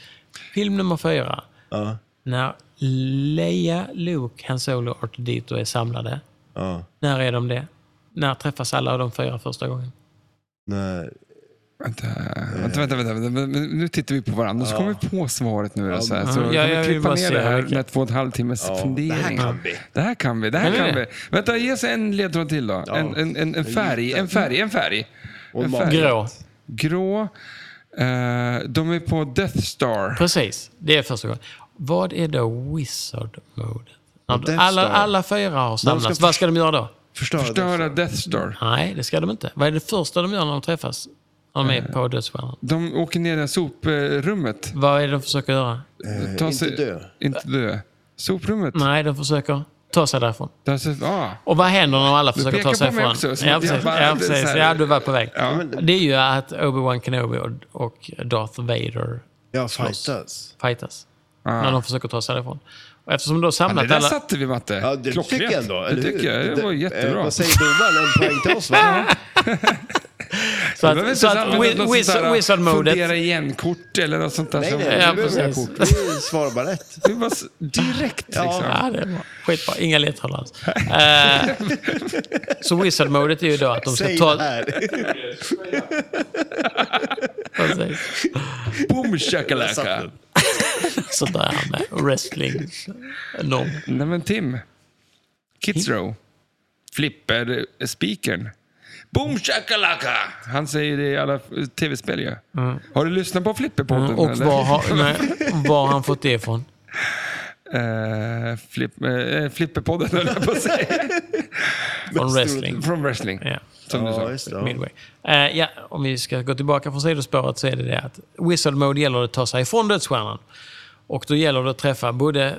Speaker 1: Film nummer fyra. När Leia, Luke, Han Solo och R2D2 är samlade.
Speaker 5: Ja.
Speaker 1: När är de det? När träffas alla av de fyra första gången?
Speaker 5: När,
Speaker 2: Vänta, vänta, vänta, vänta, vänta. Men Nu tittar vi på varandra, så kommer vi på svaret nu. då, Så, här. så
Speaker 1: Ja,
Speaker 2: kan
Speaker 1: jag
Speaker 2: vi
Speaker 1: vill
Speaker 2: klippa
Speaker 1: bara
Speaker 2: ner
Speaker 1: se
Speaker 2: det här
Speaker 1: vilka-
Speaker 2: med två och en halv timmes
Speaker 5: det här
Speaker 2: fundering.
Speaker 5: kan vi.
Speaker 2: Det här kan vi. Det här
Speaker 1: Nej,
Speaker 2: kan
Speaker 1: nej,
Speaker 2: vi. Vänta, ge oss en ledtråd till då. En, en, en, en färg, en färg, en färg. En
Speaker 5: mat.
Speaker 2: färg.
Speaker 1: Grå.
Speaker 2: Grå. Eh, de är på Death Star.
Speaker 1: Precis, det är första gången. Vad är då wizard-modet? När
Speaker 5: Death
Speaker 1: Alla,
Speaker 5: Star.
Speaker 1: alla fyra har samlats.
Speaker 5: ska
Speaker 1: Vad ska de göra då?
Speaker 5: förstöra
Speaker 2: Förstöra Death Star.
Speaker 1: Nej, det ska de inte. Vad är det första de gör när de träffas? När de
Speaker 2: Eh.
Speaker 1: är på dödsstjärnan.
Speaker 2: De åker ner i det här soprummet.
Speaker 1: Vad är det de försöker göra?
Speaker 2: Ta
Speaker 5: Eh, inte dö.
Speaker 2: Inte dö. Soprummet.
Speaker 1: Nej, de försöker ta sig därifrån.
Speaker 2: Där så- ah.
Speaker 1: Och vad händer när alla försöker
Speaker 2: pekar
Speaker 1: ta sig
Speaker 2: på mig
Speaker 1: ifrån?
Speaker 2: också, som
Speaker 1: ja,
Speaker 2: att jag
Speaker 1: precis. ja,
Speaker 2: bara- det är så
Speaker 1: precis.
Speaker 2: här-
Speaker 1: ja, du var på väg.
Speaker 2: Ja.
Speaker 1: Det är ju att Obi-Wan Kenobi och- och Darth Vader
Speaker 5: Ja,
Speaker 1: Slåss.
Speaker 5: fightas.
Speaker 1: fightas. När de försöker ta sig därifrån. Och eftersom de har
Speaker 2: Ah. Det
Speaker 1: samlat
Speaker 2: där
Speaker 1: alla...
Speaker 2: satte vi, Matte.
Speaker 5: Ja, det tycker jag ändå.
Speaker 2: Det
Speaker 5: eller hur?
Speaker 2: tycker jag. Det var
Speaker 5: eh,
Speaker 2: jättebra.
Speaker 5: Vad säger domaren? En poäng till oss, va?
Speaker 1: Så
Speaker 2: Det var väl
Speaker 1: att, så
Speaker 2: inte
Speaker 1: att
Speaker 2: sant, men något sånt där,
Speaker 1: Wiz- wizard-modet...
Speaker 2: Fundera igen-kort eller något sånt där.
Speaker 5: Nej,
Speaker 2: som-
Speaker 5: nej,
Speaker 1: Ja,
Speaker 5: vi behöver inga
Speaker 1: precis.
Speaker 5: kort. Vi svarar bara rätt.
Speaker 2: Det var s- direkt liksom.
Speaker 1: Ja, det är bra. Skitbra. Inga ledtrådar alls. Eh, så wizard-modet är ju då att de ska
Speaker 5: Säg
Speaker 1: ta...
Speaker 5: det här.
Speaker 1: Precis.
Speaker 2: Boom shakalaka.
Speaker 1: Sådär med wrestling. Norm.
Speaker 2: Nej men Tim. Kids Row. Flipper eh, speakern. Boom shakalaka. Han säger det i alla eh, tv-spel ju. Har du lyssnat på Flipperpodden?
Speaker 1: Mm. Och
Speaker 2: eller?
Speaker 1: var har, nej, var har han fått det ifrån?
Speaker 2: Eh, flipp, eh, flipperpodden höll jag på att säga.
Speaker 1: Från wrestling.
Speaker 2: Från wrestling.
Speaker 1: Ja.
Speaker 2: Som du
Speaker 5: Ja,
Speaker 2: sa.
Speaker 5: just det. ja.
Speaker 1: Midway. Eh, ja, om vi ska gå tillbaka från sidospåret så är det det att Wizard Mode gäller det att ta sig ifrån dödsstjärnan. Och då gäller det att träffa både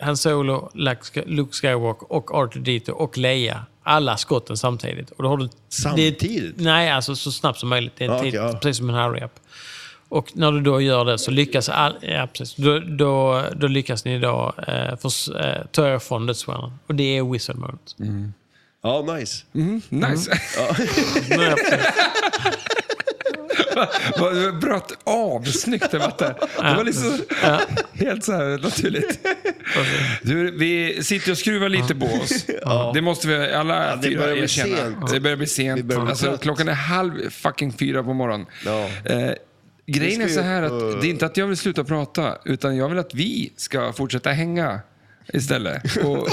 Speaker 1: Han Solo, Lux- Luke Skywalker och R2D2 och Leia. Alla skotten samtidigt. Och då har du,
Speaker 5: Samtidigt?
Speaker 1: Det, nej, alltså så snabbt som möjligt. Det är
Speaker 5: Ja,
Speaker 1: en
Speaker 5: okej,
Speaker 1: tid,
Speaker 5: ja.
Speaker 1: precis som en hurry-up. Och när du då gör det så lyckas all, ja, precis. Då, då, då lyckas ni då eh, förs, eh, ta er från dödsstjärnan. Och det är Wizard Mode.
Speaker 5: Ja, nice.
Speaker 2: Nice.
Speaker 1: Ja, precis.
Speaker 2: Vad du bröt av snyggt det var. Det Det var liksom helt så här naturligt. Du, vi sitter och skruvar lite på oss. Det måste vi alla
Speaker 5: det
Speaker 2: fyra
Speaker 5: börjar bli
Speaker 2: erkänna.
Speaker 5: sent.
Speaker 2: Det börjar bli sent.
Speaker 5: börjar bli
Speaker 2: alltså,
Speaker 5: trött.
Speaker 2: klockan är halv fucking fyra på morgonen.
Speaker 5: Ja.
Speaker 2: Eh, grejen
Speaker 5: Vi ska
Speaker 2: är så
Speaker 5: ju- eh,
Speaker 2: här att det är inte att jag vill sluta prata, utan jag vill att vi ska fortsätta hänga. istället. Och, och,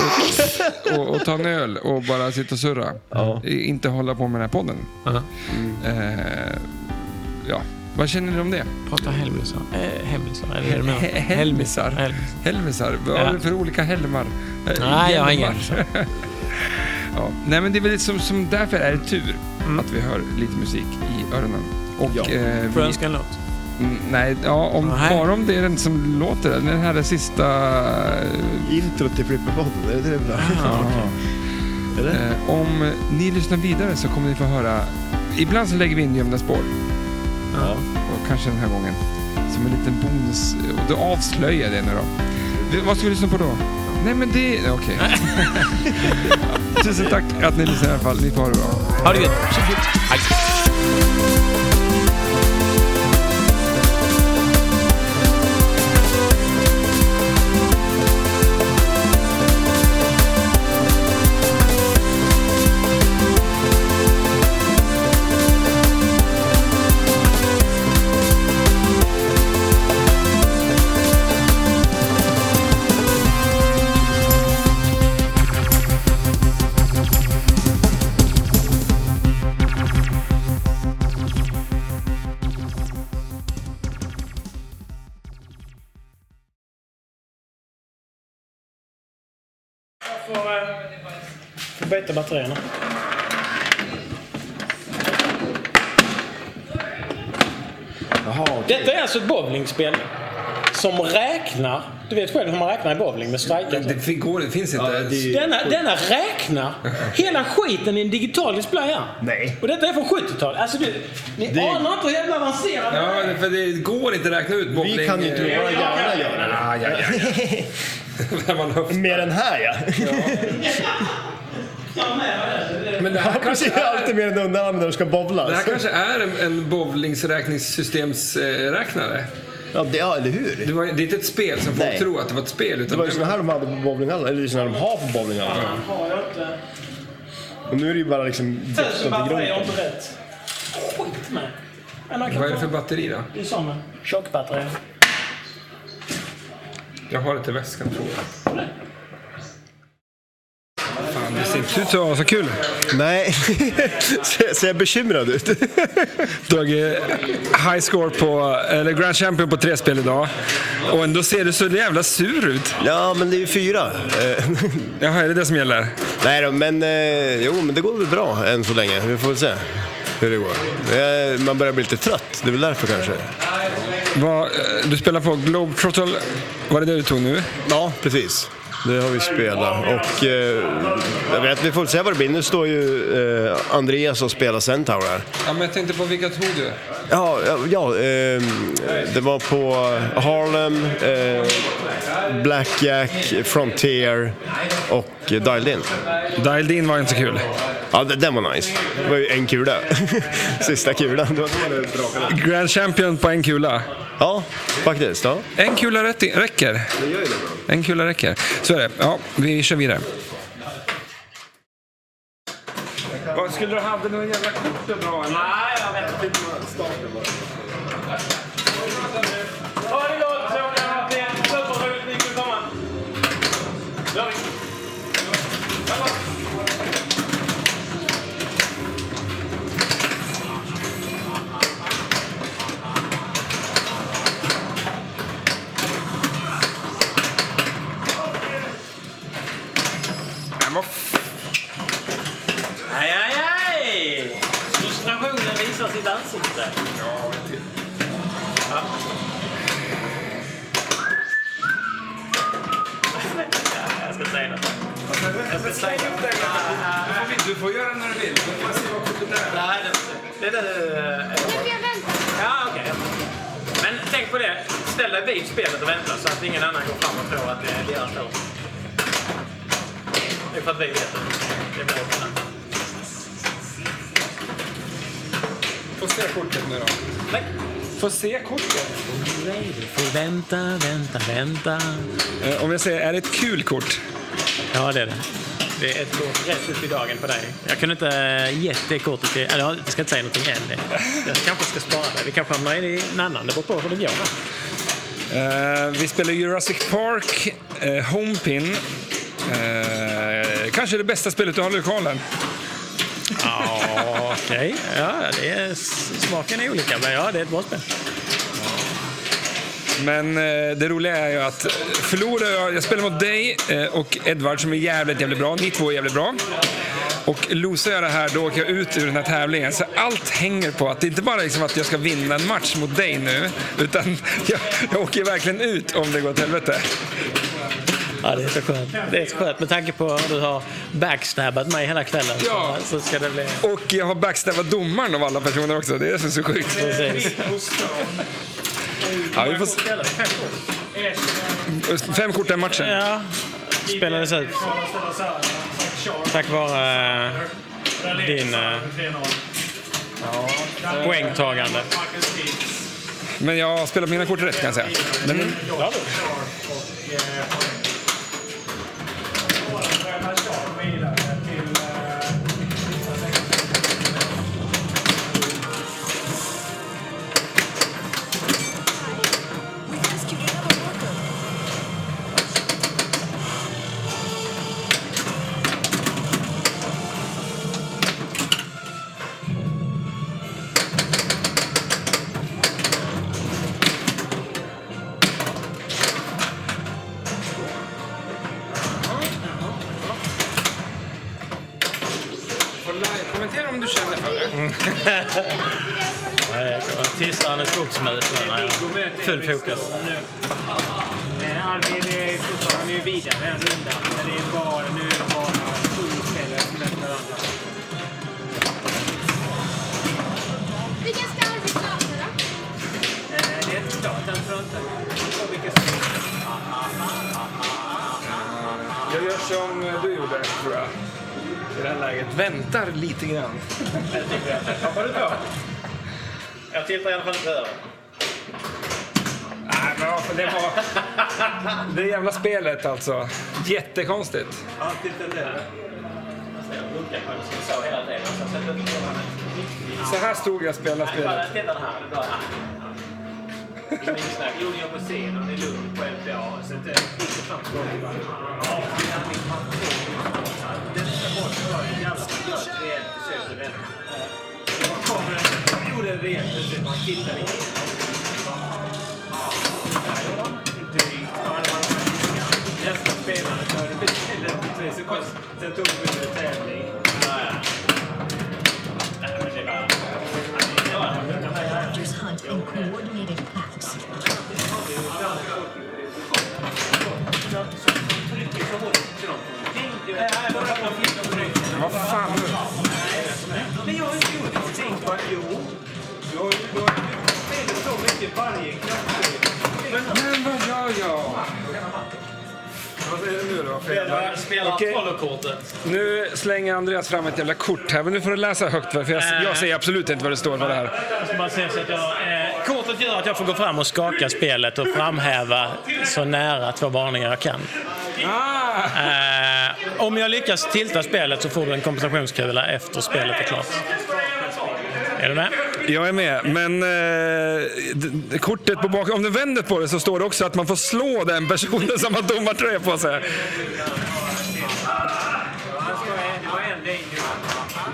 Speaker 2: och, och ta en öl och bara sitta och surra. I- Inte hålla på med den här podden.
Speaker 7: Ja.
Speaker 2: Eh, ja. Vad känner ni om det?
Speaker 7: Prata helmisar. Eh, helmisar, eller hur menar?
Speaker 2: He- helmisar.
Speaker 7: Helmisar.
Speaker 2: Helmisar? Vad
Speaker 7: Ja.
Speaker 2: har du för olika helmar? Eh,
Speaker 7: Nej, jag
Speaker 2: hjälmar.
Speaker 7: har ingen.
Speaker 2: ja. Nej, men det är väl som, som därför är det tur
Speaker 7: Mm.
Speaker 2: att vi hör lite musik i öronen. Och,
Speaker 3: Ja.
Speaker 2: eh,
Speaker 7: Får jag
Speaker 2: vi,
Speaker 7: önska en låt?
Speaker 2: Mm, nej, ja, om,
Speaker 7: Nej.
Speaker 2: bara om det är den som låter. Den här är sista...
Speaker 3: Introt till Flipperpodden, är det det vi
Speaker 2: Ja.
Speaker 3: Eller?
Speaker 2: Eh, om ni lyssnar vidare så kommer ni få höra... Ibland så lägger vi in gömda spår.
Speaker 7: Ja.
Speaker 2: Och kanske den här gången. Som en liten bonus. Och då avslöjar jag det nu då. Det, vad ska vi lyssna på då? Nej men det... Okej. Tusen tack att ni lyssnar i alla fall. Ni får ha det bra.
Speaker 7: Ha det gött. Så fint. Hej. byta batterierna. Detta är alltså ett bowlingspel som räknar. Du vet själv hur man räknar i bowling med strikar.
Speaker 2: Det, går, det finns inte.
Speaker 7: Denna, denna räknar hela skiten i en digital display här.
Speaker 3: Nej.
Speaker 7: Och detta är från 70-talet. Alltså du, ni anar inte hur jävla avancerat det
Speaker 2: Ja, för det går inte att räkna ut bowling.
Speaker 3: Vi kan ju inte vara gärna göra det.
Speaker 2: Ja, ja, ja. När man höftar.
Speaker 3: Mer än här ja.
Speaker 2: Men det här
Speaker 3: Han
Speaker 2: kanske
Speaker 3: precis
Speaker 2: är,
Speaker 3: alltid mer än underarmen när de ska
Speaker 2: det
Speaker 3: bobla.
Speaker 2: här kanske är en, en bowlingsräkningssystemsräknare.
Speaker 3: Ja, det, ja, eller hur?
Speaker 2: Det, var, det är inte ett spel som folk
Speaker 3: Nej.
Speaker 2: tror att det var ett spel.
Speaker 3: Det
Speaker 2: Utan
Speaker 3: var ju sådana här de hade på bowlinghallen, eller det är såna här de har på bowlinghallen.
Speaker 7: Har jag inte...
Speaker 3: Och nu är det ju bara liksom
Speaker 7: Tusen
Speaker 3: gipsat i
Speaker 7: batterier, jag har
Speaker 3: grunden.
Speaker 7: inte rätt. Skit med. Men man kan
Speaker 2: vad är det
Speaker 7: få-
Speaker 2: för batteri då?
Speaker 7: Det är samma. Tjockbatterier.
Speaker 2: Jag har det till väskan tror jag. Fan, det ser inte ut så vara så kul.
Speaker 3: Nej, ser ser jag bekymrad ut?
Speaker 2: Drog eh, high score på, eller Grand Champion på tre spel idag. Och ändå ser du så jävla sur ut.
Speaker 3: Ja, men det är ju fyra.
Speaker 2: Jaha, är det det som gäller?
Speaker 3: Nej då, men eh, jo, men det går väl bra än så länge. Vi får väl se hur det går. Eh, man börjar bli lite trött, det är väl därför kanske.
Speaker 2: Vad, eh, du spelar på Globetrotter. Var det det du tog nu?
Speaker 3: Ja, precis. Det har vi spelat och eh, jag vet, vi får se vad det blir. Nu står ju eh, Andreas och spelar Centaur här.
Speaker 2: Ja, men jag tänkte på vilka tog du?
Speaker 3: Ja, ja, ja ehm, det var på Harlem, eh, Blackjack, Frontier och Dialed In.
Speaker 2: Dialed in var inte så kul.
Speaker 3: Ja, det- den var nice. Det var ju en kula. Sista kulan. Det var då det brakade.
Speaker 2: Grand Champion på en kula.
Speaker 3: Ja, faktiskt. Ja.
Speaker 2: En kula rätt i- räcker. En kula räcker. Så är det. Ja, vi kör vidare. Vad skulle du ha haft några jävla kort där bra? Nej, men vad
Speaker 7: Aj, aj, aj! Frustrationen visar sitt ansikte. Ja, jag ska säga något. Jag ska säga något.
Speaker 2: fan. Du får göra när du vill. Du får se vad kortet är.
Speaker 7: Nej, det- det där... Ja, okej. Men tänk på det. Ställ dig vid spelet och vänta så att ingen annan går fram och tror att det är deras låt. Det är för att vi vet det. Det är bra.
Speaker 2: Få se kortet nu då.
Speaker 7: Nej.
Speaker 2: Få se kortet.
Speaker 7: Nej, du får vänta, vänta, vänta.
Speaker 2: Eh, om jag säger, är det ett kul kort?
Speaker 7: Ja, det är det. Det är ett kort rätt upp i dagen på dig. Jag kunde inte eh, gett det kortet till... Eller jag ska inte säga någonting än. Jag kanske ska spara det. Vi kanske hamnar i en annan. Det beror på hur det går.
Speaker 2: Eh, vi spelar Jurassic Park Eh, Homepin. Eh, kanske det bästa spelet du har i lokalen.
Speaker 7: Ja, okej. Ja, det är, smaken är olika, men ja, det är ett bra spel.
Speaker 2: Men eh, det roliga är ju att förlorar jag, jag spelar mot dig eh, och Edvard som är jävligt, jävligt bra. Ni två är jävligt bra. Och losar jag det här då åker jag ut ur den här tävlingen. Så allt hänger på att det inte bara är liksom att jag ska vinna en match mot dig nu. Utan jag, jag åker verkligen ut om det går åt helvete.
Speaker 7: Ja, det är så skönt. Det är så skönt med tanke på att du har backstabbat mig hela kvällen.
Speaker 2: Ja.
Speaker 7: Så, så ska det bli...
Speaker 2: Och jag har backstabbat domaren av alla personer också. Det är så, så sjukt.
Speaker 7: Precis.
Speaker 2: Ja, vi får... s- Fem kort den matchen.
Speaker 7: Ja, spelades ut tack vare eh, din eh, poängtagande.
Speaker 2: Men jag har spelat mina kort rätt kan jag säga. Men kommentera om du känner för det.
Speaker 7: Tissar en skogsmus nu när jag full fokus.
Speaker 8: Men Arvid är fortfarande ju vidare en runda. Men det är bara, nu är det bara sju spelare som möter varandra.
Speaker 9: Vilken ska Arvid starta då?
Speaker 8: Eh, Det är inte klart än, tror jag inte. Och vilka som-
Speaker 2: Jag gör som du gjorde, tror jag. I det här läget. Väntar lite grann.
Speaker 7: Jag tittar i alla fall inte över.
Speaker 2: Nej, men vad fan, det var... Det jävla spelet alltså. Jättekonstigt.
Speaker 7: Ja, titta där. Jag runkar på den som jag sa hela tiden. Så jag sätter inte på den.
Speaker 2: Så här stod jag och spelade spelet.
Speaker 7: Kolla, titta den här. Det är bra.
Speaker 8: Det är inget snack. Jo, jag får se om det är lugnt på LPA. Så inte inte fram till gången. Ja, det är min passion. Det nästa boll var en jävla gött rejält försök att vända. Man kommer... Jag gjorde ett rejält försök. Man tittar inte. Nästa spelare tar det betydligt tre sekunder. Sen tog vi en tävling. Nej, men det var...
Speaker 4: Hunters hunt in coordinated packs.
Speaker 2: Vad fan?
Speaker 8: Men jag har inte gjort någonting. Va? Jo. Du har ju du har ju spelat så mycket varje knapptryck.
Speaker 2: Men vad gör jag? Vad är det nu då? för jävla-
Speaker 7: Spelar
Speaker 2: Okej.
Speaker 7: kollokortet.
Speaker 2: Nu slänger Andreas fram ett jävla kort här, men nu får du läsa högt för jag, jag ser absolut inte vad det står vad det här.
Speaker 7: Så man ser så att jag, eh, kortet gör att jag får gå fram och skaka spelet och framhäva så nära två varningar jag kan.
Speaker 2: Ah!
Speaker 7: Eh, om jag lyckas tilta spelet så får du en kompensationskula efter spelet är klart. Är du med?
Speaker 2: Jag är med, men eh, d- d- kortet på bakom, om du vänder på det så står det också att man får slå den personen som har domartröja på sig.
Speaker 8: Han ska ha en- ha en lane nu. Ska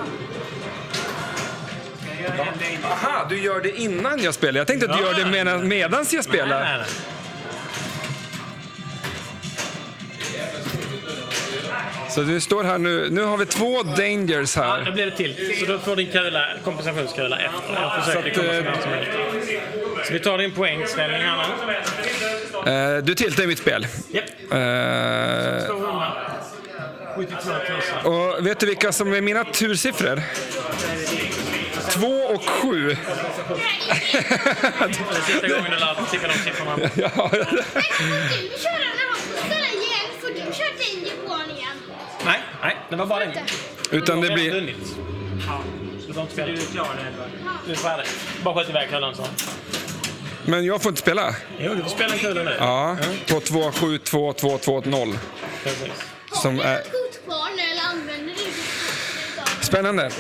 Speaker 8: jag göra en lane?
Speaker 2: Aha, du gör det innan jag spelar. Jag tänkte att du gör det medan, medans jag spelar.
Speaker 7: Nej, nej, nej.
Speaker 2: Så du står här nu. Nu har vi två dangers
Speaker 7: Ja, då
Speaker 2: här.
Speaker 7: blir det till. Så då får din kula, kompensationskula efter. Jag försöker
Speaker 2: Så att,
Speaker 7: komma så
Speaker 2: eh,
Speaker 7: nära som möjligt. Så vi tar din poängställning här nu.
Speaker 2: Eh, du tiltar i mitt spel.
Speaker 7: Japp.
Speaker 2: Eh,
Speaker 7: 72 000.
Speaker 2: och vet du vilka som är mina tursiffror? Två och sju.
Speaker 7: Det är sista gången du lär dig ticka de siffrorna.
Speaker 2: ja.
Speaker 9: Du kör en annan igen, för du kör Danger igen.
Speaker 7: Nej, nej, det var bara den.
Speaker 2: Utan det
Speaker 7: Du har
Speaker 2: blir...
Speaker 7: redan vunnit. Så du har inte
Speaker 8: Du
Speaker 7: spelat.
Speaker 8: är klar nu, Edvard.
Speaker 7: Du är färdig. Bara skjut iväg kulan så.
Speaker 2: Men jag får inte spela.
Speaker 7: Jo, du får spela en kula nu.
Speaker 2: Ja, på 272220.
Speaker 7: Precis.
Speaker 9: Har
Speaker 2: Som
Speaker 9: du
Speaker 2: är-
Speaker 9: något kort kvar nu eller använder du ditt kort?
Speaker 2: Spännande.